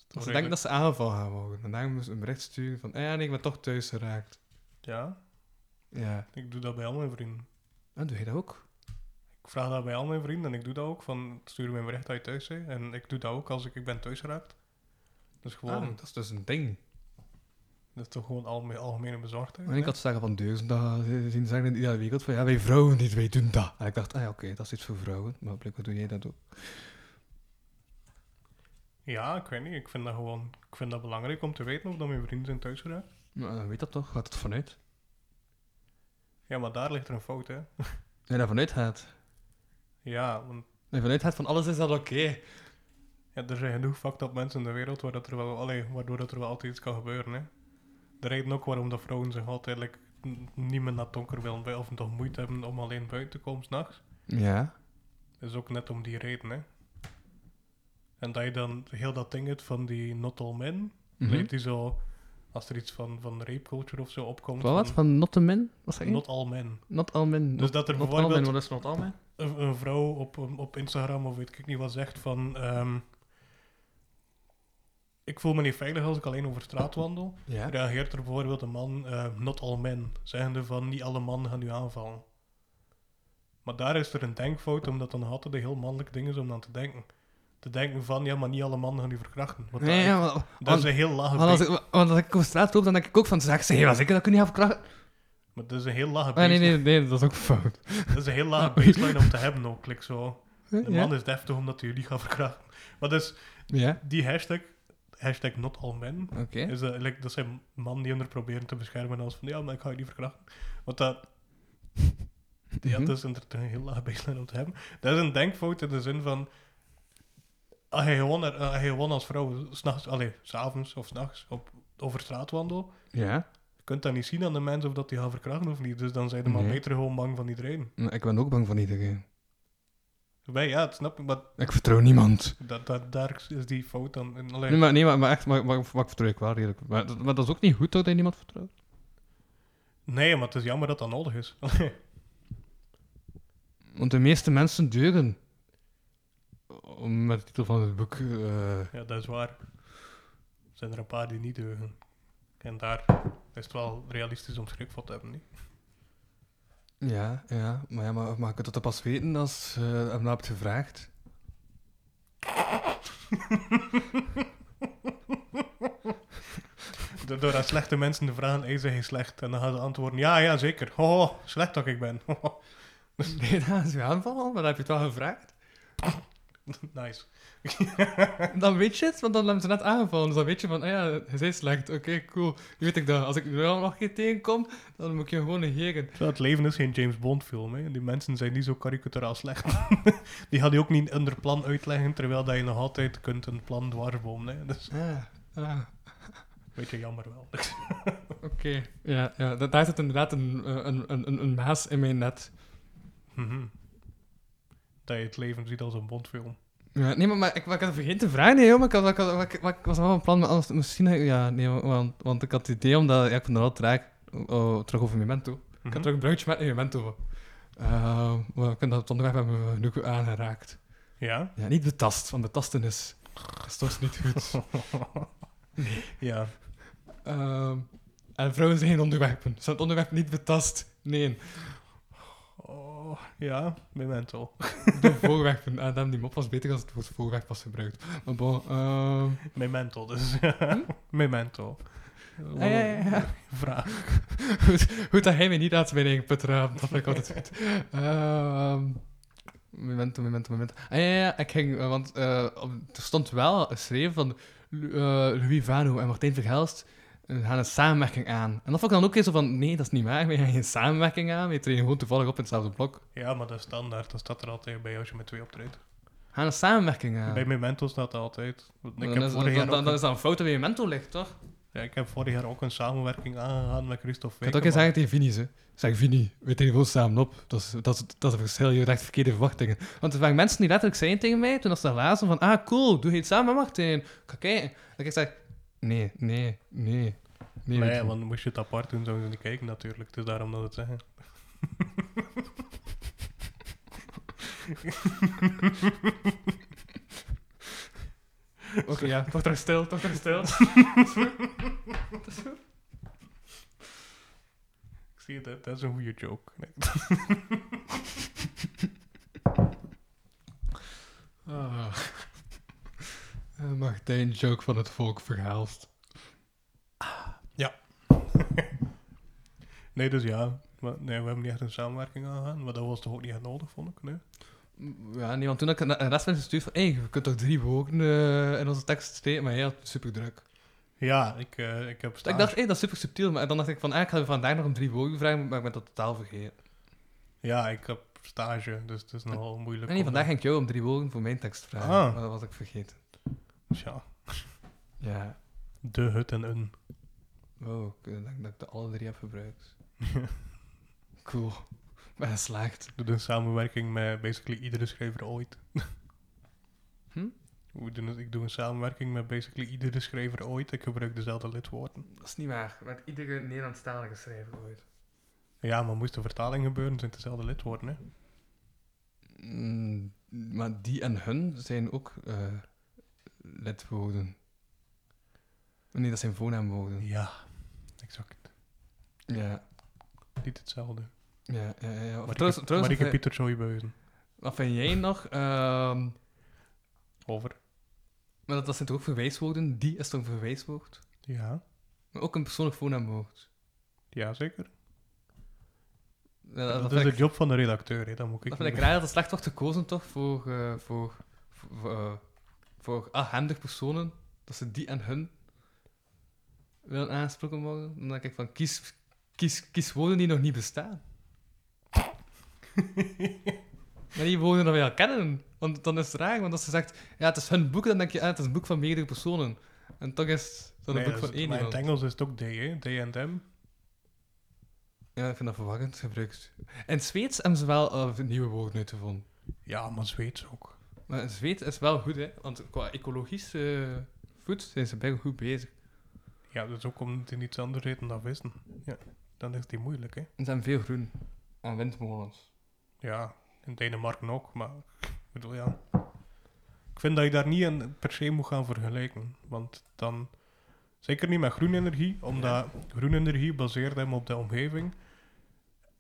C: toch
D: Ze denken dat ze aangevallen gaan worden. En daarom moesten ze een bericht sturen van... Eh, nee, ik ben toch thuis geraakt.
C: Ja,
D: Ja.
C: ik doe dat bij al mijn vrienden.
D: En doe je dat ook?
C: Ik vraag dat bij al mijn vrienden en ik doe dat ook. Van, stuur me een bericht dat je thuis bent. En ik doe dat ook als ik, ik ben thuis geraakt. Dus gewoon,
D: Ah, dat is dus een ding.
C: dat is toch gewoon alme, algemene bezorgdheid.
D: En ik had zeggen van Deursdag zien zeggen in iedere wereld van... Ja, wij vrouwen niet, wij doen dat. En ik dacht, ah ja, oké, dat is iets voor vrouwen. Maar blijkbaar doe jij dat ook.
C: Ja, ik weet niet. Ik vind dat gewoon ik vind dat belangrijk om te weten of dat mijn vrienden zijn thuis geraakt.
D: Maar eh, weet dat toch? Gaat het vanuit?
C: Ja, maar daar ligt er een fout, hè.
D: Nee, dat vanuit gaat.
C: Ja, want
D: Nee, vanuit gaat van alles is dat oké.
C: ja, er zijn genoeg fucked up mensen in de wereld waar dat er wel, allee, waardoor dat er wel altijd iets kan gebeuren, hè. De reden ook waarom dat vrouwen zich altijd like, n- niet meer naar het donker willen bij- of toch moeite hebben om alleen buiten te komen s'nachts.
D: Ja.
C: is ook net om die reden, hè. En dat je dan heel dat ding hebt van die not all men,
D: Mhm.
C: leeft die zo, als er iets van, van rape culture of zo opkomt,
D: Wat, wat? Van not the men? Wat zeg je?
C: not all men.
D: Not all men.
C: Dus dat er
D: not all men,
C: bijvoorbeeld-
D: wat is not all men?
C: een, een vrouw op, op Instagram of weet ik niet wat zegt van... ehm, ik voel me niet veilig als ik alleen over straat wandel.
D: Ja.
C: Reageert er bijvoorbeeld een man, eh, not all men, zeggende van niet alle mannen gaan u aanvallen. Maar daar is er een denkfout, omdat dan altijd een heel mannelijk ding is om aan te denken. Te denken van, ja, maar niet alle mannen gaan u verkrachten. Want
D: Nee,
C: dat,
D: ja, maar-
C: dat
D: want,
C: is een heel lage
D: want als
C: beest.
D: ik, want als ik op straat loop, dan denk ik ook van, zeg, zeg, was ik dat kun je niet afkrachten?
C: Maar dat is een heel lage
D: Ah, nee,
C: baseline.
D: nee, nee, dat is ook fout.
C: Dat is een heel lage baseline om te hebben ook. like zo. De
D: Ja.
C: man is deftig omdat hij jullie gaat verkrachten. Maar dus,
D: Ja,
C: die hashtag, hashtag not all men,
D: oké.
C: is dat, like, dat zijn mannen die hem er proberen te beschermen als van ja, maar ik ga je niet verkrachten.
D: *laughs*
C: Want dat,
D: Mhm.
C: ja, dat is inderdaad een heel laag baseline om te hebben. Dat is een denkfout in de zin van, als je gewoon, er- als je gewoon als vrouw s'nachts, allee, s'avonds of s'nachts op, over straat wandelt,
D: Ja,
C: je kunt dan niet zien aan de mensen of dat die gaan verkrachten of niet. Dus dan zijn ze maar
D: Nee.
C: beter gewoon bang van iedereen.
D: maar ik ben ook bang van iedereen.
C: Wij, ja, dat snap ik, maar
D: Ik vertrouw niemand.
C: dat, dat, daar is die fout dan. in. Allee,
D: Nee, maar, nee, maar, maar echt, maar, maar, maar ik vertrouw ik wel redelijk. Maar, dat- maar dat is ook niet goed toch, dat je niemand vertrouwt?
C: Nee, maar het is jammer dat dat nodig is. *laughs*
D: Want de meeste mensen deugen. Om met de titel van het boek... eh,
C: Ja, dat is waar. Er zijn er een paar die niet deugen. En daar is het wel realistisch om schrik voor te hebben. Niet? *laughs*
D: ja, ja, maar, ja, maar, maar je kunt dat pas weten als je hem nou hebt gevraagd.
C: Do- Door aan slechte mensen te vragen, is hij slecht? En dan gaan ze antwoorden, ja, ja, zeker. Oh, slecht dat ik ben.
D: *laughs*
C: *laughs*
D: Nee, dat is je aanval, maar dan heb je het wel gevraagd.
C: nice.
D: Dan weet je het, want dan hebben ze net aangevallen. Dus dan weet je van, ah ja, hij is slecht. Oké, cool. Nu weet ik dat. Als ik er wel nog een keer tegenkom, dan moet ik je gewoon negeren.
C: Zo, het leven is geen James Bond film. Hè. Die mensen zijn niet zo karikaturaal slecht. *laughs* die gaan die ook niet onder plan uitleggen, terwijl dat je nog altijd kunt een plan dwarsbomen. Hè. *laughs* Dat is
D: Ah, ah.
C: een beetje jammer wel. *laughs*
D: Oké. Ja, ja da- daar zit inderdaad een, eh, een, een, een, een maas in mijn net.
C: Mhm. dat je het leven ziet als een Bondfilm.
D: Ja, nee, maar, maar ik, maar ik had vergeten te vragen, nee, joh, maar ik, had, maar ik, had- maar ik, maar ik was wel van plan, maar anders misschien... Ja, nee, want, want ik had het idee, omdat ja, ik vond het al traag, oh, terug over Memento. Ik had
C: Mhm.
D: terug een bruidje met een Memento. Eh, maar ik heb dat onderweg hebben we genoeg aangeraakt.
C: Ja?
D: Ja, niet betast, want betasten is, is toch niet goed.
C: Ja.
D: Ehm, en vrouwen zijn geen onderwerpen. Ze hebben het onderwerp niet betast. Nee,
C: Oh, ja, Memento.
D: de voorwerpen. En dan die mop was beter als het woord voorwerp was gebruikt. Maar bon, ehm,
C: Memento dus.
D: Hm?
C: *laughs* Memento. Wat
D: ja, ja,
C: een
D: ja.
C: Vraag.
D: goed, goed dat hij mij niet uit mijn eigen put raamt. Dat vind ik altijd goed. Ehm Momento, momento, momento. Ah, ja, ja, ja, ik ging, eh, want eh, op- er stond wel geschreven van Lu- eh, Louis Vano en Martijn Verhelst eh, gaan een samenwerking aan. En dat vond ik dan ook eens zo van, nee, dat is niet waar, wij gaan geen samenwerking aan, wij treden gewoon toevallig op in hetzelfde blok.
C: Ja, maar dat is standaard. Dat staat er altijd bij als je met twee optreedt.
D: Gaan een samenwerking aan.
C: Bij Memento staat dat altijd. Want Ik
D: Dan
C: heb,
D: is,
C: vorig
D: dan,
C: jaar
D: dan, dan
C: ook,
D: is dat een fout dat bij je mento ligt, toch?
C: ja, ik heb vorig jaar ook een samenwerking aangegaan met Christophe
D: Ik had ook eens zeggen
C: Wekeman.
D: tegen Vini's, hè. Ik Zeg, Vini, we treden gewoon samen op. Dat is, dat, is, dat is een verschil, je recht verkeerde verwachtingen. Want er waren mensen die letterlijk zeiden tegen mij, toen als ze dat lazen, van, ah, cool, doe je het samen, Martijn? Ik ga kijken. Dat ik zeg, nee, nee, nee. Nee, weet
C: Nee,
D: je wel.
C: want moest je het apart doen, zouden ze niet kijken natuurlijk. Het is daarom dat we het zeggen.
D: Oké, ja, toch terug stil, toch terug stil.
C: Ik zie dat, dat is een goede joke. Nee.
D: *laughs* Ah. *laughs* Eh, Martijn, joke van het volk verhaalst.
C: Nee, dus ja. Maar, nee, we hebben niet echt een samenwerking aangegaan, maar dat was toch ook niet echt nodig, vond ik. Nee.
D: Ja, nee, want toen had ik een rest mensen gestuurd van, hey, je kunt toch drie woorden eh, in onze tekst steken, maar hij had super druk.
C: Ja, ik, eh, ik heb
D: Dus ik dacht, hé, dat is super subtiel, maar dan dacht ik van, ah, ik ga vandaag nog een drie woorden vragen, maar ik ben dat totaal vergeten.
C: Ja, ik heb stage, dus het is nogal moeilijk.
D: En nee,
C: om
D: vandaag
C: dat-
D: ging ik jou om drie woorden voor mijn tekst vragen,
C: Ah.
D: maar dat was ik vergeten.
C: Ja,
D: Ja,
C: de hut en een.
D: wow, ik eh, denk dat ik de alle drie heb *laughs* gebruikt. cool, ik ben geslaagd.
C: We doen samenwerking met basically iedere schrijver ooit.
D: Hm?
C: We doen het- ik doe een samenwerking met basically iedere schrijver ooit. Ik gebruik dezelfde lidwoorden.
D: Dat is niet waar, met iedere Nederlandstalige schrijver ooit.
C: Ja, maar moest de vertaling gebeuren, zijn het dezelfde lidwoorden, hè?
D: Mm, maar die en hun zijn ook eh lidwoorden. Nee, dat zijn voornaamwoorden.
C: Ja, exact.
D: Ja,
C: Niet hetzelfde.
D: ja, ja. ja, ja. Of
C: Maar
D: trouwens-
C: ik heb,
D: trouwens, eh,
C: maar ik heb
D: wat-
C: Pieter Zooibuizen.
D: wat vind jij nog? ehm,
C: Over.
D: maar dat, dat zijn toch ook verwijswoorden? Die is toch een verwijswoord?
C: Ja,
D: Maar ook een persoonlijk voornaamwoord.
C: ja zeker.
D: Ja, Eh, dat,
C: Dat,
D: dat
C: is
D: vind
C: de
D: ik,
C: job van de redacteur, hè? Dat moet ik
D: dat vind ik
C: niet-
D: raar dat het slecht wordt gekozen toch voor, eh, voor, voor, eh, voor afhandig personen. Dat ze die en hun willen aansproken worden. Dan denk ik van kies, kies, kies woorden die nog niet
C: *laughs*
D: bestaan. maar die woorden dat wij al kennen. Want dan is het raar, want als ze zegt, ja, het is hun boek, dan denk je, ah, het is een boek van meerdere personen. En toch is dat een
C: Nee,
D: boek
C: dat
D: van
C: is-
D: één
C: Maar in het
D: iemand.
C: Engels is het ook D, hè? D en M.
D: Ja, ik vind dat verwarrend gebruikt. In het Zweeds hebben ze wel eh, nieuwe woorden uitgevonden.
C: Ja, maar Zweeds ook.
D: Maar in Zweed is wel goed, hè? Want qua ecologisch eh, voet zijn ze best goed bezig.
C: Ja, dus ook omdat hij niets anders eten dan vissen. Ja, dan is die moeilijk, hè?
D: Er zijn veel groen en windmolens.
C: Ja, in Denemarken ook, maar ik bedoel, ja. Ik vind dat je daar niet in per se moet gaan vergelijken. Want dan, zeker niet met groene energie, omdat groene energie baseert hem op de omgeving.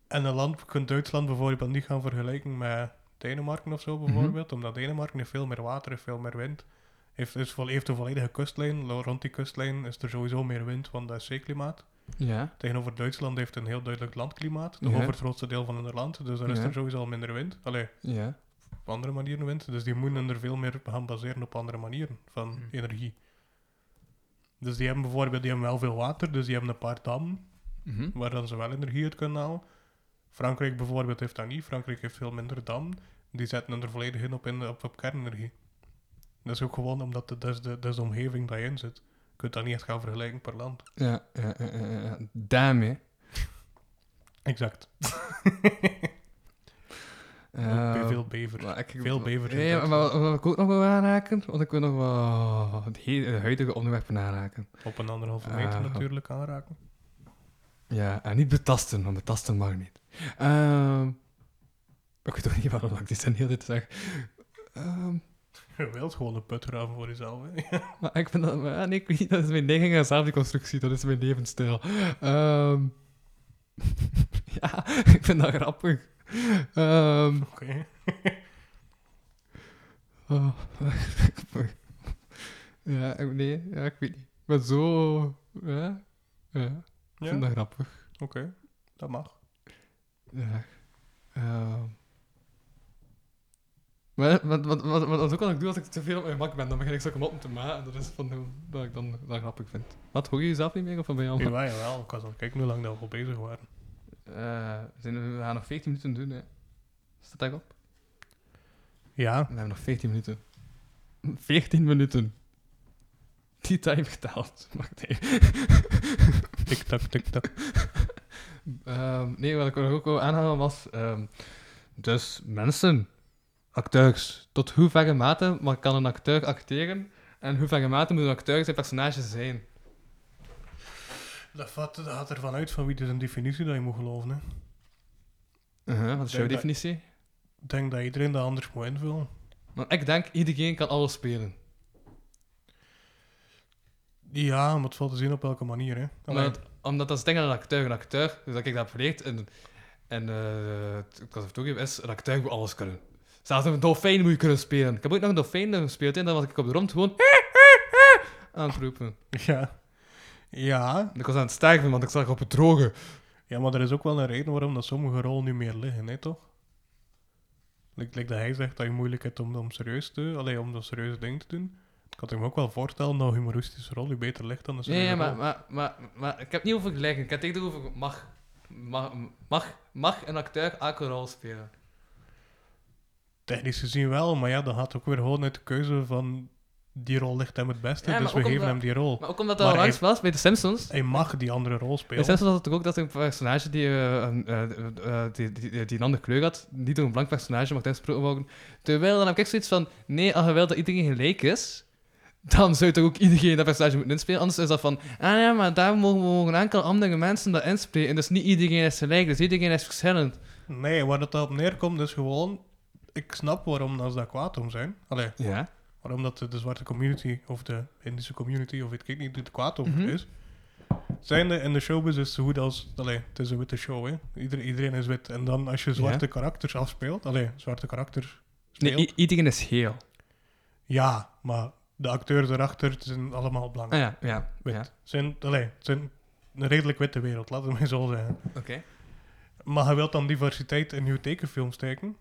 C: En een land, je kunt Duitsland bijvoorbeeld niet gaan vergelijken met Denemarken of zo bijvoorbeeld, omdat Denemarken heeft veel meer water, heeft veel meer wind. Heeft, is, vol- heeft een volledige kustlijn. Lo- Rond die kustlijn is er sowieso meer wind, want dat is zeeklimaat.
D: Ja.
C: Tegenover Duitsland heeft een heel duidelijk landklimaat.
D: Ja.
C: Nog over het grootste deel van hun land. Dus daar is
D: Ja.
C: er sowieso al minder wind. Allee,
D: Ja.
C: op andere manieren wind. Dus die moeten er veel meer gaan baseren op andere manieren van
D: Hm.
C: energie. Dus die hebben bijvoorbeeld die hebben wel veel water. Dus die hebben een paar dammen
D: Mhm.
C: waar dan ze wel energie uit kunnen halen. Frankrijk bijvoorbeeld heeft dat niet. Frankrijk heeft veel minder dammen. Die zetten er volledig in op, in, op, op kernenergie. Dat is ook gewoon omdat de, dat, is de, dat is de omgeving die in zit. Je kunt dat niet echt gaan vergelijken per land.
D: Ja, ja, ja, ja, ja, ja. Daarmee.
C: Exact.
D: eh,
C: Bij veel bevers.
D: maar ik-
C: veel bevers in
D: Ja, ja,
C: Duitsland.
D: maar wat, wat ik ook nog wil aanraken, want ik wil nog wel het he- de huidige onderwerpen aanraken.
C: Op een anderhalve meter
D: Ah.
C: natuurlijk aanraken.
D: Ja, en niet betasten, want betasten mag niet. Ehm, ik weet ook niet waarom ik dit zijn heel dit zeg. Ehm,
C: Je wilt gewoon een put graven voor jezelf. Hè? *laughs*
D: Maar ik vind dat... maar ja, nee, ik weet niet, dat is mijn neiging aan zelfdeconstructie. Dat is mijn levensstijl. Ehm, *laughs* ja, *laughs* ik vind dat grappig. Ehm,
C: Oké.
D: oh, *laughs* ja, ik- nee, ja, ik weet niet. Ik ben zo... Ja, ja ik
C: Ja,
D: vind
C: oké.
D: dat grappig.
C: Dat mag.
D: Ja. Ehm. maar wat, wat, wat, wat, dat is ook wat ik doe als ik te veel op mijn mak ben, dan begin ik zo om te maken. Dat is van hoe dat ik dan dat grappig vind. Wat, hoor je jezelf niet meer of van bij jou?
C: Jawel, jawel. Ik was al kijken hoe lang dat we al bezig waren.
D: Eh, we, zijn, we gaan nog 14 minuten doen, hè. Staat dat op?
C: Ja,
D: We hebben nog 14 minuten. 14 minuten. Die time geteld. Wacht even.
C: tik-tak, tik-tak.
D: Ehm, nee, wat ik nog ook wil aanhalen was... ehm, dus mensen, acteurs, tot hoeverre mate maar kan een acteur acteren? En hoeverre mate moet een acteur zijn personage zijn?
C: *laughs* Dat, vat, dat gaat ervan uit van wie dus een definitie dat je moet geloven. Hè.
D: Uh-huh, wat is jouw
C: Denk dat-
D: definitie?
C: Ik denk dat iedereen dat anders moet invullen.
D: Want ik denk, iedereen kan alles spelen.
C: Ja, maar het valt te zien op welke manier. Hè. Allee,
D: Omdat, omdat dat is denk ik een acteur, een acteur. Dus dat ik dat heb geleerd. En, en eh, het ik kan het toegeven, is een acteur moet alles kunnen. Zelfs een dolfijn moet je kunnen spelen. Ik heb ooit nog een dolfijn gespeeld en dan was ik op de rond gewoon *laughs* aan het roepen.
C: ja. Ja.
D: En ik was aan het sterven, want ik zag op het droge.
C: ja, maar er is ook wel een reden waarom dat sommige rollen niet meer liggen, hè, toch? Like, like dat hij zegt dat je moeilijk hebt om, om serieus te alleen om dat serieuze ding te doen. Ik had hem ook wel voorstellen dat een humoristische rol je beter ligt dan een
D: Nee,
C: serieuze
D: ja, maar,
C: rol.
D: maar, maar, maar ik heb het niet over vergelijking. Ik heb het echt over mag, mag, mag, mag een acteur elke rol spelen.
C: Technisch gezien wel, maar ja, dan gaat het ook weer gewoon uit de keuze van die rol ligt hem het beste,
D: Ja, maar
C: dus we
D: ook
C: geven
D: omdat-
C: hem die rol.
D: Maar ook omdat dat
C: Maar
D: al langs
C: hij-
D: was bij de Simpsons.
C: Hij mag die andere rol
D: Bij de
C: spelen.
D: Simpsons was het ook dat een personage die, eh, een, eh, eh, die, die, die- die een andere kleur had, niet door een blank personage mag uitgesproken worden. Terwijl dan heb ik zoiets van, nee, als je wil dat iedereen gelijk is, dan zou toch ook iedereen dat personage moeten inspelen. Anders is dat van, ah ja, maar daar mogen, mogen een aantal andere mensen dat inspelen. En dus niet iedereen is gelijk, dus iedereen is verschillend.
C: Nee, waar dat op neerkomt is gewoon... Ik snap waarom dat ze daar kwaad om zijn. Allee,
D: Ja.
C: waarom dat de, de zwarte community of de Indische community of weet ik niet, er kwaad over
D: Mhm.
C: is. Zijnde in de showbiz is zo goed als... Allee, het is een witte show, hè. Ieder, iedereen is wit. En dan als je zwarte karakters afspeelt... Allee, zwarte karakters speelt...
D: Nee, i- iedereen is heel.
C: ja, maar de acteurs erachter het zijn allemaal blank.
D: Ah ja, ja.
C: wit.
D: ja.
C: Zijn, allee, het zijn een redelijk witte wereld, laten we het zo zeggen.
D: Oké.
C: Maar je wilt dan diversiteit in uw tekenfilm steken...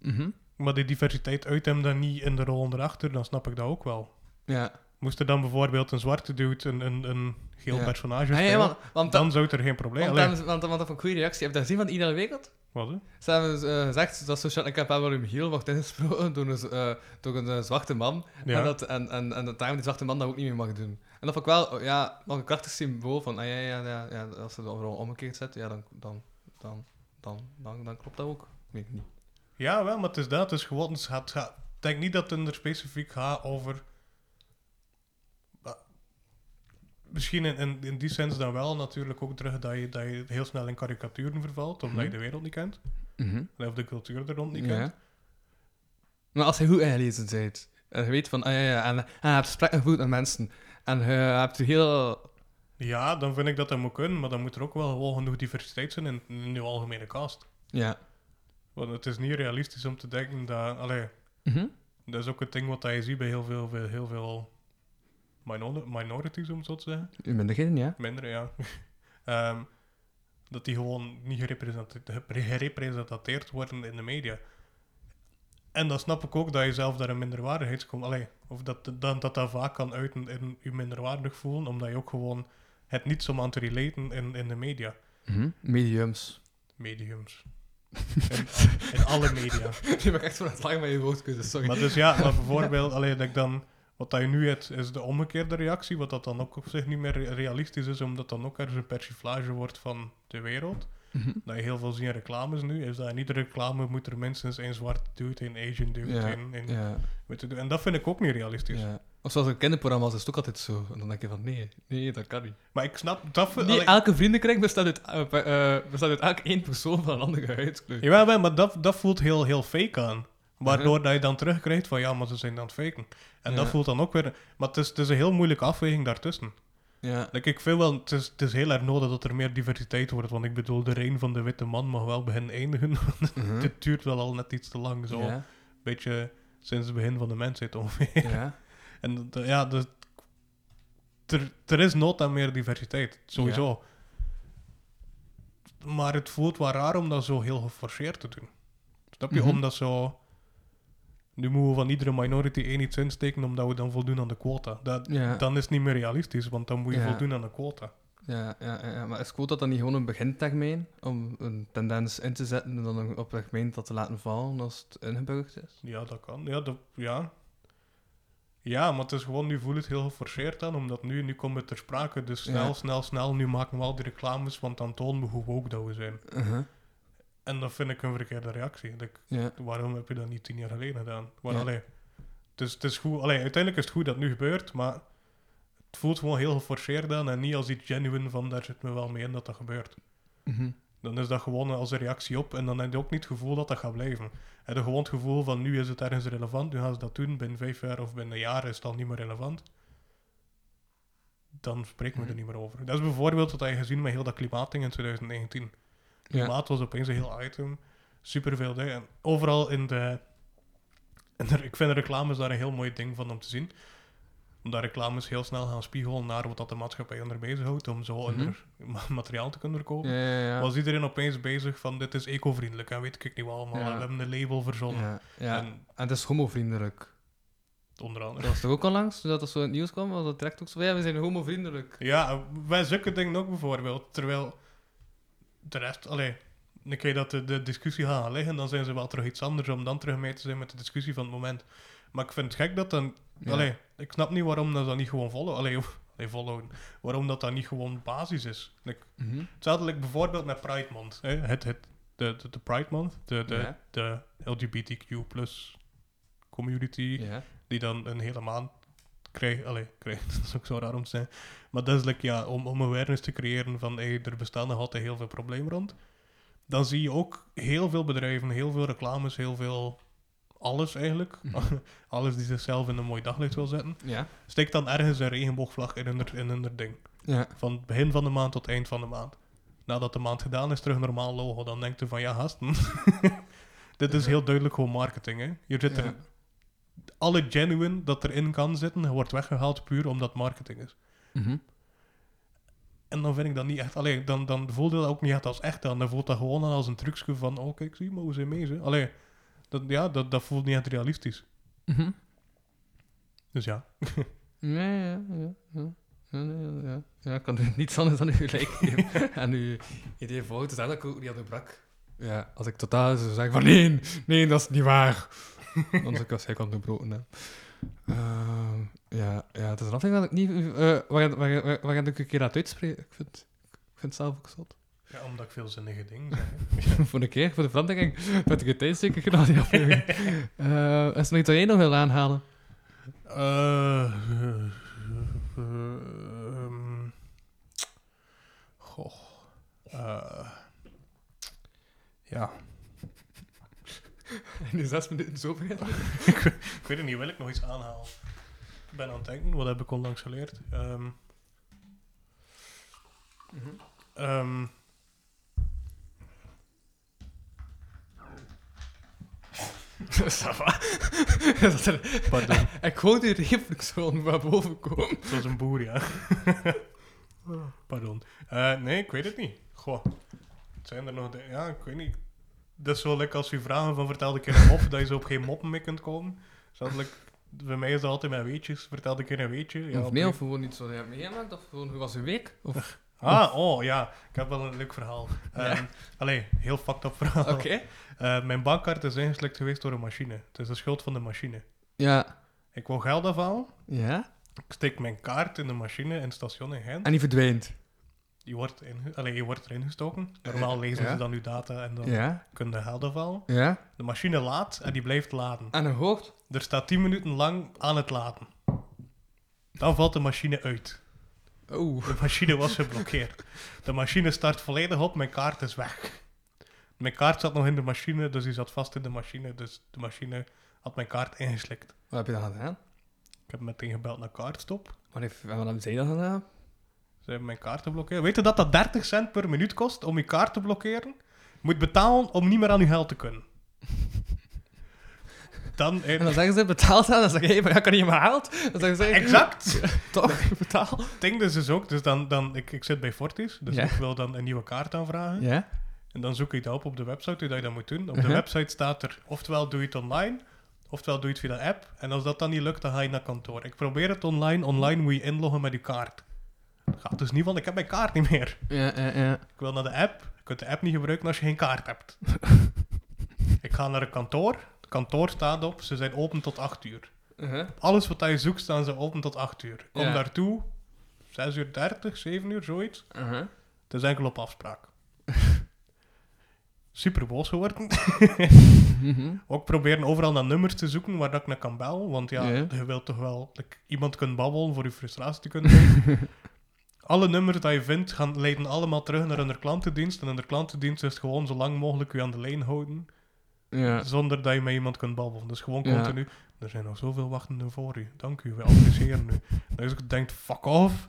D: Mhm.
C: Maar die diversiteit uit hem dan niet in de rol erachter, dan snap ik dat ook wel.
D: Ja.
C: Moest er dan bijvoorbeeld een zwarte dude een, een, een geel
D: Ja.
C: personage
D: Ah,
C: spelen,
D: ja, want, want,
C: dan zou het er geen probleem
D: want,
C: zijn.
D: want, want, want dat een goede reactie. Heb je dat gezien van Ida de Wereld?
C: Wat? hè?
D: Ze hebben eh, gezegd dat Social Incapabulum heel wordt ingesproken door een, z- eh, door een eh, zwarte man.
C: Ja.
D: En, dat, en, en, en dat daarom die zwarte man dat ook niet meer mag doen. En dat vond ik wel oh, ja, nog een krachtig symbool van, ah, ja, ja, ja, ja, als ze de overal omgekeerd zetten, ja, dan, dan, dan, dan, dan, dan klopt dat ook. Weet ik niet.
C: Ja, wel, maar het is dat. Het is gewoon... Het gaat, het gaat- ik denk niet dat het er specifiek gaat over... Maar Misschien in, in, in die sens dan wel natuurlijk ook terug dat je, dat je heel snel in karikaturen vervalt, omdat je de wereld niet kent. Of de cultuur er rond niet kent.
D: Mhm. Ja. Maar als je goed ingelezen bent, en je weet van, ah, ja, ja, en, en je hebt gesprekken goed met mensen, en je hebt heel...
C: Ja, dan vind ik dat dat moet kunnen, maar dan moet er ook wel gewoon genoeg diversiteit zijn in, in je algemene cast.
D: Ja.
C: Want het is niet realistisch om te denken dat... Allee,
D: Mhm.
C: dat is ook het ding wat je ziet bij heel veel, veel- heel veel minor- minorities, om het zo te zeggen.
D: In minderheden, ja.
C: Minder, ja. *laughs* Ehm, dat die gewoon niet gerepresente- gepre- gerepresenteerd worden in de media. En dan snap ik ook dat je zelf daar een minderwaardigheid komt. Allee, of dat dat, dat, dat vaak kan uiten in je minderwaardig voelen, omdat je ook gewoon het niet zo aan te relaten in, in de media.
D: Mhm. Mediums.
C: Mediums. In, in alle media.
D: *laughs* Je mag echt van het lachen met je woordkeuze, sorry.
C: Maar dus ja, maar bijvoorbeeld, alleen dat ik dan, wat dat je nu hebt, is de omgekeerde reactie, wat dat dan ook op zich niet meer re- realistisch is, omdat dan ook ergens een persiflage wordt van de wereld.
D: Mhm.
C: Dat je heel veel ziet in reclames nu, is dat in iedere reclame moet er minstens één zwart dude, één Asian dude,
D: *laughs* ja,
C: één, één
D: ja,
C: witte dude. En dat vind ik ook niet realistisch.
D: ja. Of zoals een kinderprogramma's is het ook altijd zo. En dan denk je van, nee, nee, dat kan niet.
C: Maar ik snap, dat vind
D: Nee,
C: allee-
D: elke vriendenkring bestaat uit, eh, pe- eh, bestaat uit elk één persoon van een andere huidskleur.
C: Jawel, wel, maar dat, dat voelt heel, heel fake aan. Waardoor dat je dan terugkrijgt van ja, maar ze zijn aan het faken. En dat
D: Ja.
C: voelt dan ook weer. Maar het is, het is een heel moeilijke afweging daartussen.
D: Ja.
C: Like, ik vind wel, het is, het is heel erg nodig dat er meer diversiteit wordt. Want ik bedoel, de rein van de witte man mag wel beginnen eindigen. *laughs* want Dit duurt wel al net iets te lang. Zo. *laughs*
D: Ja.
C: beetje sinds het begin van de mensheid ongeveer.
D: Ja.
C: *laughs* En dat- dat- ja, dus, er, er is nood aan meer diversiteit, sowieso. Maar het voelt wel raar om dat zo heel geforceerd te doen. Snap je?
D: Mhm.
C: Omdat zo... Nu moeten we van iedere minority één iets insteken, omdat we dan voldoen aan de quota. Dat,
D: Ja.
C: Dan is het niet meer realistisch, want dan moet je
D: Ja.
C: voldoen aan de quota.
D: Ja, ja, ja, ja. maar is quota dan niet gewoon een begintermijn om een tendens in te zetten en dan een- op een termijn dat te laten vallen als het ingeburgerd is?
C: Ja, dat kan. Ja, dat, ja. ja, maar het is gewoon, nu voelt het heel geforceerd aan, omdat nu, nu komt het ter sprake. Dus snel,
D: Ja.
C: snel, snel, nu maken we al die reclames, want dan tonen we hoe woke dat we zijn.
D: Uh-huh.
C: En dat vind ik een verkeerde reactie. Dat ik-
D: Ja.
C: waarom heb je dat niet tien jaar geleden gedaan? Waar,
D: Ja.
C: allee, dus het is goed, allee, uiteindelijk is het goed dat het nu gebeurt, maar het voelt gewoon heel geforceerd aan en niet als iets genuine van daar zit me wel mee in dat dat gebeurt.
D: Mhm.
C: Dan is dat gewoon als een reactie op en dan heb je ook niet het gevoel dat dat gaat blijven. Heb je gewoon het gevoel van nu is het ergens relevant, nu gaan ze dat doen, binnen vijf jaar of binnen een jaar is het al niet meer relevant. dan spreken we er niet meer over. Dat is bijvoorbeeld wat je gezien met heel dat klimaatding in 2019.
D: Ja.
C: Klimaat was opeens een heel item. Superveel dingen. En overal in de, in de- Ik vind reclames daar een heel mooi ding van om te zien. Omdat reclames heel snel gaan spiegelen naar wat dat de maatschappij onder bezighoudt. Om zo onder ma- materiaal te kunnen kopen.
D: Ja, ja, ja.
C: Was iedereen opeens bezig van dit is eco-vriendelijk en weet ik niet wat allemaal.
D: Ja.
C: We hebben een label verzonnen.
D: ja, ja. En,
C: En-
D: het is homovriendelijk.
C: Onder
D: Dat
C: andere.
D: was toch ook al langs, toen dat zo in het nieuws kwam, was dat direct ook zo. Ja, we zijn homovriendelijk.
C: Ja, wij zulke dingen ook bijvoorbeeld. Terwijl de rest, allee, een keer dat de, de discussie gaan liggen, dan zijn ze wel terug iets anders om dan terug mee te zijn met de discussie van het moment. Maar ik vind het gek dat dan.
D: Ja.
C: Allee, ik snap niet waarom dat, dan niet gewoon follow, allee, *laughs* of- allee, followen. Waarom dat dan niet gewoon basis is. Ik,
D: Mhm.
C: hetzelfde like bijvoorbeeld met Pride Month. Hè? Het, het, de, de, de Pride Month, de, de,
D: Ja.
C: de LGBTQ community
D: Ja.
C: die dan een hele maand krijgt. Allee, krijgt, *laughs* dat is ook zo raar om te zijn. Maar dat is like, ja, om, om awareness te creëren van hey, er bestaan nog altijd heel veel problemen rond. Dan zie je ook heel veel bedrijven, heel veel reclames, heel veel alles eigenlijk.
D: Mhm.
C: *laughs* alles die zichzelf in een mooi daglicht wil zetten.
D: Ja.
C: Steek dan ergens een regenboogvlag in hun, in hun ding.
D: Ja.
C: Van het begin van de maand tot eind van de maand. Nadat de maand gedaan is, terug een normaal logo. Dan denkt u van ja, gasten. *laughs* Dit is heel duidelijk gewoon marketing. Hè? Hier zit
D: Ja.
C: er alle genuine dat erin kan zitten, wordt weggehaald puur omdat marketing is.
D: Mhm.
C: En dan vind ik dat niet echt. Allee, dan, dan voelt dat ook niet echt als echt aan. Dan voelt dat gewoon aan als een trucje van: oh kijk, zie maar, we zijn mee. Hè? Allee, dat, ja, dat, dat voelt niet echt realistisch.
D: Mhm.
C: Dus ja.
D: Ja, ja, ja. ja. Ja, ja, ja. ja, ik kan er niets anders dan u gelijk *laughs* geven. en uw idee fout is dat ik ook niet aan de brak. Ja, als ik totaal zou zeggen van nee, nee, dat is niet *laughs* waar. Dan zou ik waarschijnlijk aan de broken hebben. Ehm, ja, ja, het is een afdeling dat ik niet... eh waar, waar, waar, waar ik een keer laat uitspreken. Ik vind, ik vind het zelf ook zot. *laughs*
C: ja, omdat ik veel zinnige dingen zeg. hè.
D: voor een keer, voor de verandering, met de tijd zeker gedaan die *laughs* aflevering. Eh, is er nog iets dat jij nog wil aanhalen?
C: Eh, eh, eh, ehm, Goh. Eh, ja.
D: In die zes minuten zo *laughs*
C: Ik weet het niet, wil ik nog iets aanhaal? Ik ben aan het denken, wat heb ik onlangs geleerd? Ehm, ehm,
D: *laughs* Dat er-
C: pardon,
D: Ik hoor die reflex gewoon waar boven komen.
C: het was een boer, ja. pardon. Eh, nee, ik weet het niet. Goh. Het zijn er nog... dingen- Ja, ik weet niet. Dat is zo lekker als je vragen van vertel een keer een mop, dat je zo op geen moppen mee kunt komen. Zoals bij mij is dat altijd met weetjes. Vertel een keer een weetje. Ja,
D: of
C: op
D: nee,
C: een-
D: of gewoon niet zo dat je hebt meegemaakt, of gewoon hoe was je week? *laughs* Of...
C: Ah, oh ja, ik heb wel een leuk verhaal. Ehm Allee, heel fucked up verhaal.
D: Oké.
C: Eh, mijn bankkaart is ingeslikt geweest door een machine. Het is de schuld van de machine.
D: Ja.
C: Ik wil geld afhalen.
D: Ja?
C: Ik steek mijn kaart in de machine in het station in Gent.
D: En die verdwijnt.
C: Je wordt, inge- allee, je wordt erin gestoken. Normaal lezen
D: Eh, Ja.
C: ze dan uw data en dan
D: Ja?
C: kun je geld afhalen.
D: Ja?
C: De machine laat en die blijft laden.
D: En een hoort.
C: Er staat 10 minuten lang aan het laden. Dan valt de machine uit.
D: Oeh.
C: De machine was geblokkeerd. De machine start volledig op, mijn kaart is weg. Mijn kaart zat nog in de machine, dus die zat vast in de machine. Dus de machine had mijn kaart ingeslikt.
D: Wat heb je dan gedaan?
C: Ik heb meteen gebeld naar kaartstop.
D: Wat, heeft, wat hebben zij dan gedaan?
C: Ze hebben mijn kaart geblokkeerd. Weet je dat dat 30 cent per minuut kost om je kaart te blokkeren? Je moet betalen om niet meer aan je geld te
D: *laughs*
C: kunnen. Dan... eh,
D: En dan zeggen ze, betaald aan. Dan zeg je, hey, maar ja, ik kan niet meer haalt. Dan zeggen ze,
C: Exact!
D: *laughs* Toch, betaal.
C: Het ding dus is ook, dus dan, dan, ik, ik zit bij Fortis, dus
D: Ja.
C: ik wil dan een nieuwe kaart aanvragen.
D: Ja?
C: En dan zoek je dat op op de website, hoe dat je dat moet doen. Op de
D: Mhm.
C: website staat er, oftewel doe je het online, oftewel doe je het via de app. En als dat dan niet lukt, dan ga je naar kantoor. Ik probeer het online. Online moet je inloggen met je kaart. Dat gaat dus niet, want ik heb mijn kaart niet meer.
D: Ja, ja, ja.
C: Ik wil naar de app. Je kunt de app niet gebruiken als je geen kaart hebt. ik ga naar een kantoor. Het kantoor staat op. Ze zijn open tot 8 uur.
D: Uh-huh.
C: Alles wat je zoekt, staan ze open tot 8 uur. Ik Kom
D: Ja.
C: daartoe. 6 uur 30, 7 uur, zoiets.
D: Uh-huh.
C: Het is enkel op afspraak. Super boos geworden. Ook proberen overal naar nummers te zoeken waar dat ik naar kan bellen. Want ja,
D: Ja.
C: je wilt toch wel like, iemand kunnen babbelen voor je frustratie te kunnen doen. Alle nummers die je vindt gaan, leiden allemaal terug naar hun klantendienst. En hun klantendienst is gewoon zo lang mogelijk je aan de lijn houden.
D: Ja.
C: Zonder dat je met iemand kunt babbelen. Dus gewoon
D: Ja.
C: continu. Er zijn nog zoveel wachtenden voor u. Dank u, we appreciëren u. Dan is ook denkt, fuck off.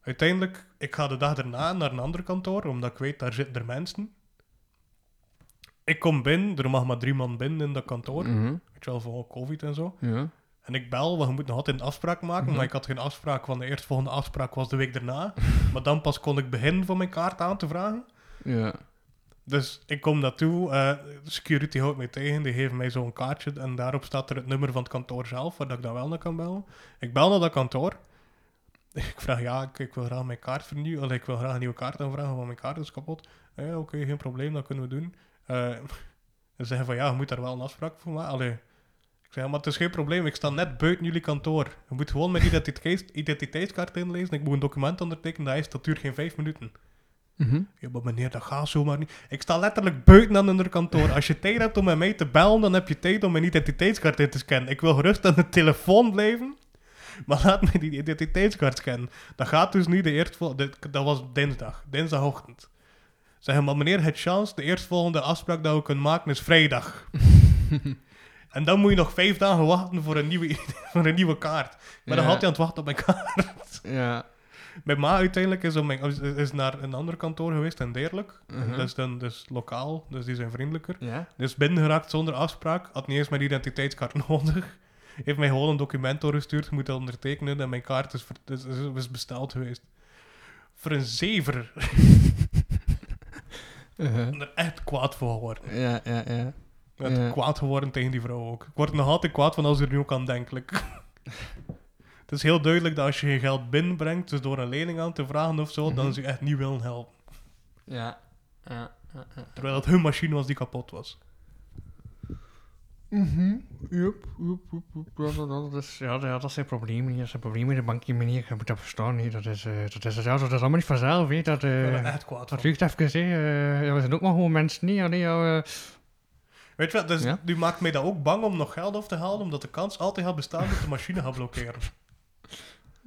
C: Uiteindelijk, ik ga de dag daarna naar een ander kantoor, omdat ik weet, daar zitten er mensen. Ik kom binnen, er mag maar drie man binnen in dat kantoor. Weet je wel, voor covid en zo.
D: Ja.
C: En ik bel, want je moet nog altijd een afspraak maken. Maar ik had geen afspraak, want de eerstvolgende afspraak was de week daarna. maar dan pas kon ik beginnen van mijn kaart aan te vragen.
D: Ja.
C: Dus ik kom naartoe, eh, security houdt mij tegen, die geeft mij zo'n kaartje en daarop staat er het nummer van het kantoor zelf, waar dat ik dan wel naar kan bellen. Ik bel naar dat kantoor. *laughs* Ik vraag, ja, ik, ik wil graag mijn kaart vernieuwen, Allee, ik wil graag een nieuwe kaart aanvragen, want mijn kaart is kapot. Eh, Oké, geen probleem, dat kunnen we doen. Eh *laughs* ze zeggen van, ja, je moet daar wel een afspraak voor maken. Allee. Ik zeg, ja, maar het is geen probleem, ik sta net buiten jullie kantoor. Je moet gewoon mijn identiteits- identiteitskaart inlezen, ik moet een document ondertekenen, dat, is, dat duurt geen vijf minuten. Ja, maar meneer, dat gaat zomaar niet. Ik sta letterlijk buiten aan hun kantoor. Als je tijd hebt om met mij te bellen, dan heb je tijd om mijn identiteitskaart in te scannen. Ik wil gerust aan de telefoon blijven, maar laat mij die identiteitskaart scannen. Dat gaat dus niet de eerstvolgende... Dat was dinsdag, dinsdagochtend. Zeggen, maar meneer, het chance, de eerstvolgende afspraak dat we kunnen maken is vrijdag. en dan moet je nog vijf dagen wachten voor een nieuwe, *laughs* voor een nieuwe kaart. Maar dan
D: Ja.
C: had hij aan het wachten op mijn kaart.
D: Ja.
C: Mijn ma uiteindelijk is, om mijn, is- is naar een ander kantoor geweest en deerlijk.
D: Mhm.
C: Dat is dan dus lokaal, dus die zijn vriendelijker.
D: Ja.
C: Dus binnengeraakt zonder afspraak, had niet eens mijn identiteitskaart *laughs* nodig. Heeft mij gewoon een document doorgestuurd, moet dat ondertekenen en mijn kaart is, ver- is, is- is besteld geweest. Voor een zever. Ik ben er echt kwaad voor geworden.
D: Ja, ja, ja.
C: Ik ben
D: Ja.
C: kwaad geworden tegen die vrouw ook. Ik word nog altijd kwaad van als er nu ook aan denk ik. *laughs* Het is heel duidelijk dat als je je geld binnenbrengt, dus door een lening aan te vragen of zo,
D: Mhm.
C: dan ze je echt niet willen helpen.
D: Ja. Ja. Ja. ja.
C: Terwijl het hun machine was die kapot was.
D: Mhm. Joep, joep, joep, joep. Ja, dat- dat- dat is- Ja, dat dat zijn problemen hier. Dat zijn problemen in de bank hier, meneer. Je moet dat verstaan hier. Dat is, eh, dat is, ja, dat is allemaal niet vanzelf, hè. Dat,
C: Ik
D: eh,
C: ben er echt kwaad van.
D: dat lukt even, hè. Eh, ja, we zijn ook maar gewoon mensen, niet? Ja, nee, ja, eh,
C: Weet je wat, dus
D: Ja?
C: nu maakt mij dat ook bang om nog geld af te halen, omdat de kans altijd gaat bestaan dat de machine gaat blokkeren.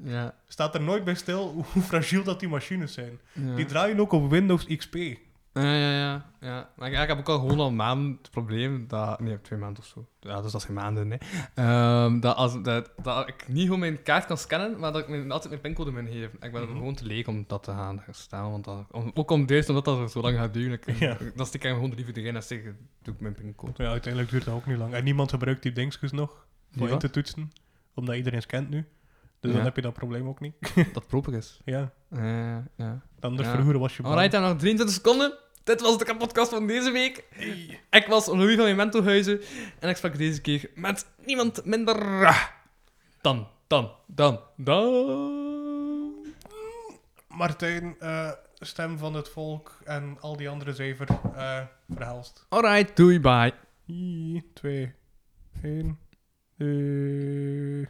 D: ja,
C: Staat er nooit bij stil hoe hoe fragiel dat die machines zijn.
D: ja.
C: Die draaien ook op Windows XP.
D: Ja, ja, ja. ja. Maar ik, ik heb ook al gewoon al een maand het probleem dat... Nee, twee maanden of zo. Ja, dus dat zijn maanden, hè. Ehm, dat, als, dat, dat ik niet gewoon mijn kaart kan scannen, maar dat ik mijn, altijd mijn pincode moet geven. Ik ben gewoon te leeg om dat te gaan staan. Want dat, om- ook om deze, omdat dat zo lang gaat duren. Ik,
C: Ja.
D: Dat stik ik gewoon de liever erin en zeg, doe ik mijn pincode.
C: Ja, uiteindelijk duurt dat ook niet lang. En niemand gebruikt die dingetjes nog voor
D: Die
C: in
D: wat?
C: te toetsen, omdat iedereen scant nu. Dus
D: Ja.
C: dan heb je dat probleem ook niet.
D: Dat proper is.
C: Ja,
D: Ja, ja.
C: anders
D: Ja.
C: vroeger was je bang.
D: Alright, dan nog 23 seconden. Dit was de podcast van deze week. Ik was Louis van Mementohuizen en ik sprak deze keer met niemand minder dan, dan, dan, dan...
C: Martijn, eh, stem van het volk en al die andere zever, eh verhelst.
D: Alright, doei, bye.
C: 3, 2, 1. Eh.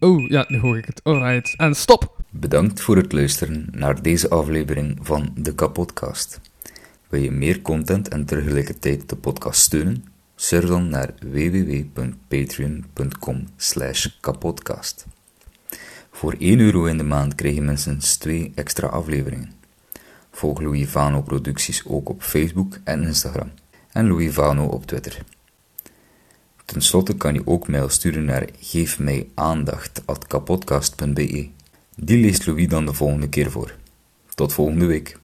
D: Oh, ja, nu hoor ik het. Alright, en stop.
F: Bedankt voor het luisteren naar deze aflevering van de Kapodcast. Wil je meer content en tegelijkertijd de podcast steunen? Surf dan naar www.patreon.com kapodcast. Voor 1 euro in de maand krijg je minstens 2 extra afleveringen. Volg Louis Vano producties ook op Facebook en Instagram. En Louis Vano op Twitter. Ten slotte kan je ook mail sturen naar geefmijaandacht.kapodcast.be. Die leest Louis dan de volgende keer voor. Tot volgende week.